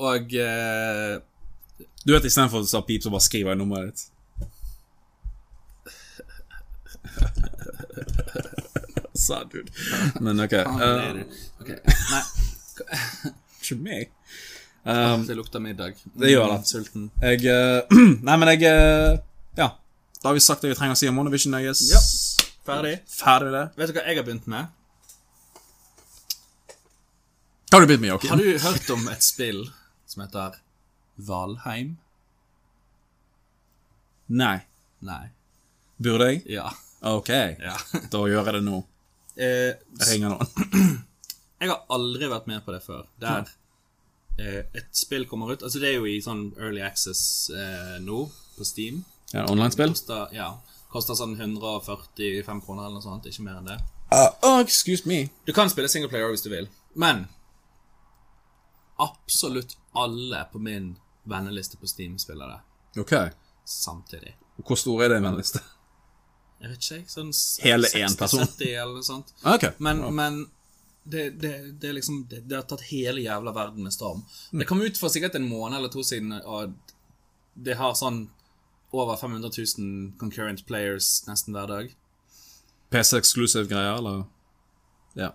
[SPEAKER 2] Og eh,
[SPEAKER 1] Du vet istedenfor at du sa pip, så bare skriver jeg nummeret ditt. [LAUGHS] Sa dude. Men ok.
[SPEAKER 2] det er
[SPEAKER 1] eh,
[SPEAKER 2] det. Ok, Nei.
[SPEAKER 1] [LAUGHS] Ikke meg. Um,
[SPEAKER 2] Det lukter middag. Mm,
[SPEAKER 1] Det gjør det.
[SPEAKER 2] Sulten.
[SPEAKER 1] jeg eh, [CLEARS THROAT] Nei, men jeg eh, Ja. Da har vi sagt det vi trenger å si om WandaVision, I guess.
[SPEAKER 2] Ja. Ferdig.
[SPEAKER 1] Ferdig det.
[SPEAKER 2] Vet du hva jeg har begynt med?
[SPEAKER 1] Da har du begynt med Joakim.
[SPEAKER 2] Har du hørt om et spill som heter Valheim?
[SPEAKER 1] Nei.
[SPEAKER 2] Nei.
[SPEAKER 1] Burde jeg?
[SPEAKER 2] Ja.
[SPEAKER 1] Ok.
[SPEAKER 2] ja.
[SPEAKER 1] [LAUGHS] Da gjør jeg det nå.
[SPEAKER 2] [LAUGHS] Eh,
[SPEAKER 1] Jeg ringer noen.
[SPEAKER 2] jeg har aldri vært med på det før. Der eh, et spill kommer ut Altså, det er jo i sånn Early Access eh, nå, på Steam.
[SPEAKER 1] Ja, Online-spill?
[SPEAKER 2] Koster, ja, koster sånn 145 kroner eller noe sånt. Ikke mer enn det.
[SPEAKER 1] oh, excuse me.
[SPEAKER 2] Du kan spille singleplayer hvis du vil, men absolutt alle på min venneliste på Steam spiller det
[SPEAKER 1] Ok.
[SPEAKER 2] samtidig.
[SPEAKER 1] Hvor stor er det i min liste?
[SPEAKER 2] Jeg vet ikke, jeg. Sånn
[SPEAKER 1] Hele én person.
[SPEAKER 2] 60-70 eller noe sånt.
[SPEAKER 1] Ok.
[SPEAKER 2] Men, men det, det, det er liksom det, det har tatt hele jævla verden med storm. Det kom ut for sikkert en måned eller to siden, og det har sånn over 500 000 concurrent players nesten hver dag.
[SPEAKER 1] PC-exclusive-greier, eller? Ja.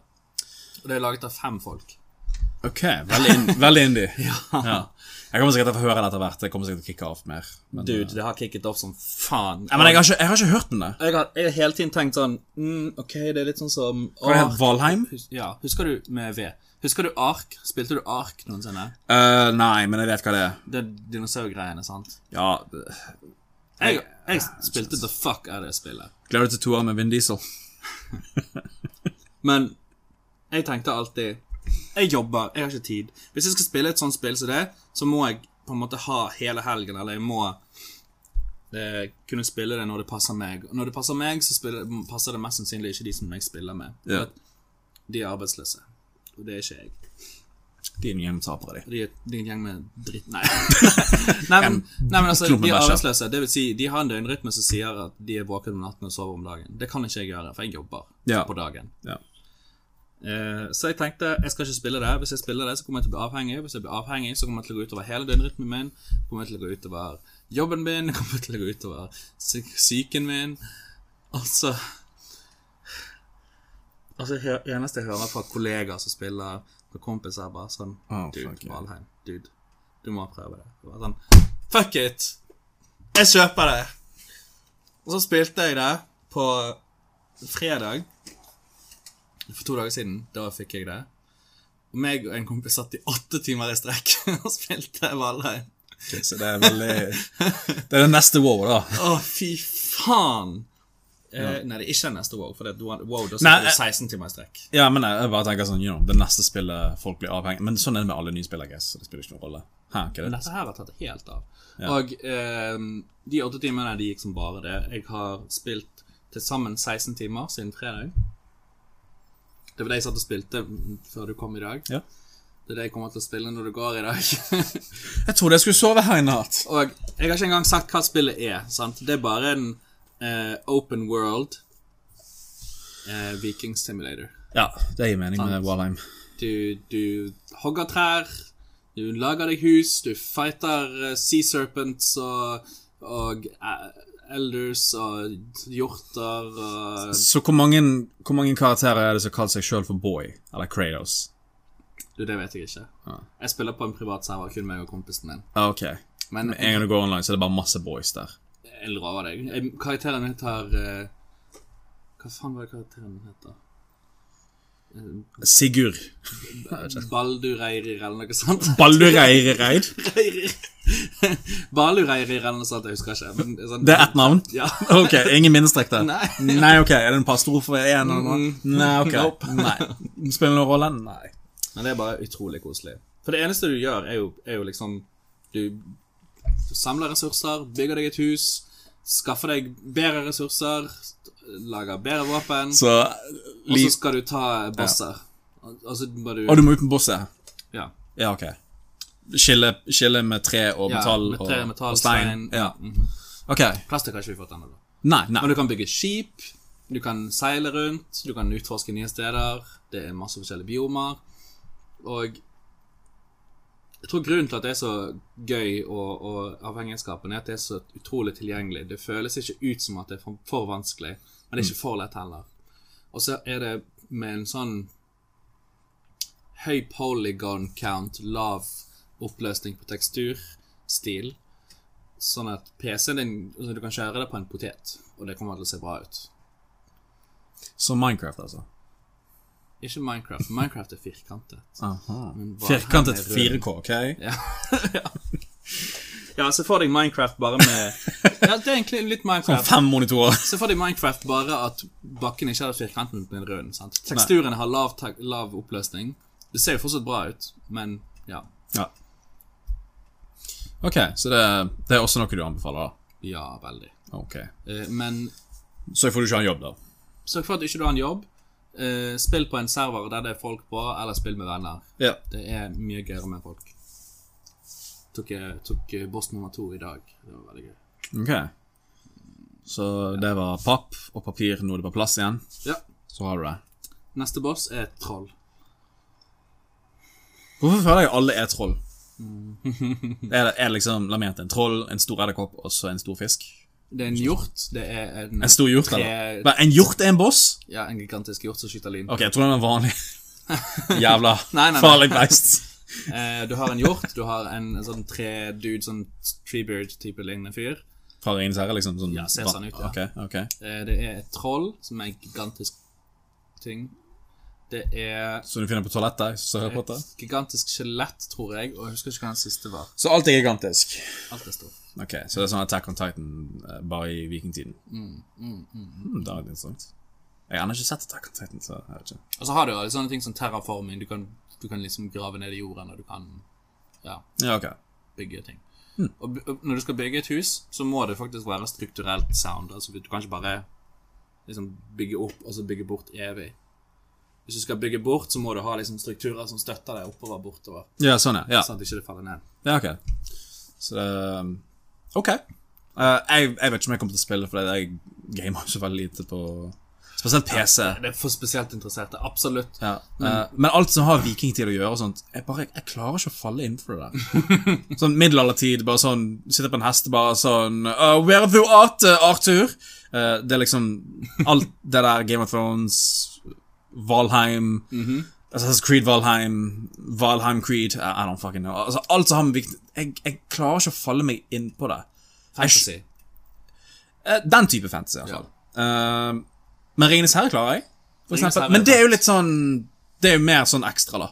[SPEAKER 2] Og det er laget av fem folk.
[SPEAKER 1] Ok, veldig, in [LAUGHS] veldig indie. ja. Jeg kommer sikkert til å få høre det etter hvert. Jeg kommer sikkert til å kicke av mer. Men,
[SPEAKER 2] Dude, det har kicket off som faen.
[SPEAKER 1] Nei, men jeg har, ikke, jeg har ikke hørt om det.
[SPEAKER 2] jeg har, jeg har hele tiden tenkt sånn mm, OK, det er litt sånn som
[SPEAKER 1] Hva er det?
[SPEAKER 2] Ark.
[SPEAKER 1] Valheim?
[SPEAKER 2] Hus- Ja, husker du med V? Husker du Ark? Spilte du Ark noensinne?
[SPEAKER 1] Eh, nei, men jeg vet hva det er.
[SPEAKER 2] Det er dinosaurgreiene, sant?
[SPEAKER 1] Ja, det-
[SPEAKER 2] Jeg, jeg spilte the fuck av det spillet.
[SPEAKER 1] Gleder deg til toer med Vin Diesel.
[SPEAKER 2] Men jeg tenkte alltid Jeg jobber, jeg har ikke tid. Hvis jeg skal spille et sånt spill som det, så må jeg på en måte ha hele helgen, eller jeg må eh, kunne spille det når det passer meg. Og når det passer meg, så spiller, passer det mest sannsynlig ikke de som jeg spiller med.
[SPEAKER 1] Ja.
[SPEAKER 2] De er arbeidsløse. Og det er ikke jeg.
[SPEAKER 1] Din hjemtapere, de.
[SPEAKER 2] De er, de er en gjeng med dritt... Nei. [LAUGHS] nei, men, nei, men altså,
[SPEAKER 1] klump med
[SPEAKER 2] de er
[SPEAKER 1] bæsj, ja.
[SPEAKER 2] arbeidsløse. Det vil si, de har en døgnrytme som sier at de er våkne om natten og sover om dagen. Det kan ikke jeg gjøre, for jeg jobber
[SPEAKER 1] Ja.
[SPEAKER 2] på dagen.
[SPEAKER 1] Ja.
[SPEAKER 2] Eh, så jeg tenkte jeg skal ikke spille det. Hvis jeg spiller det, så kommer jeg til å bli avhengig. Hvis jeg blir avhengig, så kommer jeg til å gå utover hele døgnrytmen min. Kommer jeg til å gå utover jobben min. [LAUGHS] Kommer jeg til å gå utover sy psyken min. Altså Altså, det eneste jeg hører fra kollegaer som spiller, fra kompiser, er bare sånn
[SPEAKER 1] Oh,
[SPEAKER 2] Dude,
[SPEAKER 1] fuck yeah.
[SPEAKER 2] Valheim. Dude, du må prøve det. Det var sånn Fuck it! Jeg kjøper det! Og så spilte jeg det på fredag. For to dager siden, da fikk jeg det. Og meg og en kompis satt i åtte timer i strekk [LAUGHS] og spilte Valheim.
[SPEAKER 1] Ok, så det er veldig [LAUGHS] Det er den neste wow, da.
[SPEAKER 2] Å, fy faen! Eh, nei, det er ikke neste wow, for det, er Duan- wow, da
[SPEAKER 1] Nei,
[SPEAKER 2] sitter du
[SPEAKER 1] eh,
[SPEAKER 2] 16 timer i strekk.
[SPEAKER 1] Ja, men jeg, jeg bare tenker sånn, you know, det neste spillet folk blir avhengig Men sånn er det med alle nye spill, I guess. så Det spiller ikke noen rolle. Hæ, hva er
[SPEAKER 2] Men
[SPEAKER 1] det?
[SPEAKER 2] dette her har tatt helt av. Og ehm, de åtte timene de gikk som bare det. Jeg har spilt til sammen 16 timer siden fredag. Det var det jeg satt og spilte før du kom i dag.
[SPEAKER 1] Ja.
[SPEAKER 2] Det er det jeg kommer til å spille når du går i dag. [LAUGHS]
[SPEAKER 1] Jeg trodde jeg skulle sove her i natt.
[SPEAKER 2] Og jeg har ikke engang sagt hva spillet er. sant? Det er bare en eh, open world eh, viking simulator.
[SPEAKER 1] Ja, det gir mening med Walheim.
[SPEAKER 2] Du, du hogger trær, du lager deg hus, du fighter eh, sea serpents og, og eh, elders og hjorter og
[SPEAKER 1] Så hvor mange, hvor mange karakterer er det som kaller seg sjøl for Boy? Eller Kratos?
[SPEAKER 2] Du, det vet jeg ikke. Jeg spiller på en privat server, kun meg og kompisen min.
[SPEAKER 1] Ah, Ok.
[SPEAKER 2] Men
[SPEAKER 1] Med en gang du går online, så er det bare masse boys der.
[SPEAKER 2] jeg lover deg. Jeg- Karakteren min heter eh, Hva faen var det karakteren min heter?
[SPEAKER 1] Sigurd.
[SPEAKER 2] Baldureirir eller noe [LAUGHS] sånt.
[SPEAKER 1] Baldureirereid.
[SPEAKER 2] [LAUGHS] Reirir. Baldureirir eller noe sånt, jeg husker ikke. Men, sånn,
[SPEAKER 1] Det er ett navn?
[SPEAKER 2] [LAUGHS] Ja.
[SPEAKER 1] Ok, ingen minnestrek der?
[SPEAKER 2] Nei. Mm.
[SPEAKER 1] Nei, ok. Er det en pastrofe igjen eller noe? Nei, ok. Nei. Spiller det noen rolle? Nei.
[SPEAKER 2] Men det er bare utrolig koselig. For det eneste du gjør, er jo, er jo liksom du, du samler ressurser, bygger deg et hus, skaffer deg bedre ressurser, lager bedre våpen,
[SPEAKER 1] Så
[SPEAKER 2] og
[SPEAKER 1] li
[SPEAKER 2] så skal du ta bosser. Og, og så må du
[SPEAKER 1] Og du må ut med bosset?
[SPEAKER 2] Ja.
[SPEAKER 1] Ja, ok. Skille, skille med tre og
[SPEAKER 2] Ja,
[SPEAKER 1] metall,
[SPEAKER 2] med tre,
[SPEAKER 1] og,
[SPEAKER 2] metall,
[SPEAKER 1] og stein.
[SPEAKER 2] stein.
[SPEAKER 1] Ja. Ok.
[SPEAKER 2] Plastikk har ikke vi fått ennå. da.
[SPEAKER 1] Nei, nei.
[SPEAKER 2] Men du kan bygge skip, du kan seile rundt, du kan utforske nye steder, det er masse forskjellige biomer, og jeg tror grunnen til at det er så gøy og, og avhengighetsskapen er at det er så utrolig tilgjengelig. Det føles ikke ut som at det er for, for vanskelig, men det er ikke for lett heller. Og så er det med en sånn høy polygon count, lav oppløsning på teksturstil, sånn at PC-en din, altså du kan kjøre det på en potet, og det kommer til å se bra ut.
[SPEAKER 1] Så Minecraft, altså.
[SPEAKER 2] Ikke Minecraft. Minecraft er firkantet.
[SPEAKER 1] Aha.
[SPEAKER 2] hva-
[SPEAKER 1] Firkantet
[SPEAKER 2] her er rød.
[SPEAKER 1] 4K, ok?
[SPEAKER 2] Ja, se for deg Minecraft bare med [LAUGHS] Ja, det er egentlig litt
[SPEAKER 1] Og
[SPEAKER 2] Minecraft.
[SPEAKER 1] fem monitorer.
[SPEAKER 2] Se for deg Minecraft bare at bakken ikke hadde firkanten på en rund. sant? Teksturen har lav, tak- lav oppløsning. Det ser jo fortsatt bra ut, men ja.
[SPEAKER 1] Ja. Ok, så det, det er også noe du anbefaler, da?
[SPEAKER 2] Ja, veldig.
[SPEAKER 1] Ok.
[SPEAKER 2] Eh, Men
[SPEAKER 1] Så får du ikke ha en jobb, da?
[SPEAKER 2] sørg for at ikke du har en jobb. Eh, Spill på en server der det er folk på, eller spill med venner.
[SPEAKER 1] Ja.
[SPEAKER 2] Det er mye gøyere med folk. Tok, eh, tok eh, boss nummer to i dag. Det var veldig gøy.
[SPEAKER 1] Ok. Så det var papp og papir, nå er det på plass igjen.
[SPEAKER 2] Ja.
[SPEAKER 1] Så har du det.
[SPEAKER 2] Neste boss er et troll.
[SPEAKER 1] Hvorfor føler jeg alle er
[SPEAKER 2] [LAUGHS]
[SPEAKER 1] troll? Er det er liksom la meg gjette, en troll, en stor edderkopp og så en stor fisk?
[SPEAKER 2] Det er en hjort. Det er en,
[SPEAKER 1] En stor hjort,
[SPEAKER 2] tre-
[SPEAKER 1] eller? Hva, En hjort er en boss?
[SPEAKER 2] Ja, en gigantisk hjort som skyter lyn.
[SPEAKER 1] Ok, jeg tror den er
[SPEAKER 2] [LAUGHS]
[SPEAKER 1] vanlig. Jævla
[SPEAKER 2] Nei, nei, nei.
[SPEAKER 1] farlig beist.
[SPEAKER 2] Eh, du har en hjort, du har en, en sånn tre-dude, sånn treebird-type lignende fyr.
[SPEAKER 1] Fra Ringens herre, liksom? Sånn,
[SPEAKER 2] Ja, ser sånn ut, ja.
[SPEAKER 1] Ok, ok.
[SPEAKER 2] Eh, det er et troll, som er en gigantisk ting. Det er
[SPEAKER 1] Så du finner på toalettet? Så hører jeg på det.
[SPEAKER 2] et gigantisk skjelett, tror jeg, og jeg husker ikke hva den siste var.
[SPEAKER 1] Så alt er gigantisk.
[SPEAKER 2] Alt er stort.
[SPEAKER 1] Ok, Så det er sånn Attack on Titan eh, bare i vikingtiden? Mm, det er litt interessant. Jeg har ennå ikke sett Attack on Titan, så jeg vet ikke.
[SPEAKER 2] Og så har du jo alle sånne ting som terraforming. Du kan, du kan liksom grave ned i jorden, og du kan ja,
[SPEAKER 1] Ja, ok.
[SPEAKER 2] bygge ting. Og by- og når du skal bygge et hus, så må det faktisk være strukturelt sound. Altså, du kan ikke bare liksom, bygge opp og så bygge bort evig. Hvis du skal bygge bort, så må du ha liksom, strukturer som støtter deg oppover bortover.
[SPEAKER 1] Ja, sånn, ja. ja.
[SPEAKER 2] Sånn at ikke det faller ned.
[SPEAKER 1] Ja, ok. Så det um, Ok. Eh, jeg, jeg vet ikke om jeg kommer til å spille, for jeg gamer så veldig lite på Spesielt PC.
[SPEAKER 2] Det er for spesielt interesserte. Absolutt.
[SPEAKER 1] Ja. eh, men alt som har vikingtid å gjøre, og sånt jeg, bare, jeg klarer ikke å falle innenfor det der. [LAUGHS] sånn middelaldertid, bare sånn Sitte på en hest, bare sånn uh, Where have you at, eh, Arthur? Eh, det er liksom alt det der Game of Thrones, Valheim Assassin's Creed Valheim, Valheim Creed I, I don't fucking know. Altså, alt som har med vikt jeg, jeg klarer ikke å falle meg inn på det.
[SPEAKER 2] Fantasy.
[SPEAKER 1] Eh, Den type fantasy, i hvert fall. Eh, men Ringenes herre klarer jeg. For eksempel. Men det er jo litt sånn Det er jo mer sånn ekstra, da.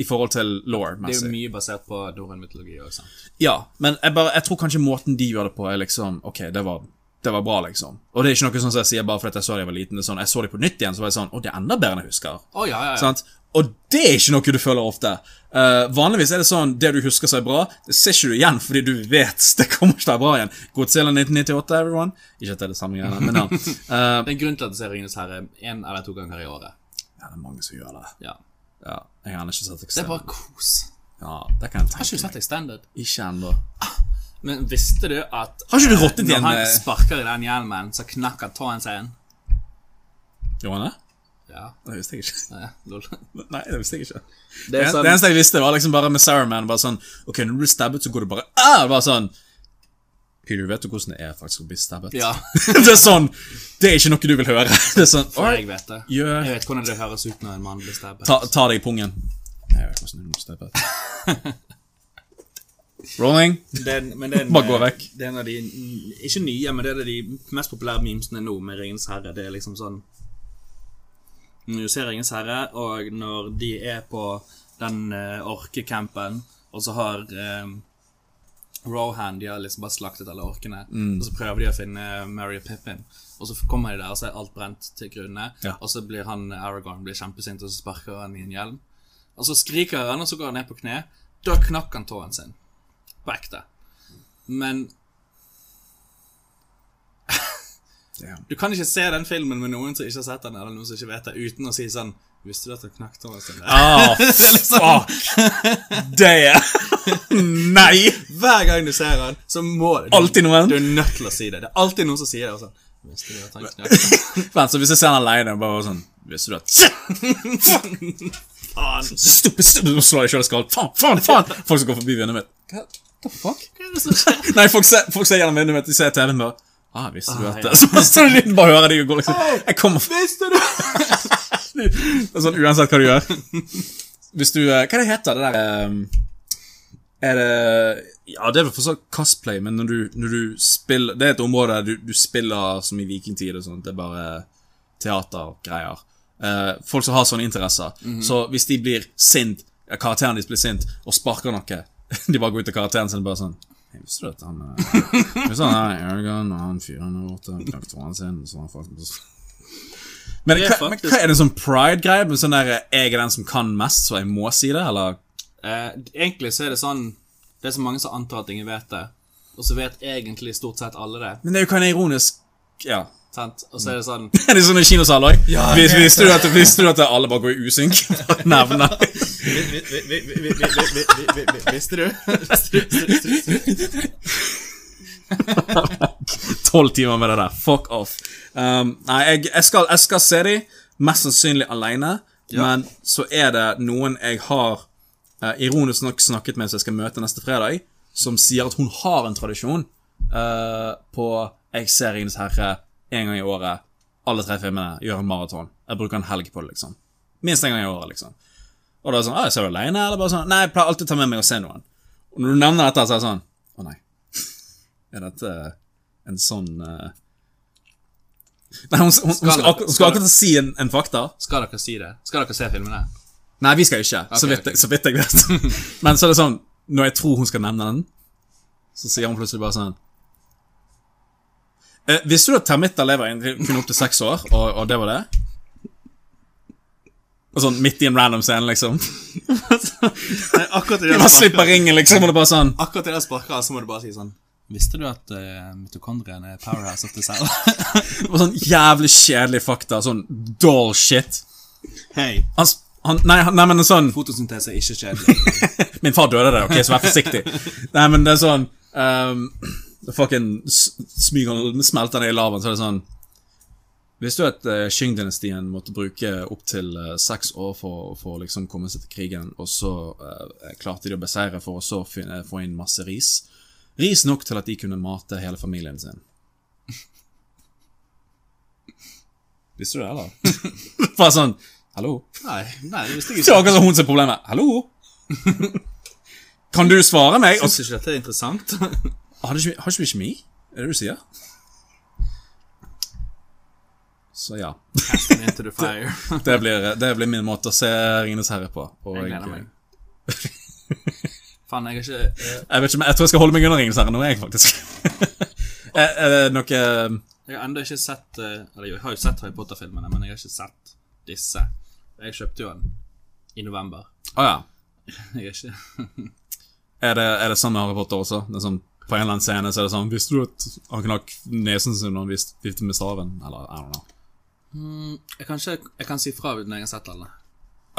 [SPEAKER 1] I forhold til
[SPEAKER 2] Det er jo
[SPEAKER 1] law-messig.
[SPEAKER 2] mye basert på norrøn-mytologi òg, sant.
[SPEAKER 1] Ja, men jeg, bare, jeg tror kanskje måten de gjør det på, er liksom OK, det var, det var bra, liksom. Og det er ikke noe sånn som jeg sier bare fordi jeg så det jeg var liten. Det er sånn, jeg så det på nytt igjen, så var jeg sånn Å, det er enda bedre enn jeg husker.
[SPEAKER 2] Å, ja, ja, ja.
[SPEAKER 1] Sant? Og det er ikke noe du føler ofte. Eh, vanligvis er det sånn det du husker som er bra, det ser ikke du igjen fordi du vet [LAUGHS] det kommer ikke til å være bra igjen. Godzilla 1998, everyone. Ikke at det er det samme greiene, men ja. Eh,
[SPEAKER 2] Det er en grunn til at jeg ser Ringenes herre én eller to ganger i året.
[SPEAKER 1] ja. Det er mange som gjør det.
[SPEAKER 2] Ja.
[SPEAKER 1] Ja, jeg har ikke sett
[SPEAKER 2] Det er bare
[SPEAKER 1] Extended.
[SPEAKER 2] kos.
[SPEAKER 1] Ja, det kan jeg
[SPEAKER 2] Har ikke
[SPEAKER 1] tenke
[SPEAKER 2] du sett
[SPEAKER 1] meg.
[SPEAKER 2] Extended?
[SPEAKER 1] Ikke ennå.
[SPEAKER 2] Men visste du at
[SPEAKER 1] Har ikke du
[SPEAKER 2] eh,
[SPEAKER 1] rottet igjen
[SPEAKER 2] Når han
[SPEAKER 1] med-
[SPEAKER 2] sparker i den hjelmen, så knakker tåen seg inn?
[SPEAKER 1] Gjorde han det?
[SPEAKER 2] Ja.
[SPEAKER 1] Det visste jeg ikke.
[SPEAKER 2] eh, Lol.
[SPEAKER 1] Nei, det visste jeg ikke.
[SPEAKER 2] Det
[SPEAKER 1] Det,
[SPEAKER 2] er sånn,
[SPEAKER 1] det eneste jeg visste, var liksom bare med Saruman bare sånn Ok, når du blir stabbet, så går du bare ah! Bare sånn Peter, vet du hvordan det er faktisk å bli stabbet?
[SPEAKER 2] Ja.
[SPEAKER 1] [LAUGHS] det er sånn Det er ikke noe du vil høre. [LAUGHS] Det er sånn
[SPEAKER 2] For
[SPEAKER 1] «Oi,
[SPEAKER 2] jeg vet det.
[SPEAKER 1] Gjør-
[SPEAKER 2] Jeg vet hvordan det høres ut når en mann blir stabbet.
[SPEAKER 1] ta, ta deg i pungen. Jeg vet hvordan du blir stabbet.
[SPEAKER 2] [LAUGHS]
[SPEAKER 1] Rolling.
[SPEAKER 2] Det er, en- men det er en,
[SPEAKER 1] Bare gå vekk.
[SPEAKER 2] Det er en av de Ikke nye, men det er en av de mest populære memesene nå med Ringens herre. Det er liksom sånn Du ser Ringens herre, og når de er på den eh, orkecampen, og så har um, Rohan De har liksom bare slaktet alle orkene,
[SPEAKER 1] Mm.
[SPEAKER 2] og så prøver de å finne Mary og Pippin. Og så kommer de der, og så er alt brent til grunne.
[SPEAKER 1] Ja.
[SPEAKER 2] Og så blir han eh, Aragorn blir kjempesint, og så sparker han i en hjelm. Og så skriker han, og så går han ned på kne. Da knakk han tåen sin. På ekte. Men
[SPEAKER 1] Damn.
[SPEAKER 2] du kan ikke se den filmen med noen som ikke har sett den, eller noen som ikke vet det, uten å si sånn Visste du at han knakk tåen sin? der?»
[SPEAKER 1] Ah,
[SPEAKER 2] sånn-
[SPEAKER 1] fuck! Det [LAUGHS] Nei!
[SPEAKER 2] Hver gang du ser han, så må du
[SPEAKER 1] Alltid noen.
[SPEAKER 2] Du er nødt til å si det. Det er alltid noen som sier det. Og sånn, Visste du at han knakk tåen [LAUGHS]
[SPEAKER 1] [LAUGHS] Vent, så hvis jeg ser han alene, bare sånn Visste du at Fuck! Stupid, stupid Nå slår jeg sjøl i skallen. Faen, faen, faen! Folk som går forbi vinduet mitt. Hva the fuck?
[SPEAKER 2] Hva er det som skjer?
[SPEAKER 1] Nei, folk ser, folk ser gjennom vinduet mitt, de ser TV-en bare Ah, visste du
[SPEAKER 2] Ah,
[SPEAKER 1] at
[SPEAKER 2] ja.
[SPEAKER 1] det [LAUGHS] Så bare står det lyden, bare hører de og går liksom Jeg kommer
[SPEAKER 2] Visste du?
[SPEAKER 1] Det er sånn uansett hva du gjør. [LAUGHS] Hvis du eh, Hva det heter det der ehm, Er det Ja, det er vel for så vidt cosplay, men når du, når du spiller Det er et område der du, du spiller som i vikingtid og sånt. Det er bare teatergreier. Eh, folk som har sånne interesser.
[SPEAKER 2] Mhm.
[SPEAKER 1] Så hvis de blir sint, ja, karakteren deres blir sint og sparker noe [LAUGHS] De bare går ut til karakteren sin og bare sånn «Hey, Visste du at han
[SPEAKER 2] [LAUGHS]
[SPEAKER 1] eh, Visste du at han er Aragorn, og han fyren der borte knakk tåren sin, og så har han faktisk men
[SPEAKER 2] Det er
[SPEAKER 1] hva, men
[SPEAKER 2] faktisk-
[SPEAKER 1] hva er det sånn pride-greie? Med sånn der eh, 'jeg er den som kan mest, så jeg må si det'? Eller
[SPEAKER 2] Eh, egentlig så er det sånn Det er så mange som antar at ingen vet det, og så vet egentlig stort sett alle det.
[SPEAKER 1] Men det er jo kind of ironisk Ja.
[SPEAKER 2] Sant? Og så er det sånn
[SPEAKER 1] Er det sånn i kinosal òg?
[SPEAKER 2] Ja,
[SPEAKER 1] Vis,
[SPEAKER 2] jeg vet
[SPEAKER 1] visste, du at- visste du at alle bare går i usynk? [LAUGHS] Nevne.
[SPEAKER 2] Visste du? [LAUGHS]
[SPEAKER 1] Tolv timer med det der. Fuck off. Um, nei, jeg, jeg, skal, jeg skal se de, mest sannsynlig alene Men så er det noen jeg har eh, ironisk nok snakket med som jeg skal møte neste fredag, som sier at hun har en tradisjon eh, på Jeg ser Ringenes herre en gang i året. Alle tre filmene gjør en maraton. Jeg bruker en helg på det, liksom. Minst en gang i året, liksom. Og da er det sånn, «Ah, jeg ser du alene, eller bare sånn, nei, jeg pleier alltid å ta med meg og se noen. Og når du nevner dette, så er det sånn, å nei, [LAUGHS] er dette en sånn... eh, [LAUGHS] Nei, hun, hun, hun, skal,
[SPEAKER 2] Skal-
[SPEAKER 1] akkur- hun skal akkurat si en, en fakta.
[SPEAKER 2] Skal dere si det? Skal dere se filmene?
[SPEAKER 1] Nei, vi skal ikke, så,
[SPEAKER 2] Ok,
[SPEAKER 1] vidt,
[SPEAKER 2] ok.
[SPEAKER 1] jeg- så vidt jeg vet. Men så er det sånn, når jeg tror hun skal nevne den, så sier hun plutselig bare sånn eh, Visste du at termitter lever egentlig kun opp til seks år, og, og det var det? Og sånn midt i en random scene, liksom.
[SPEAKER 2] Akkurat i
[SPEAKER 1] Man slipper ringen, liksom, og det er bare sånn
[SPEAKER 2] Akkurat i det sparket, så må du bare si sånn Visste du at uh, mitokondrien er powerhouse of the cell?
[SPEAKER 1] Og sånn jævlig kjedelig fakta. Sånn dull shit.
[SPEAKER 2] Hei,
[SPEAKER 1] Han, s- han, nei, han, nei, men en sånn
[SPEAKER 2] fotosyntese er ikke kjedelig.
[SPEAKER 1] Min far døde der, ok, så vær forsiktig. nei, men det er sånn um, Fucking s- smyger smelter ned i lavaen, så er det sånn Visste du at uh, Qing-dynastien måtte bruke opptil uh, seks år for, for å liksom komme seg til krigen, og så eh, klarte de å beseire for å så finne, få inn masse ris? Ris nok til at de kunne mate hele familien sin. Visste du det, eller? [LAUGHS] Bare sånn Hallo?
[SPEAKER 2] [LAUGHS] Nei, nei, det visste
[SPEAKER 1] Det er
[SPEAKER 2] jeg ikke.
[SPEAKER 1] akkurat som hun som er problemet. Hallo? Kan du svare meg? Og
[SPEAKER 2] Syns du ikke dette er [LAUGHS] interessant?
[SPEAKER 1] så- har, du ikke, har ikke vi kjemi? Er det det du sier? Så ja.
[SPEAKER 2] Casting into the fire. [LAUGHS]
[SPEAKER 1] Det blir, det blir min måte å se Ringenes herre på. Og
[SPEAKER 2] Jeg
[SPEAKER 1] jeg,
[SPEAKER 2] gleder meg.
[SPEAKER 1] jeg,
[SPEAKER 2] Faen, jeg har ikke eh,
[SPEAKER 1] vet ikke, men jeg tror jeg skal holde meg unna Ringenes herre nå, jeg, faktisk. [LAUGHS] Er- Er det noe
[SPEAKER 2] Jeg har ennå ikke sett eh, Eller jo, jeg har jo sett Harry Potter-filmene, men jeg har ikke sett disse. Jeg kjøpte jo den i november. [LAUGHS]
[SPEAKER 1] Å ja.
[SPEAKER 2] Jeg er ikke
[SPEAKER 1] Er det, er det sånn med Harry Potter også? Det er sånn, på en eller annen scene så er det sånn Visste du at han knakk nesen sin når han vist- viftet med staven? Eller I don't know.
[SPEAKER 2] Jeg kan, ikke, jeg kan si fra når jeg har sett alle.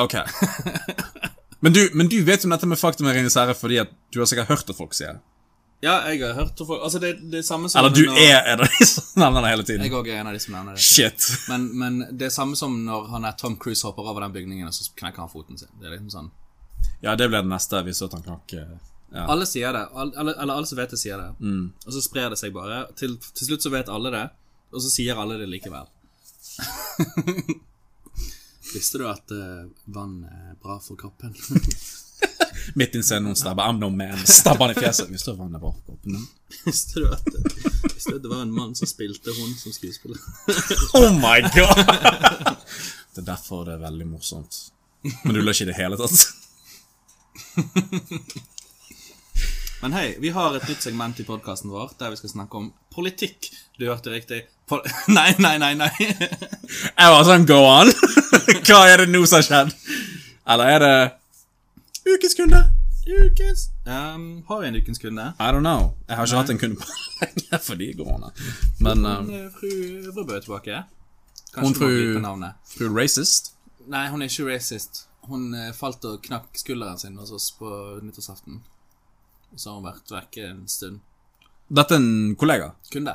[SPEAKER 1] Ok. [LAUGHS] Men du, men du vet jo dette med faktum med Ringenes herre fordi at du har sikkert hørt at folk sier det.
[SPEAKER 2] Ja, jeg har hørt om folk Altså, det, det er samme som
[SPEAKER 1] Eller du
[SPEAKER 2] når-
[SPEAKER 1] er, er det [LAUGHS] de som nevner det hele tiden.
[SPEAKER 2] Jeg òg er en av de som nevner det.
[SPEAKER 1] Shit.
[SPEAKER 2] Men, men det er samme som når han er Tom Cruise hopper over den bygningen, og så knekker han foten sin. Det er liksom sånn
[SPEAKER 1] Ja, det ble det neste. Vi så at han knakk eh, ja.
[SPEAKER 2] Alle sier det. Alle, alle, eller alle som vet det, sier det. Og så sprer det seg bare. Til, til slutt så vet alle det, og så sier alle det [LAUGHS] likevel. Visste du at eh, vann er bra for kroppen? [LAUGHS]
[SPEAKER 1] midt i en scene noen stabber. I'm no man. Stabber han i fjeset. Vi står vannet bak kroppen.
[SPEAKER 2] visste, du at, eh, visste du at det var en mann som spilte hun som skuespiller?
[SPEAKER 1] Oh my god! [LAUGHS] Det er derfor det er veldig morsomt. Men du løy ikke i det hele tatt.
[SPEAKER 2] Men hei, vi har et nytt segment i podkasten vår der vi skal snakke om politikk. Du hørte riktig. Pol [LAUGHS] nei, nei, nei, nei.
[SPEAKER 1] Jeg var sånn, go on! [LAUGHS] Hva er det nå som har skjedd? Eller er det Ukens kunde?
[SPEAKER 2] Ukens Ehm, Har vi en ukens kunde?
[SPEAKER 1] I don't know. Jeg har ikke hatt en kunde på lenge [LAUGHS] fordi korona. Men eh,
[SPEAKER 2] Eh, Fru Øvrebø er tilbake. Kanskje
[SPEAKER 1] Hun
[SPEAKER 2] hun
[SPEAKER 1] fru-
[SPEAKER 2] fru... må på navnet.
[SPEAKER 1] fru Racist
[SPEAKER 2] Nei, hun er ikke racist. Hun eh, falt og knakk skulderen sin hos oss på nyttårsaften. Og så har hun vært vekke en stund.
[SPEAKER 1] Dette er en kollega?
[SPEAKER 2] Kunde?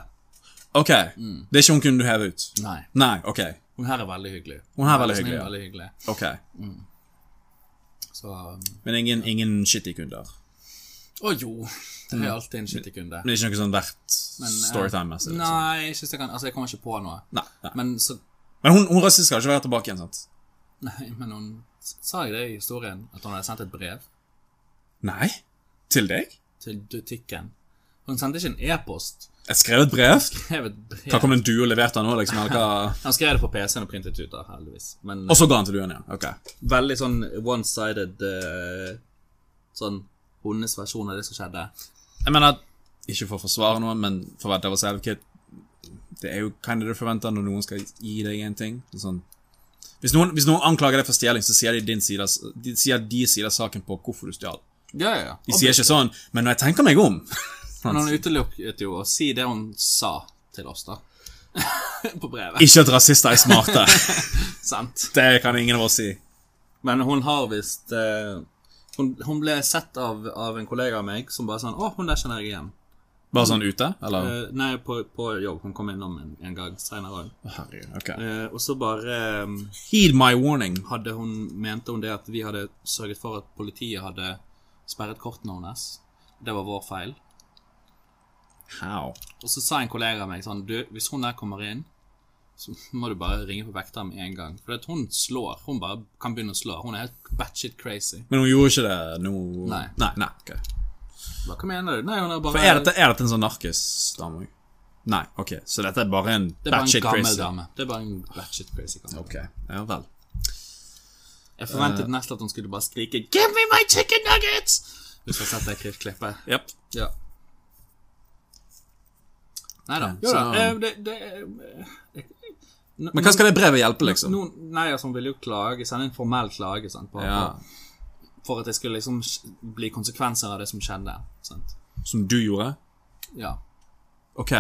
[SPEAKER 1] Ok.
[SPEAKER 2] Mm.
[SPEAKER 1] Det er ikke hun kunne du heve ut?
[SPEAKER 2] Nei.
[SPEAKER 1] Nei, ok.
[SPEAKER 2] Hun her er veldig hyggelig.
[SPEAKER 1] Hun her er veldig
[SPEAKER 2] snill,
[SPEAKER 1] hyggelig, ja.
[SPEAKER 2] veldig hyggelig.
[SPEAKER 1] ok.
[SPEAKER 2] Så um,
[SPEAKER 1] Men ingen, ingen shitty kunder?
[SPEAKER 2] Å jo. Det
[SPEAKER 1] Mm.
[SPEAKER 2] er alltid en skittig kunde.
[SPEAKER 1] Men det er ikke noe sånn verdt
[SPEAKER 2] Men, eh,
[SPEAKER 1] storytime-messig? liksom.
[SPEAKER 2] Nei, ikke så jeg kan, altså jeg kommer ikke på noe.
[SPEAKER 1] Nei, nei.
[SPEAKER 2] Men, så,
[SPEAKER 1] Men hun, hun rasist skal ikke være tilbake igjen, sant?
[SPEAKER 2] nei, men hun sa jeg det i historien, at hun hadde sendt et brev
[SPEAKER 1] Nei? Til deg?
[SPEAKER 2] til butikken. Hun sendte ikke en e-post.
[SPEAKER 1] Jeg skrev et brev.
[SPEAKER 2] Skrev et brev.
[SPEAKER 1] Hva kom det en due og leverte nå, liksom? Eller hva?
[SPEAKER 2] Han skrev det på PC-en og printet ut, da, heldigvis. Men
[SPEAKER 1] Og så ga han til duen, ja. Ok.
[SPEAKER 2] veldig sånn one-sided eh, Sånn hennes versjon av det som skjedde.
[SPEAKER 1] Jeg mener, ikke for å forsvare noe, men for å være devil's advocate, det er jo kind of det forventer når noen skal gi deg en ting. Det er Sånn. Hvis, noen, hvis noen anklager deg for stjeling, så sier de din side, av- de sier de side av saken på hvorfor du stjal.
[SPEAKER 2] Ja, ja,
[SPEAKER 1] De
[SPEAKER 2] ja.
[SPEAKER 1] sier ikke sånn, men når jeg tenker meg om [LAUGHS]
[SPEAKER 2] Men hun utelukket jo å si det hun sa til oss, da. [LAUGHS] på brevet.
[SPEAKER 1] Ikke at rasister er
[SPEAKER 2] [LAUGHS]
[SPEAKER 1] smarte.
[SPEAKER 2] Sant.
[SPEAKER 1] Det kan ingen av oss si.
[SPEAKER 2] Men hun har visst eh, hun, hun ble sett av, av en kollega av meg som bare sånn 'Å, hun der kjenner jeg igjen'.
[SPEAKER 1] Bare sånn ute, eller?
[SPEAKER 2] Eh, nei, på, på jobb. Hun kom innom en, en gang seinere òg.
[SPEAKER 1] Herregud, ok.
[SPEAKER 2] og så bare eh,
[SPEAKER 1] Heed my warning.
[SPEAKER 2] hadde hun Mente hun det at vi hadde sørget for at politiet hadde sperret kortene hennes. Det var vår feil.
[SPEAKER 1] How?
[SPEAKER 2] Og så sa en kollega av meg sånn Du, hvis hun der kommer inn, så må du bare ringe på vekter med en gang. For at hun slår. Hun bare kan begynne å slå. Hun er helt batshit crazy.
[SPEAKER 1] Men hun gjorde ikke det nå
[SPEAKER 2] Nei.
[SPEAKER 1] Nei, nei, ok.
[SPEAKER 2] Hva hva mener du? Nei, hun er bare
[SPEAKER 1] For er dette, er dette en sånn narkis-dame? Nei, ok. Så dette er bare en
[SPEAKER 2] Det er bare en
[SPEAKER 1] batshit
[SPEAKER 2] gammel
[SPEAKER 1] crazy?
[SPEAKER 2] dame. Det er bare en batshit crazy gammel.
[SPEAKER 1] Ok, Eh. ja vel.
[SPEAKER 2] Jeg forventet nesten at hun skulle bare skrike 'Give me my chicken nuggets!' Hvis jeg setter det klippet.
[SPEAKER 1] Yep.
[SPEAKER 2] Ja. Nei da.
[SPEAKER 1] Ja, så- eh,
[SPEAKER 2] eh, det, det
[SPEAKER 1] Men hva skal det brevet hjelpe, liksom?
[SPEAKER 2] Noen, nei, altså hun ville jo klage, sende en formell klage sant, på,
[SPEAKER 1] Ja,
[SPEAKER 2] på, for at det skulle liksom sk- bli konsekvenser av det som skjedde. Sant?
[SPEAKER 1] Som du gjorde?
[SPEAKER 2] Ja.
[SPEAKER 1] Ok,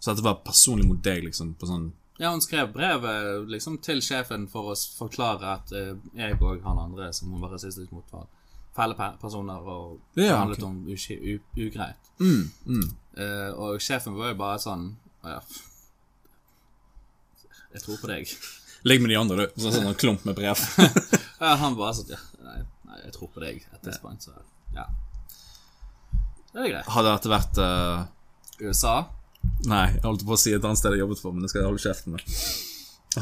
[SPEAKER 1] så dette var personlig mot deg, liksom? På sånn
[SPEAKER 2] ja, hun skrev brevet liksom til sjefen for å s- forklare at eh, jeg og han andre som hun var rasistisk mot, var fæle pe- personer og
[SPEAKER 1] Ja,
[SPEAKER 2] handlet
[SPEAKER 1] ok. Mm,
[SPEAKER 2] om uski- u- ugreit. Eh, og sjefen var jo bare sånn ja, f- Jeg tror på deg.
[SPEAKER 1] Ligg med de andre, du. Sånn, sånn en klump med [LAUGHS] brev.
[SPEAKER 2] Ja, han bare sånn ja, nei, nei, jeg tror på deg at this point, så ja. Det er greit.
[SPEAKER 1] Hadde dette vært eh,
[SPEAKER 2] USA
[SPEAKER 1] Nei, jeg holdt på å si et annet sted jeg jobbet for, men det skal jeg holde kjeften med.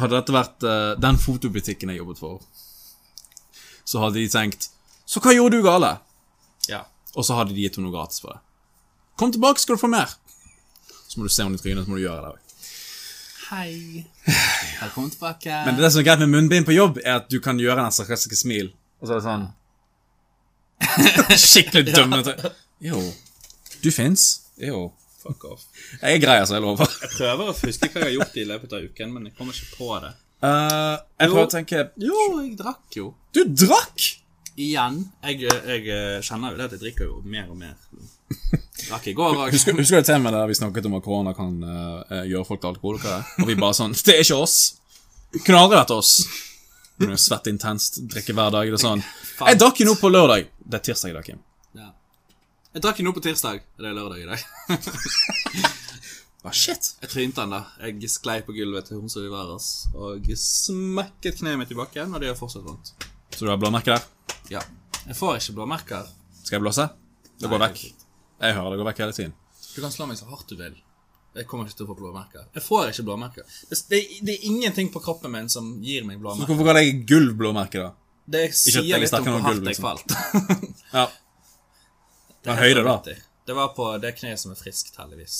[SPEAKER 1] Hadde dette vært eh, den fotobutikken jeg jobbet for, så hadde de tenkt Så hva gjorde du gale?
[SPEAKER 2] Ja.
[SPEAKER 1] Og så hadde de gitt henne noe gratis for det. Kom tilbake, skal du få mer! Så må du se henne i trynet, så må du gjøre det.
[SPEAKER 2] Hei. Velkommen tilbake.
[SPEAKER 1] Men det som er greit med munnbind på jobb, er at du kan gjøre den sarkastiske smil. Og så er det sånn Skikkelig dømmende. Jo. Du fins. Jo.
[SPEAKER 2] Fuck off.
[SPEAKER 1] Jeg er grei, altså. Jeg lover.
[SPEAKER 2] Jeg prøver å huske hva jeg har gjort i løpet av uken, men jeg kommer ikke på det.
[SPEAKER 1] [LAUGHS] Eh, jeg prøver å tenke
[SPEAKER 2] Jo, jeg drakk jo.
[SPEAKER 1] Du drakk!
[SPEAKER 2] Igjen. Jeg, jeg eh, kjenner jo det at jeg drikker jo mer og mer. Drakk i går òg.
[SPEAKER 1] Husker, husker du temaet der vi snakket om at korona kan eh, eh, gjøre folk til alkoholikere? Og vi bare sånn Det er ikke oss! Kunne aldri vært oss. Men det er Svett intenst, drikke hver dag. Det er sånn. Jeg drakk jo nå på lørdag. Det er tirsdag i dag, Kim.
[SPEAKER 2] Ja. Jeg drakk jo nå på tirsdag. Det er lørdag i dag.
[SPEAKER 1] Hva, shit?
[SPEAKER 2] Jeg trynte den, da. Jeg sklei på gulvet til hun som vi var hos, og smekket kneet mitt i bakken, og det gjør fortsatt vondt.
[SPEAKER 1] Så du har blåmerke der?
[SPEAKER 2] Ja. Jeg får ikke blåmerker.
[SPEAKER 1] Skal jeg blåse? Det går
[SPEAKER 2] Nei,
[SPEAKER 1] vekk. Jeg hører det går vekk hele tiden.
[SPEAKER 2] Du kan slå meg så hardt du vil. Jeg kommer ikke til å få blåmerker. Jeg får ikke blåmerker. Det, det, det er ingenting på kroppen min som gir meg blåmerker.
[SPEAKER 1] Hvorfor ga jeg gulvblåmerke, da?
[SPEAKER 2] Det
[SPEAKER 1] at jeg
[SPEAKER 2] sier
[SPEAKER 1] er
[SPEAKER 2] litt om
[SPEAKER 1] sterkere
[SPEAKER 2] hvor
[SPEAKER 1] enn
[SPEAKER 2] hardt
[SPEAKER 1] gulv,
[SPEAKER 2] jeg falt.
[SPEAKER 1] [LAUGHS] Ja. Men høyde, da?
[SPEAKER 2] Det var på det kneet som er friskt, heldigvis.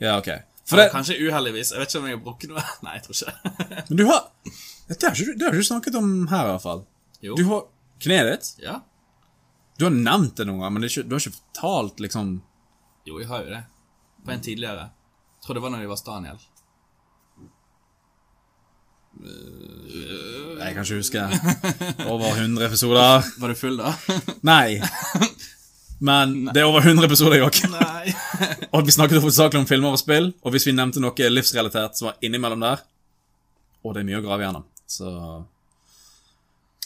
[SPEAKER 1] Ja, ok. For
[SPEAKER 2] Eller
[SPEAKER 1] det,
[SPEAKER 2] Kanskje uheldigvis. Jeg vet ikke om jeg har brukket noe. [LAUGHS] Nei, jeg tror ikke [LAUGHS]
[SPEAKER 1] men du har Det har ikke du- det har ikke du snakket om her, i hvert fall.
[SPEAKER 2] Jo.
[SPEAKER 1] Du har kneet ditt.
[SPEAKER 2] Ja.
[SPEAKER 1] Du har nevnt det noen gang, men det er ikke, du har ikke fortalt, liksom
[SPEAKER 2] Jo, jeg har jo det. På en tidligere. Jeg tror det var når vi var hos Daniel.
[SPEAKER 1] Jeg kan ikke huske. Over 100 episoder.
[SPEAKER 2] Var du full da?
[SPEAKER 1] Nei. Men det er over 100 episoder, Joakim. [LAUGHS]
[SPEAKER 2] [LAUGHS] Nei.
[SPEAKER 1] Og vi snakket hovedsakelig om filmer og spill. Og hvis vi nevnte noe livsrelatert som var innimellom der Og det er mye å grave gjennom, så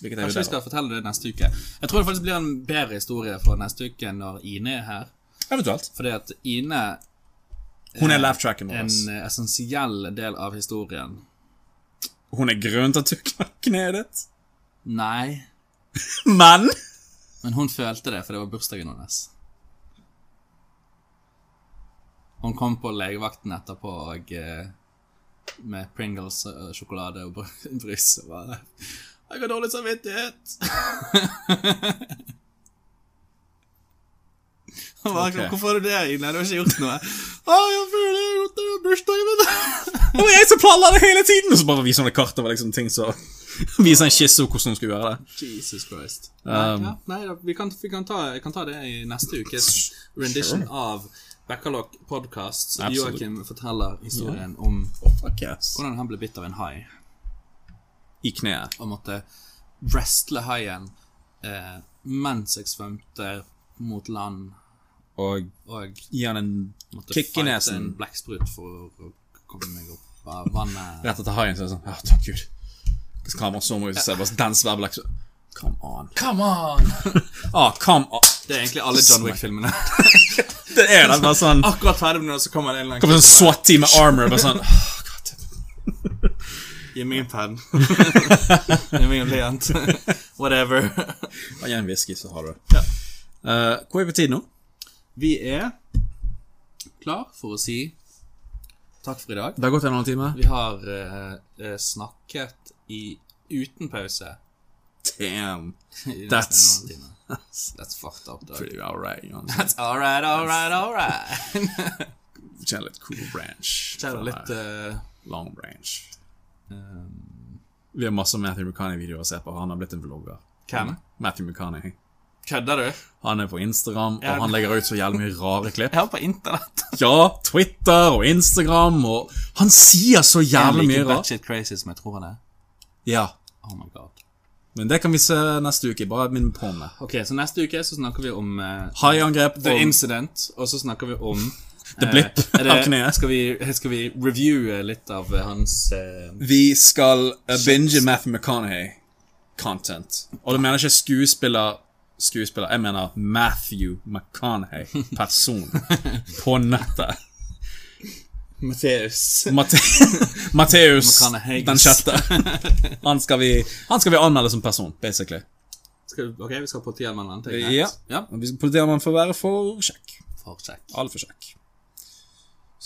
[SPEAKER 1] Hvilket er jo
[SPEAKER 2] Kanskje vi
[SPEAKER 1] det. da?
[SPEAKER 2] skal fortelle det neste uke. Jeg tror det faktisk blir en bedre historie for neste uke når Ine er her.
[SPEAKER 1] Eventuelt.
[SPEAKER 2] Fordi at Ine er
[SPEAKER 1] Hun er laugh tracken vår.
[SPEAKER 2] en eh, essensiell del av historien.
[SPEAKER 1] Hun er grunnen til at du knakk kneet ditt.
[SPEAKER 2] Nei,
[SPEAKER 1] Men
[SPEAKER 2] men hun følte det, for det var bursdagen hennes. Hun kom på legevakten etterpå og eh, med Pringles og sjokolade og br- [LAUGHS] brus og bare Jeg har dårlig samvittighet! [LAUGHS] Hun bare,
[SPEAKER 1] Ok.
[SPEAKER 2] Hvorfor har du det, Ine? Du har ikke gjort noe. [LAUGHS] Å, jeg føler jeg har gjort det, det var bursdagen min!
[SPEAKER 1] det var jeg som planla det hele tiden! Og så bare viser hun et kart over liksom ting som [LAUGHS] Viser en skisse over hvordan hun skulle gjøre det.
[SPEAKER 2] Jesus Christ. Nei,
[SPEAKER 1] Um,
[SPEAKER 2] ja, nei da, vi, kan, vi kan ta, jeg kan ta det i neste ukes rendition av Backalock Podcast.
[SPEAKER 1] Absolutt.
[SPEAKER 2] Joakim forteller historien om
[SPEAKER 1] Fuck yes.
[SPEAKER 2] hvordan han ble bitt av en hai
[SPEAKER 1] I kneet.
[SPEAKER 2] og måtte wrestle haien eh, mens jeg svømte mot land
[SPEAKER 1] Og
[SPEAKER 2] og
[SPEAKER 1] gi han en
[SPEAKER 2] måtte
[SPEAKER 1] kick i
[SPEAKER 2] fighte
[SPEAKER 1] nesen.
[SPEAKER 2] en blekksprut for å komme meg opp av vannet.
[SPEAKER 1] Rett etter haien så er det sånn Ja, takk Gud. Så kommer så må vi se bare den sværbelekk så Come on.
[SPEAKER 2] Come on!
[SPEAKER 1] Ah, come on.
[SPEAKER 2] Det er egentlig alle John
[SPEAKER 1] [LAUGHS]
[SPEAKER 2] Wick-filmene.
[SPEAKER 1] Det er det, bare sånn
[SPEAKER 2] Akkurat ferdig med noe, så kommer det en eller annen
[SPEAKER 1] Kommer sånn SWAT-team med armor bare [LAUGHS] sånn «Åh, God damn.
[SPEAKER 2] Gi meg en [LAUGHS] penn. Gi meg en [LAUGHS] blyant. Whatever.
[SPEAKER 1] Bare Gi en whisky, så har du det. Eh, hvor er vi på tid nå?
[SPEAKER 2] Vi er klar for å si takk for i dag.
[SPEAKER 1] Det har gått en og en halv time.
[SPEAKER 2] Vi har eh, eh, snakket i uten pause.
[SPEAKER 1] Damn.
[SPEAKER 2] i nesten
[SPEAKER 1] That's-
[SPEAKER 2] en halv time. [LAUGHS] That's fucked up, dog.
[SPEAKER 1] Pretty all right. You know.
[SPEAKER 2] That's all right, all right, all [LAUGHS] right.
[SPEAKER 1] Kjenner litt cool branch.
[SPEAKER 2] Kjenner litt eh,
[SPEAKER 1] Long branch. Um, Vi har masse Matthew McConaughey-videoer å se på. Han har blitt en vlogger. Mm.
[SPEAKER 2] Hvem?
[SPEAKER 1] Matthew McConaughey.
[SPEAKER 2] Kødder du?
[SPEAKER 1] Han er på Instagram,
[SPEAKER 2] Ja.
[SPEAKER 1] og han legger ut så jævlig
[SPEAKER 2] [LAUGHS]
[SPEAKER 1] mye rare klipp.
[SPEAKER 2] Jeg er på internett.
[SPEAKER 1] Ja, Twitter og Instagram og Han sier så
[SPEAKER 2] Jeg
[SPEAKER 1] jævlig mye
[SPEAKER 2] liker
[SPEAKER 1] rart.
[SPEAKER 2] batshit crazy som jeg tror han er.
[SPEAKER 1] Ja,
[SPEAKER 2] Oh my god.
[SPEAKER 1] men det kan vi se neste uke. Bare minn på om det.
[SPEAKER 2] Ok, så neste uke så snakker vi om eh,
[SPEAKER 1] Haiangrep
[SPEAKER 2] The
[SPEAKER 1] og
[SPEAKER 2] Incident, og så snakker vi om
[SPEAKER 1] The Blip
[SPEAKER 2] eh, er det-
[SPEAKER 1] av [LAUGHS] kneet.
[SPEAKER 2] Skal vi, skal vi reviewe litt av eh, hans eh,
[SPEAKER 1] Vi skal eh, binge Matthew McConaughey-content. Og da mener jeg ikke skuespiller Skuespiller, jeg mener Matthew McConaughey-person på nettet.
[SPEAKER 2] Matheus.
[SPEAKER 1] Mate- [LAUGHS] Matteus
[SPEAKER 2] McConaughey.
[SPEAKER 1] den sjette. Han skal, vi, han skal vi anmelde som person, basically.
[SPEAKER 2] Skal, vi- ok, vi skal på Tiananmen. det er greit.
[SPEAKER 1] Ja.
[SPEAKER 2] ja.
[SPEAKER 1] Og vi skal- Politiet man får være for kjekk.
[SPEAKER 2] For kjekk.
[SPEAKER 1] Altfor kjekk.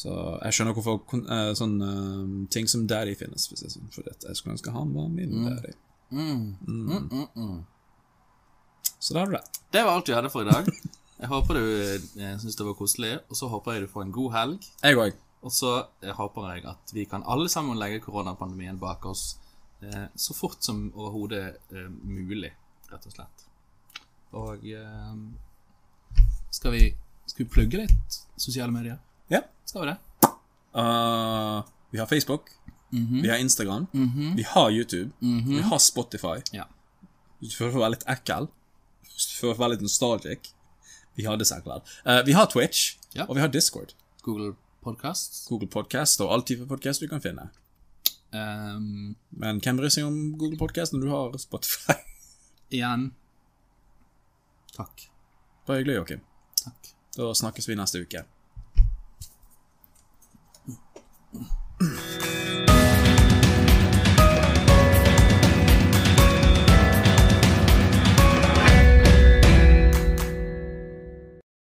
[SPEAKER 1] Så jeg skjønner hvorfor kon- eh, sånn eh, ting som daddy finnes. For, å si det sånn, for at jeg skulle ønske han var min
[SPEAKER 2] Mm.
[SPEAKER 1] daddy. Mm. Så da har du det.
[SPEAKER 2] Det var alt vi hadde for i dag. Jeg håper du eh, syns det var koselig, og så håper jeg du får en god helg.
[SPEAKER 1] Jeg òg.
[SPEAKER 2] Og så eh, håper jeg at vi kan alle sammen legge koronapandemien bak oss eh, så fort som overhodet eh, mulig, rett og slett. Og eh, skal vi Skal vi plugge litt sosiale medier?
[SPEAKER 1] Ja.
[SPEAKER 2] Skal vi det?
[SPEAKER 1] Eh, vi har Facebook.
[SPEAKER 2] Mhm.
[SPEAKER 1] Vi har Instagram. Vi har YouTube. Vi har Spotify.
[SPEAKER 2] Ja.
[SPEAKER 1] Hvis du føler for å være litt ekkel, hvis du føler for å være litt nostalgic Vi har det likevel. Eh, vi har Twitch,
[SPEAKER 2] Ja.
[SPEAKER 1] og vi har Discord.
[SPEAKER 2] Google Podcast.
[SPEAKER 1] Google Podcast og all type podcast du kan finne.
[SPEAKER 2] Ehm,
[SPEAKER 1] Men hvem bryr seg om Google Podcast når du har Spotify? [LAUGHS]
[SPEAKER 2] igjen Takk.
[SPEAKER 1] Bare hyggelig, Joakim.
[SPEAKER 2] Takk.
[SPEAKER 1] Da snakkes vi neste uke.